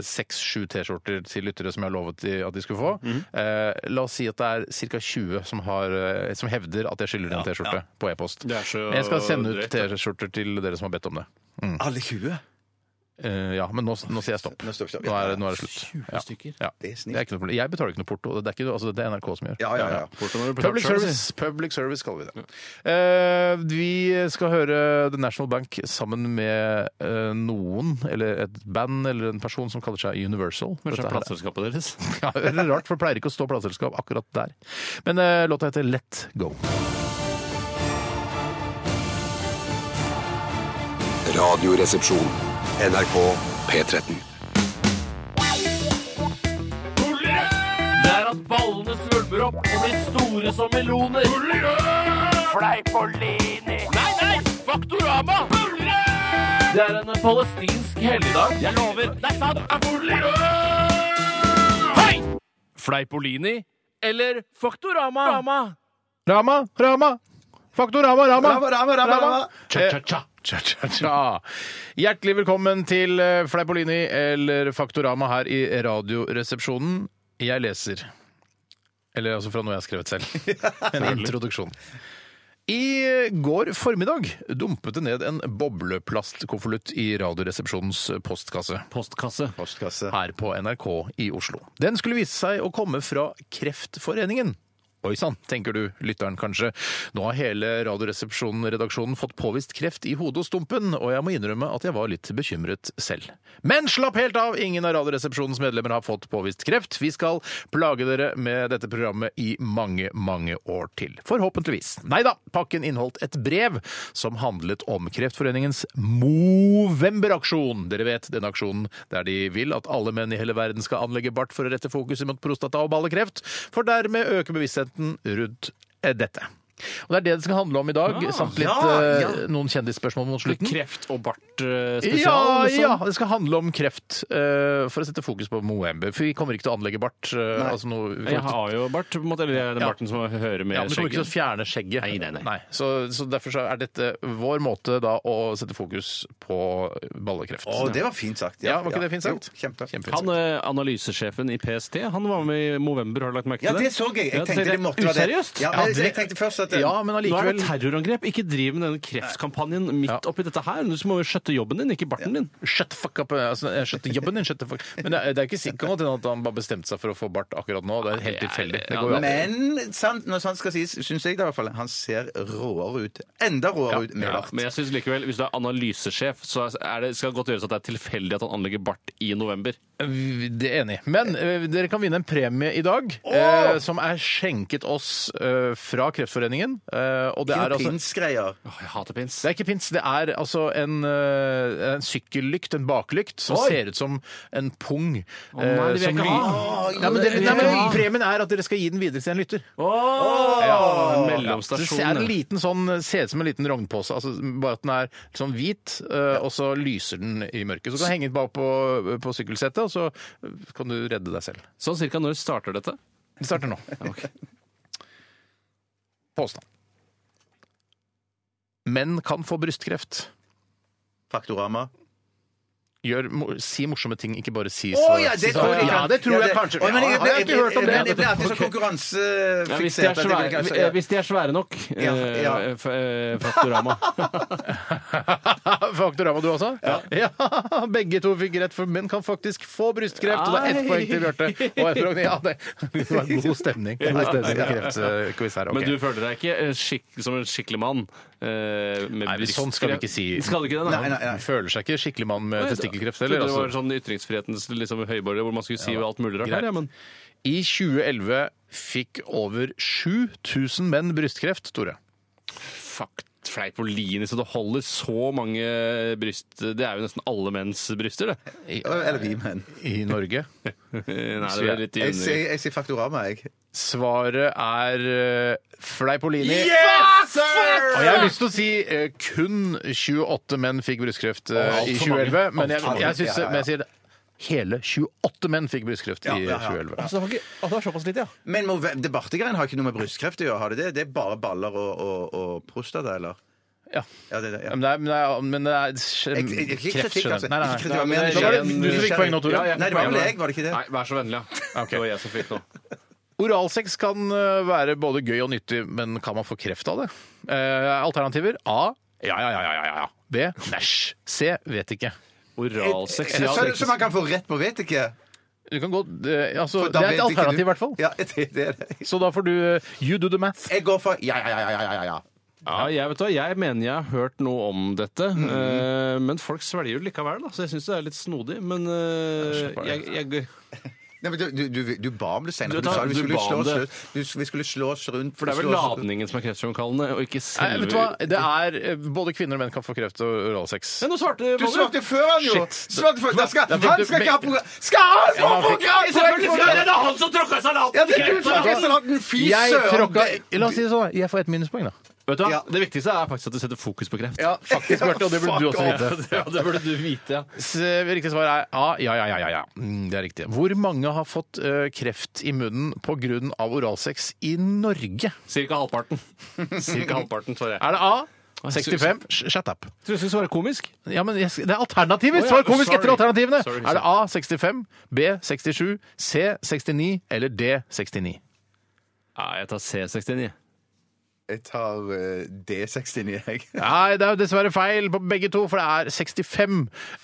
S1: seks-sju T-skjorter til lyttere som jeg har lovet de, at de skulle få.
S3: Mhm.
S1: Eh, la oss si at det er ca. 20 som, har, eh, som hevder at jeg skylder en T-skjorte på e-post.
S3: Det er så
S1: Men jeg skal sende ut
S3: drøyt, da.
S1: T-skjorter til dere som har bedt om det.
S2: Alle 20?
S1: Eh, ja, men nå, nå sier jeg stopp. Nå,
S2: vi stopp, ja.
S1: er, nå er det slutt. 20
S3: stykker.
S1: Ja. Det er ikke noe problem. Jeg betaler ikke noe porto. Det er, ikke, altså, det er NRK som gjør.
S2: Ja, ja, ja.
S3: Portoen har du betalt
S1: Public
S3: selv,
S1: service, public service kaller vi det. Eh, vi skal høre The National Bank sammen med eh, noen, eller et band eller en person som kaller seg Universal.
S3: Kanskje
S1: Dette
S3: det er
S1: her-
S3: plateselskapet deres?
S1: Ja, det er rart, for det pleier ikke å stå plateselskap akkurat der. Men eh, låta heter Let Go.
S6: Radioresepsjon. NRK P13.
S15: Det er at ballene svulmer opp og blir store som meloner. Fleipolini. Nei, nei! Faktorama! Det er en palestinsk helligdag. Jeg lover. Det er sant. Hei! Fleipolini eller Faktorama?
S1: Rama, Rama! Faktorama, Rama!
S15: Rama, Rama, Rama, Rama.
S1: Cha-cha-cha. Cha-cha-cha. Hjertelig velkommen til eh, Fleipolini eller Faktorama her i Radioresepsjonen. Jeg leser. Eller altså fra noe jeg har skrevet selv. En introduksjon. I går formiddag dumpet det ned en bobleplastkonvolutt i Radioresepsjonens postkasse.
S3: Postkasse.
S1: Her på NRK i Oslo. Den skulle vise seg å komme fra Kreftforeningen. Oi sann, tenker du, lytteren kanskje. Nå har hele Radioresepsjonen-redaksjonen fått påvist kreft i hodet og stumpen, og jeg må innrømme at jeg var litt bekymret selv. Men slapp helt av! Ingen av Radioresepsjonens medlemmer har fått påvist kreft. Vi skal plage dere med dette programmet i mange, mange år til. Forhåpentligvis. Nei da, pakken inneholdt et brev som handlet om Kreftforeningens Movember-aksjon. Dere vet denne aksjonen der de vil at alle menn i hele verden skal anlegge bart for å rette fokuset mot prostata- og ballekreft, for dermed øke bevisstheten rundt eh, dette. Og Det er det det skal handle om i dag,
S3: Ja.
S1: samt litt,
S3: Ah, Ja,
S1: eh,
S3: ja.
S1: noen kjendisspørsmål mot slutten.
S3: Kreft og bart eh,
S1: ja,
S3: spesial? liksom?
S1: ja, det skal handle om kreft, eh, for å sette fokus på Moembe. For vi kommer ikke til å anlegge bart. eh, altså noe, vi kommer
S3: Jeg
S1: ikke til-
S3: har jo bart, på en måte, eller jeg er den
S1: Ja.
S3: barten som hører med
S1: ja, men Du kommer ikke til å
S3: skjegget.
S1: fjerne skjegget. Nei, nei, nei. Så, så derfor så er dette vår måte da å sette fokus på ballekreft.
S2: Å, det var fint sagt.
S1: Ja, var ikke det fint sagt?
S2: Jo, kjempe.
S3: Han eh, Analysesjefen i PST han var med i Movember, har du lagt merke til
S2: Ja, det så jeg.
S3: Ja,
S2: Jeg tenkte det måtte være det.
S3: Useriøst!
S2: Ja, men jeg tenkte først at-
S3: Ja, men allikevel...
S2: allikevel-
S3: Nå er det terrorangrep. Ikke driv med denne kreftkampanjen midt oppi dette her. Du må jo skjøtte jobben din, ikke barten din.
S1: Shut the fuck up. Altså, eh, shut the jobben din, shut the fuck. Men det er, det er ikke sikkert at han bare bestemte seg for å få bart akkurat nå. Det er helt tilfeldig. Det går jo an.
S2: Men sant, når sant skal sies, syns jeg da i hvert fall han ser råere ut. Enda råere ut med
S3: Ja,
S2: bart.
S3: men jeg synes likevel, hvis du er analysesjef, så er det, skal det godt gjøres at det er tilfeldig at han anlegger bart i november.
S1: Det er enig. Men eh, dere kan vinne en premie i dag, eh, som er skjenket oss eh, fra Kreftforeningen. Eh, og det
S2: Ikke
S1: er
S2: noe
S1: altså
S2: pinsgreier.
S3: Jeg hater pins.
S1: Det er ikke pins, det er altså en, eh, en sykkellykt, en baklykt, som
S3: Oi!
S1: ser ut som en pung. eh,
S3: Å nei, det vil jeg ikke ha.
S1: Nei, men,
S3: Det
S1: dere,
S3: vil jeg
S1: nei,
S3: ikke
S1: men
S3: ha.
S1: Premien er at dere skal gi den videre til en lytter.
S3: Oh!
S1: Ja. Så
S3: Mellomstasjon.
S1: det er en liten sånn, ser ut som en liten rognpose, altså bare at den er sånn hvit, eh, og så lyser den i mørket. Så kan du henge den bak på, på sykkelsettet, og så eh, kan du redde deg selv.
S3: Sånn cirka når starter dette?
S1: Vi starter nå. Påstand. Menn kan få brystkreft.
S2: Faktorama.
S1: Gjør, mo- si morsomme ting, ikke bare si
S2: Å
S1: så-
S2: ja, det
S1: si så-
S2: tror jeg
S1: ja, det tror jeg kanskje.
S2: Å, men jeg,
S1: Ja, har jeg ikke hørt om det.
S2: men Jeg ble alltid så
S3: Ja, hvis, de er
S2: konkurransefiksert. at altså, jeg
S3: svære,
S2: kanskje-
S3: eh, hvis de er svære nok,
S2: Ja, ja.
S3: eh, f- eh, Faktorama.
S1: Faktorama, du også? Ja. Begge to fikk rett, for menn kan faktisk få brystkreft. Og det er ett
S3: Ai.
S1: poeng til Bjarte. Og ett poeng- Ja, det det var en god stemning. God stemning i kreftquiz her. ok.
S3: Men du føler deg ikke eh, skikk, som en skikkelig mann? eh, med
S1: Nei, men sånn skal vi ikke si.
S3: Skal du ikke det?
S1: Nei, nei, nei. Føler seg ikke skikkelig mann med testikkelkreft
S3: Trodde Det
S1: heller.
S3: var
S1: Altså.
S3: sånn ytringsfrihetens liksom, høyborger hvor man skulle si alt mulig rart.
S1: Greit.
S3: her, Ja, men
S1: I 2011 fikk over 7000 menn brystkreft, Tore.
S3: fuck Fleipolini, så det holder så mange bryst Det er jo nesten alle menns bryster, det.
S2: Eller vi menn.
S1: I Norge.
S3: Nei, det er litt i
S2: Jeg
S3: under-
S2: sier- jeg sier Faktorama, jeg.
S1: Svaret er eh, Fleipolini. Og jeg har lyst til å si eh, kun 28 menn fikk brystkreft eh,
S3: Alt
S1: i
S3: for mange.
S1: 2011. Men
S3: Alt
S1: jeg,
S3: for mange.
S1: jeg, synes,
S3: Ja, ja, ja.
S1: men jeg sier det. hele 28 menn fikk brystkreft i 2011.
S2: det,
S3: er såpass lite, ja.
S2: Men må- det bartegreiene har ikke noe med brystkreft å gjøre? har Det det? Det er bare baller og, og, og prostata, eller?
S1: Ja.
S2: det, er det, ja.
S1: Men det er, men det er, men det er
S2: Jeg- jeg- jeg- ikke
S1: kreft,
S2: kritikk,
S1: skjønner jeg.
S2: altså.
S1: Nei, nei,
S2: Ikke kritikk,
S1: nei.
S2: men
S1: Nei,
S2: jeg-
S1: det var det- Du som fikk poeng nå, Tore.
S2: Ja, jeg- Nei, det var vel jeg, var det ikke det?
S3: Nei, vær så vennlig, ja. Det var jeg som fikk nå.
S1: Oralsex kan eh, være både gøy og nyttig, men kan man få kreft av det? Eh, alternativer A. Ja, ja, ja, ja, ja, ja. B. Næsj. C. Vet ikke. Eh,
S3: Oralsex, ja.
S2: så,
S3: det er
S2: så
S3: ikke-
S2: man kan få rett på vet ikke?
S1: Du kan godt, eh, altså,
S2: For
S1: det
S2: da
S1: er
S2: vet
S1: et
S2: ikke
S1: alternativ,
S2: du.
S1: i hvert fall.
S2: Ja, det, det er det.
S1: Så da får du eh, You do the math.
S2: Jeg går for ja, ja, ja, ja, ja, ja, ja.
S3: Ja, jeg, vet hva, jeg mener jeg har hørt noe om dette,
S1: Mm.
S3: eh, men folk svelger jo likevel, da, så jeg syns det er litt snodig. Men eh, jeg, jeg,
S2: Nei, men du, du, du, du ba om det senere.
S3: Du
S2: Du,
S3: tar-
S2: sa vi
S3: du
S2: skulle
S3: ba om
S2: slå oss
S3: det.
S2: rundt. Du, vi skulle slå oss rundt.
S3: For det er vel
S2: slå oss rundt.
S3: ladningen som er kreftfremkallende, og ikke
S1: Nei, vet du hva?
S3: selve
S1: Det er eh, Både kvinner og menn kan få kreft og oralsex.
S3: Men nå svarte
S2: Du svarte før han, jo!
S1: Shit.
S2: Svarte før. Da skal,
S1: Da fikk
S2: han
S1: du-
S2: skal ikke ha program! Skal han få
S1: Ja, han fikk-
S2: program?!
S3: Selvfølgelig skal det, det er han som tråkka salaten!
S2: Ja, det er du som har salaten! Fy
S1: Jeg
S2: søren!
S1: tråkka La oss si det sånn, jeg får ett minuspoeng, da.
S3: Vet du hva?
S2: Ja.
S3: Det viktigste er faktisk at du setter fokus på kreft.
S1: Ja, faktisk, Bjarte, og det burde du også vite.
S3: Ja, det burde du vite, ja.
S1: S- eh, Riktig svar er A. Ja, ja, ja. ja, ja. Mm, Det er riktig. Hvor mange har fått eh, kreft i munnen pga. oralsex i Norge?
S3: Cirka halvparten. Cirka halvparten, svarer jeg.
S1: Er det A? 65? Sh- Shut up.
S3: Tror du skulle svare komisk?
S1: Ja, men jeg, det er alternativer!
S3: Å, ja,
S1: Svar komisk etter
S3: sorry.
S1: alternativene!
S3: Sorry,
S1: Er det A 65, B 67, C 69 eller D 69?
S3: Ja, jeg tar C69.
S2: Jeg tar eh, D69, jeg.
S1: Nei, det er jo dessverre feil på begge to, for det er 65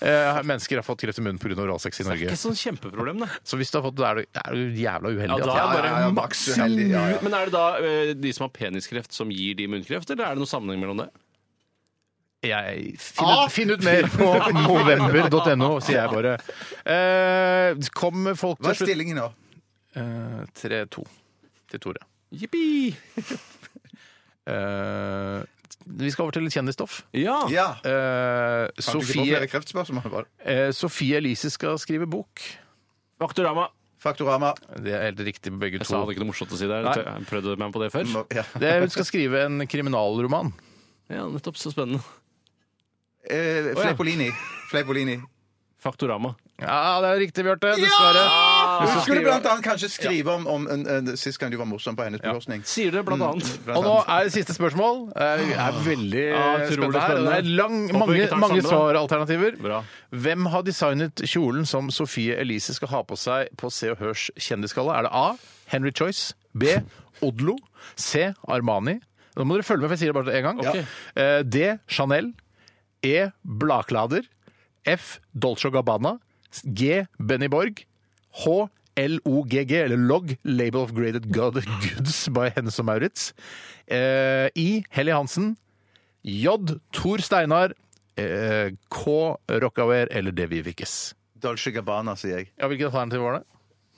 S1: eh, mennesker har fått kreft i munnen pga. oralsex i Norge.
S3: Ikke sånn kjempeproblem, da.
S1: Så hvis du har fått det, er du, er du jævla uheldig.
S3: Ja, da
S1: altså.
S3: er bare
S2: maks uheldig, ja, ja.
S3: Men er det da eh, de som har peniskreft, som gir de munnkreft, eller er det noen sammenheng mellom det?
S1: Jeg
S3: Ah!
S1: Finn ut, finn ut mer på november.no, sier jeg bare. Eh, kom folk
S2: Hva er stillingen nå?
S1: 3-2 til Tore.
S3: Jippi!
S1: Eh, vi skal over til litt kjendisstoff.
S3: Ja.
S1: Eh,
S2: Kan du ikke få flere
S1: Sofie,
S2: kreftspørsmål? bare?
S1: eh, Sofie Elise skal skrive bok.
S3: Faktorama.
S2: Faktorama.
S1: Det er helt riktig på begge
S3: Jeg sa
S1: to.
S3: det ikke noe morsomt å si der.
S1: Nei.
S3: Jeg prøvde meg på det før.
S2: Må- Ja.
S1: Det, hun skal skrive en kriminalroman.
S3: Ja, nettopp. Så spennende.
S2: Eh, Fleipolini. Fleipolini.
S3: Faktorama.
S1: Ja, det er riktig, Bjarte. Dessverre. Hun
S2: Hun
S1: skal
S2: skulle
S1: skrive-
S2: blant annet kanskje skrive om, om en, en, sist gang du var morsom på hennes bekostning.
S3: Sier du det, blant annet?
S1: Og nå er det siste spørsmål. Eh, Vi er veldig
S3: Ja, utrolig
S1: spennende her. og Det er lang,
S3: spennende. Håper vi
S1: mange,
S3: ikke tar det
S1: mange
S3: samme,
S1: svaralternativer.
S3: Bra.
S1: Hvem har designet kjolen som Sofie Elise skal ha på seg på Se og Hørs kjendisgalla? Er det A. Henry Choice. B. Odlo. C. Armani. Nå må dere følge med, for jeg sier det bare én gang.
S3: Ok.
S1: Eh, D. Chanel. E. Bladklader. F. Dolce Gabbana. G. Benny Borg. H. LOGG, eller LOG, Label of Graded God Goods by Hennes og Maurits. Eh, I. Helly Hansen. J. Tor Steinar. Eh, K. Rockaware eller D. Vivikes.
S2: Dolce Gabbana, sier jeg.
S1: Ja, Hvilket alternativ var det?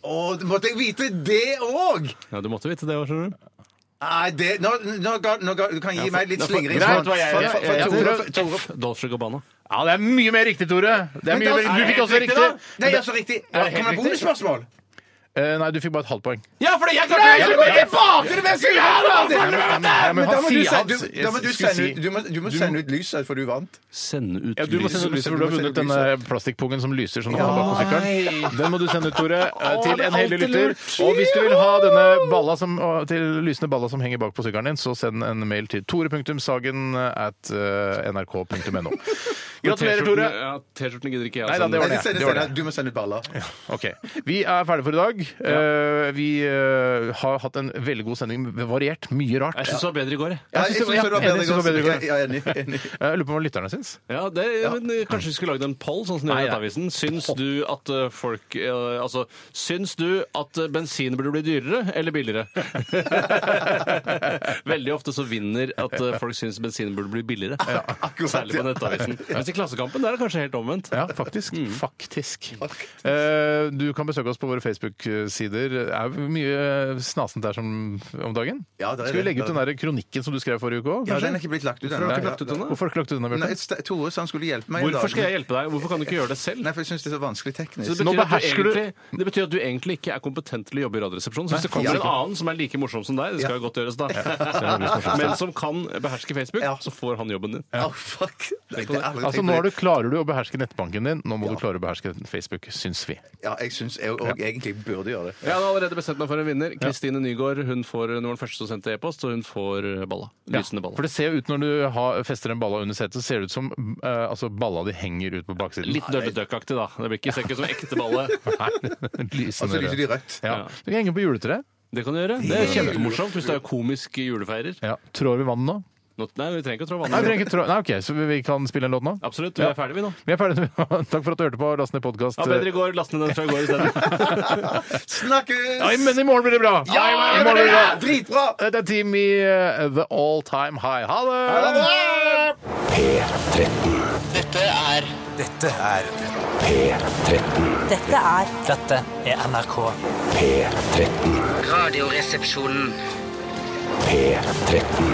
S2: Å, måtte jeg vite det òg?!
S3: Ja, du måtte vite det, hva skjønner du?
S2: Nei, det nå, nå, ga- nå, ga- Du kan gi meg litt slingring.
S1: greit,
S2: for-
S1: hva jeg-
S2: for-
S1: jeg-
S2: for- for-
S1: jeg-
S2: Tore-
S1: jeg-
S2: Tore-
S3: Dolce Gabbana.
S1: Ja, Det er mye mer riktig, Tore! Det er
S2: Men
S1: mye
S2: da-
S1: mer, du fikk også
S3: Er det
S1: riktig!
S3: riktig, da?
S2: Nei, altså riktig.
S1: Er det helt
S2: Kommer det
S1: riktig?
S2: bonusspørsmål?
S1: Eh, nei, du fikk bare et halvt poeng.
S3: Ja, for det jeg
S2: Nei, så går
S3: klarte
S2: jeg tilbake til det jeg skulle ha!
S1: Ja, men- ja, men- ja, men
S2: Men da
S1: han
S2: må du
S1: sier-
S2: se-
S1: han-
S2: du- da må du
S1: jeg skulle
S2: sende
S1: si-
S2: ut- du må- Du må
S1: du
S2: sende ut lyset, for du vant.
S3: Sende ut
S1: Ja, Du må sende ut lyset, for du har vunnet den eh, plastikkpungen som lyser som du har bak på sykkelen. Den må du sende ut, Tore, eh, til en heldig lytter. Og hvis du vil ha denne balla som, og til lysende balla som henger bak på sykkelen din, så send en mail til tore.sagen at eh, nrk.no. Gratulerer, Tore.
S3: Ja, T-skjortene gidder ikke jeg altså.
S1: Nei da, det var
S2: Nei, du sender-
S1: det var det.
S2: sender- Du må sende ut baller.
S1: Ok, Vi er ferdige for i dag. Eh, vi eh, har hatt en veldig god sending. Variert. Mye rart.
S3: Jeg syns det var bedre i går, jeg.
S1: Ja,
S2: Jeg
S1: jeg
S2: syns
S1: synes-
S2: det var
S1: ja, enig, jeg synes det var bedre i går.
S2: bedre. Ja, enig. enig.
S1: Jeg lurer på hva lytterne syns.
S3: Ja, det, men eh, Kanskje vi skulle lagd en poll, sånn som de gjør
S1: Nei,
S3: i
S1: nei.
S3: Nettavisen. Syns du at eh, folk eh, Altså, syns du at eh, bensin burde bli dyrere eller billigere? Veldig ofte så vinner at eh, folk syns bensin burde bli billigere. Særlig på Nettavisen. Mens i Klassekampen der er det kanskje helt omvendt.
S1: Ja, faktisk.
S2: Mm.
S1: Faktisk. Eh, du kan besøke oss på våre Facebook-sider. Det er jo mye eh, snasent der som, om dagen.
S2: Ja, det er
S1: Skal vi
S2: det.
S1: legge ut den der kronikken som du skrev forrige uke òg?
S2: Ja, den er ikke blitt lagt ut ennå.
S1: Hvorfor har du ikke lagt ut den,
S2: Nei,
S1: Bjarte?
S2: St- Tore sa han skulle hjelpe meg. en dag.
S3: Hvorfor skal jeg hjelpe deg? Hvorfor kan du ikke gjøre det selv?
S2: Nei, for jeg syns det er så vanskelig teknisk.
S3: Så det,
S1: Nå
S3: betyr at du
S1: behersker du-
S3: egentlig, det betyr at du egentlig ikke er kompetent til å jobbe i Radioresepsjonen. Så hvis det kommer
S2: ja.
S3: en annen som er like morsom som deg, det skal jo godt gjøres, da. Men som kan beherske Facebook,
S2: Ja.
S3: så får han jobben din.
S2: Å, fuck! Nei, det er aldri
S1: Altså,
S2: tenkt
S1: nå
S2: på
S1: har du,
S2: det.
S1: klarer du å beherske nettbanken din. Nå må du klare å beherske Facebook, syns vi.
S2: Ja, jeg syns jeg og egentlig burde gjøre det.
S3: Jeg har allerede bestemt meg for en vinner. Kristine Nygaard hun får hun var den første som sendte e-post, og hun får balla.
S1: Ja,
S3: Lysende balla.
S1: For det ser jo ut når du har, fester en balla under setet, så ser det ut som eh, altså, balla di henger ut på baksiden.
S3: Litt dølledøkkaktig, da. Det blir ikke ser ikke ut som ekte balle.
S1: Nei,
S2: Og
S1: lysende
S2: så lyser
S1: rød.
S2: de rødt.
S1: Ja. Du kan henge på juletreet.
S3: Det kan du gjøre. Det er kjempemorsomt hvis du er komisk julefeirer.
S1: Ja. Trår vi vannet nå?
S3: Nå- Nei, vi trenger ikke å trå
S1: Nei, vi
S3: vannet.
S1: trenger ikke trå... Nei, ok, så vi- vi kan spille en låt nå?
S3: Absolutt. Vi
S1: Ja.
S3: er ferdige, vi nå.
S1: Vi er ferdige nå. Takk for at du hørte på. Last ned podkast.
S3: Ja, bedre i går. Last ned den fra i går isteden.
S2: Snakkes!
S1: Nei, men i morgen blir det bra!
S2: Ja,
S1: I morgen
S2: men
S1: blir det bra!
S2: Dritbra!
S1: Dette er Team i eh, The All Time High. Ha det!
S2: Ha det!
S6: P13.
S16: Dette er Dette er
S6: P13.
S17: Dette er
S16: Dette er NRK.
S6: P13.
S17: Radioresepsjonen.
S6: P13.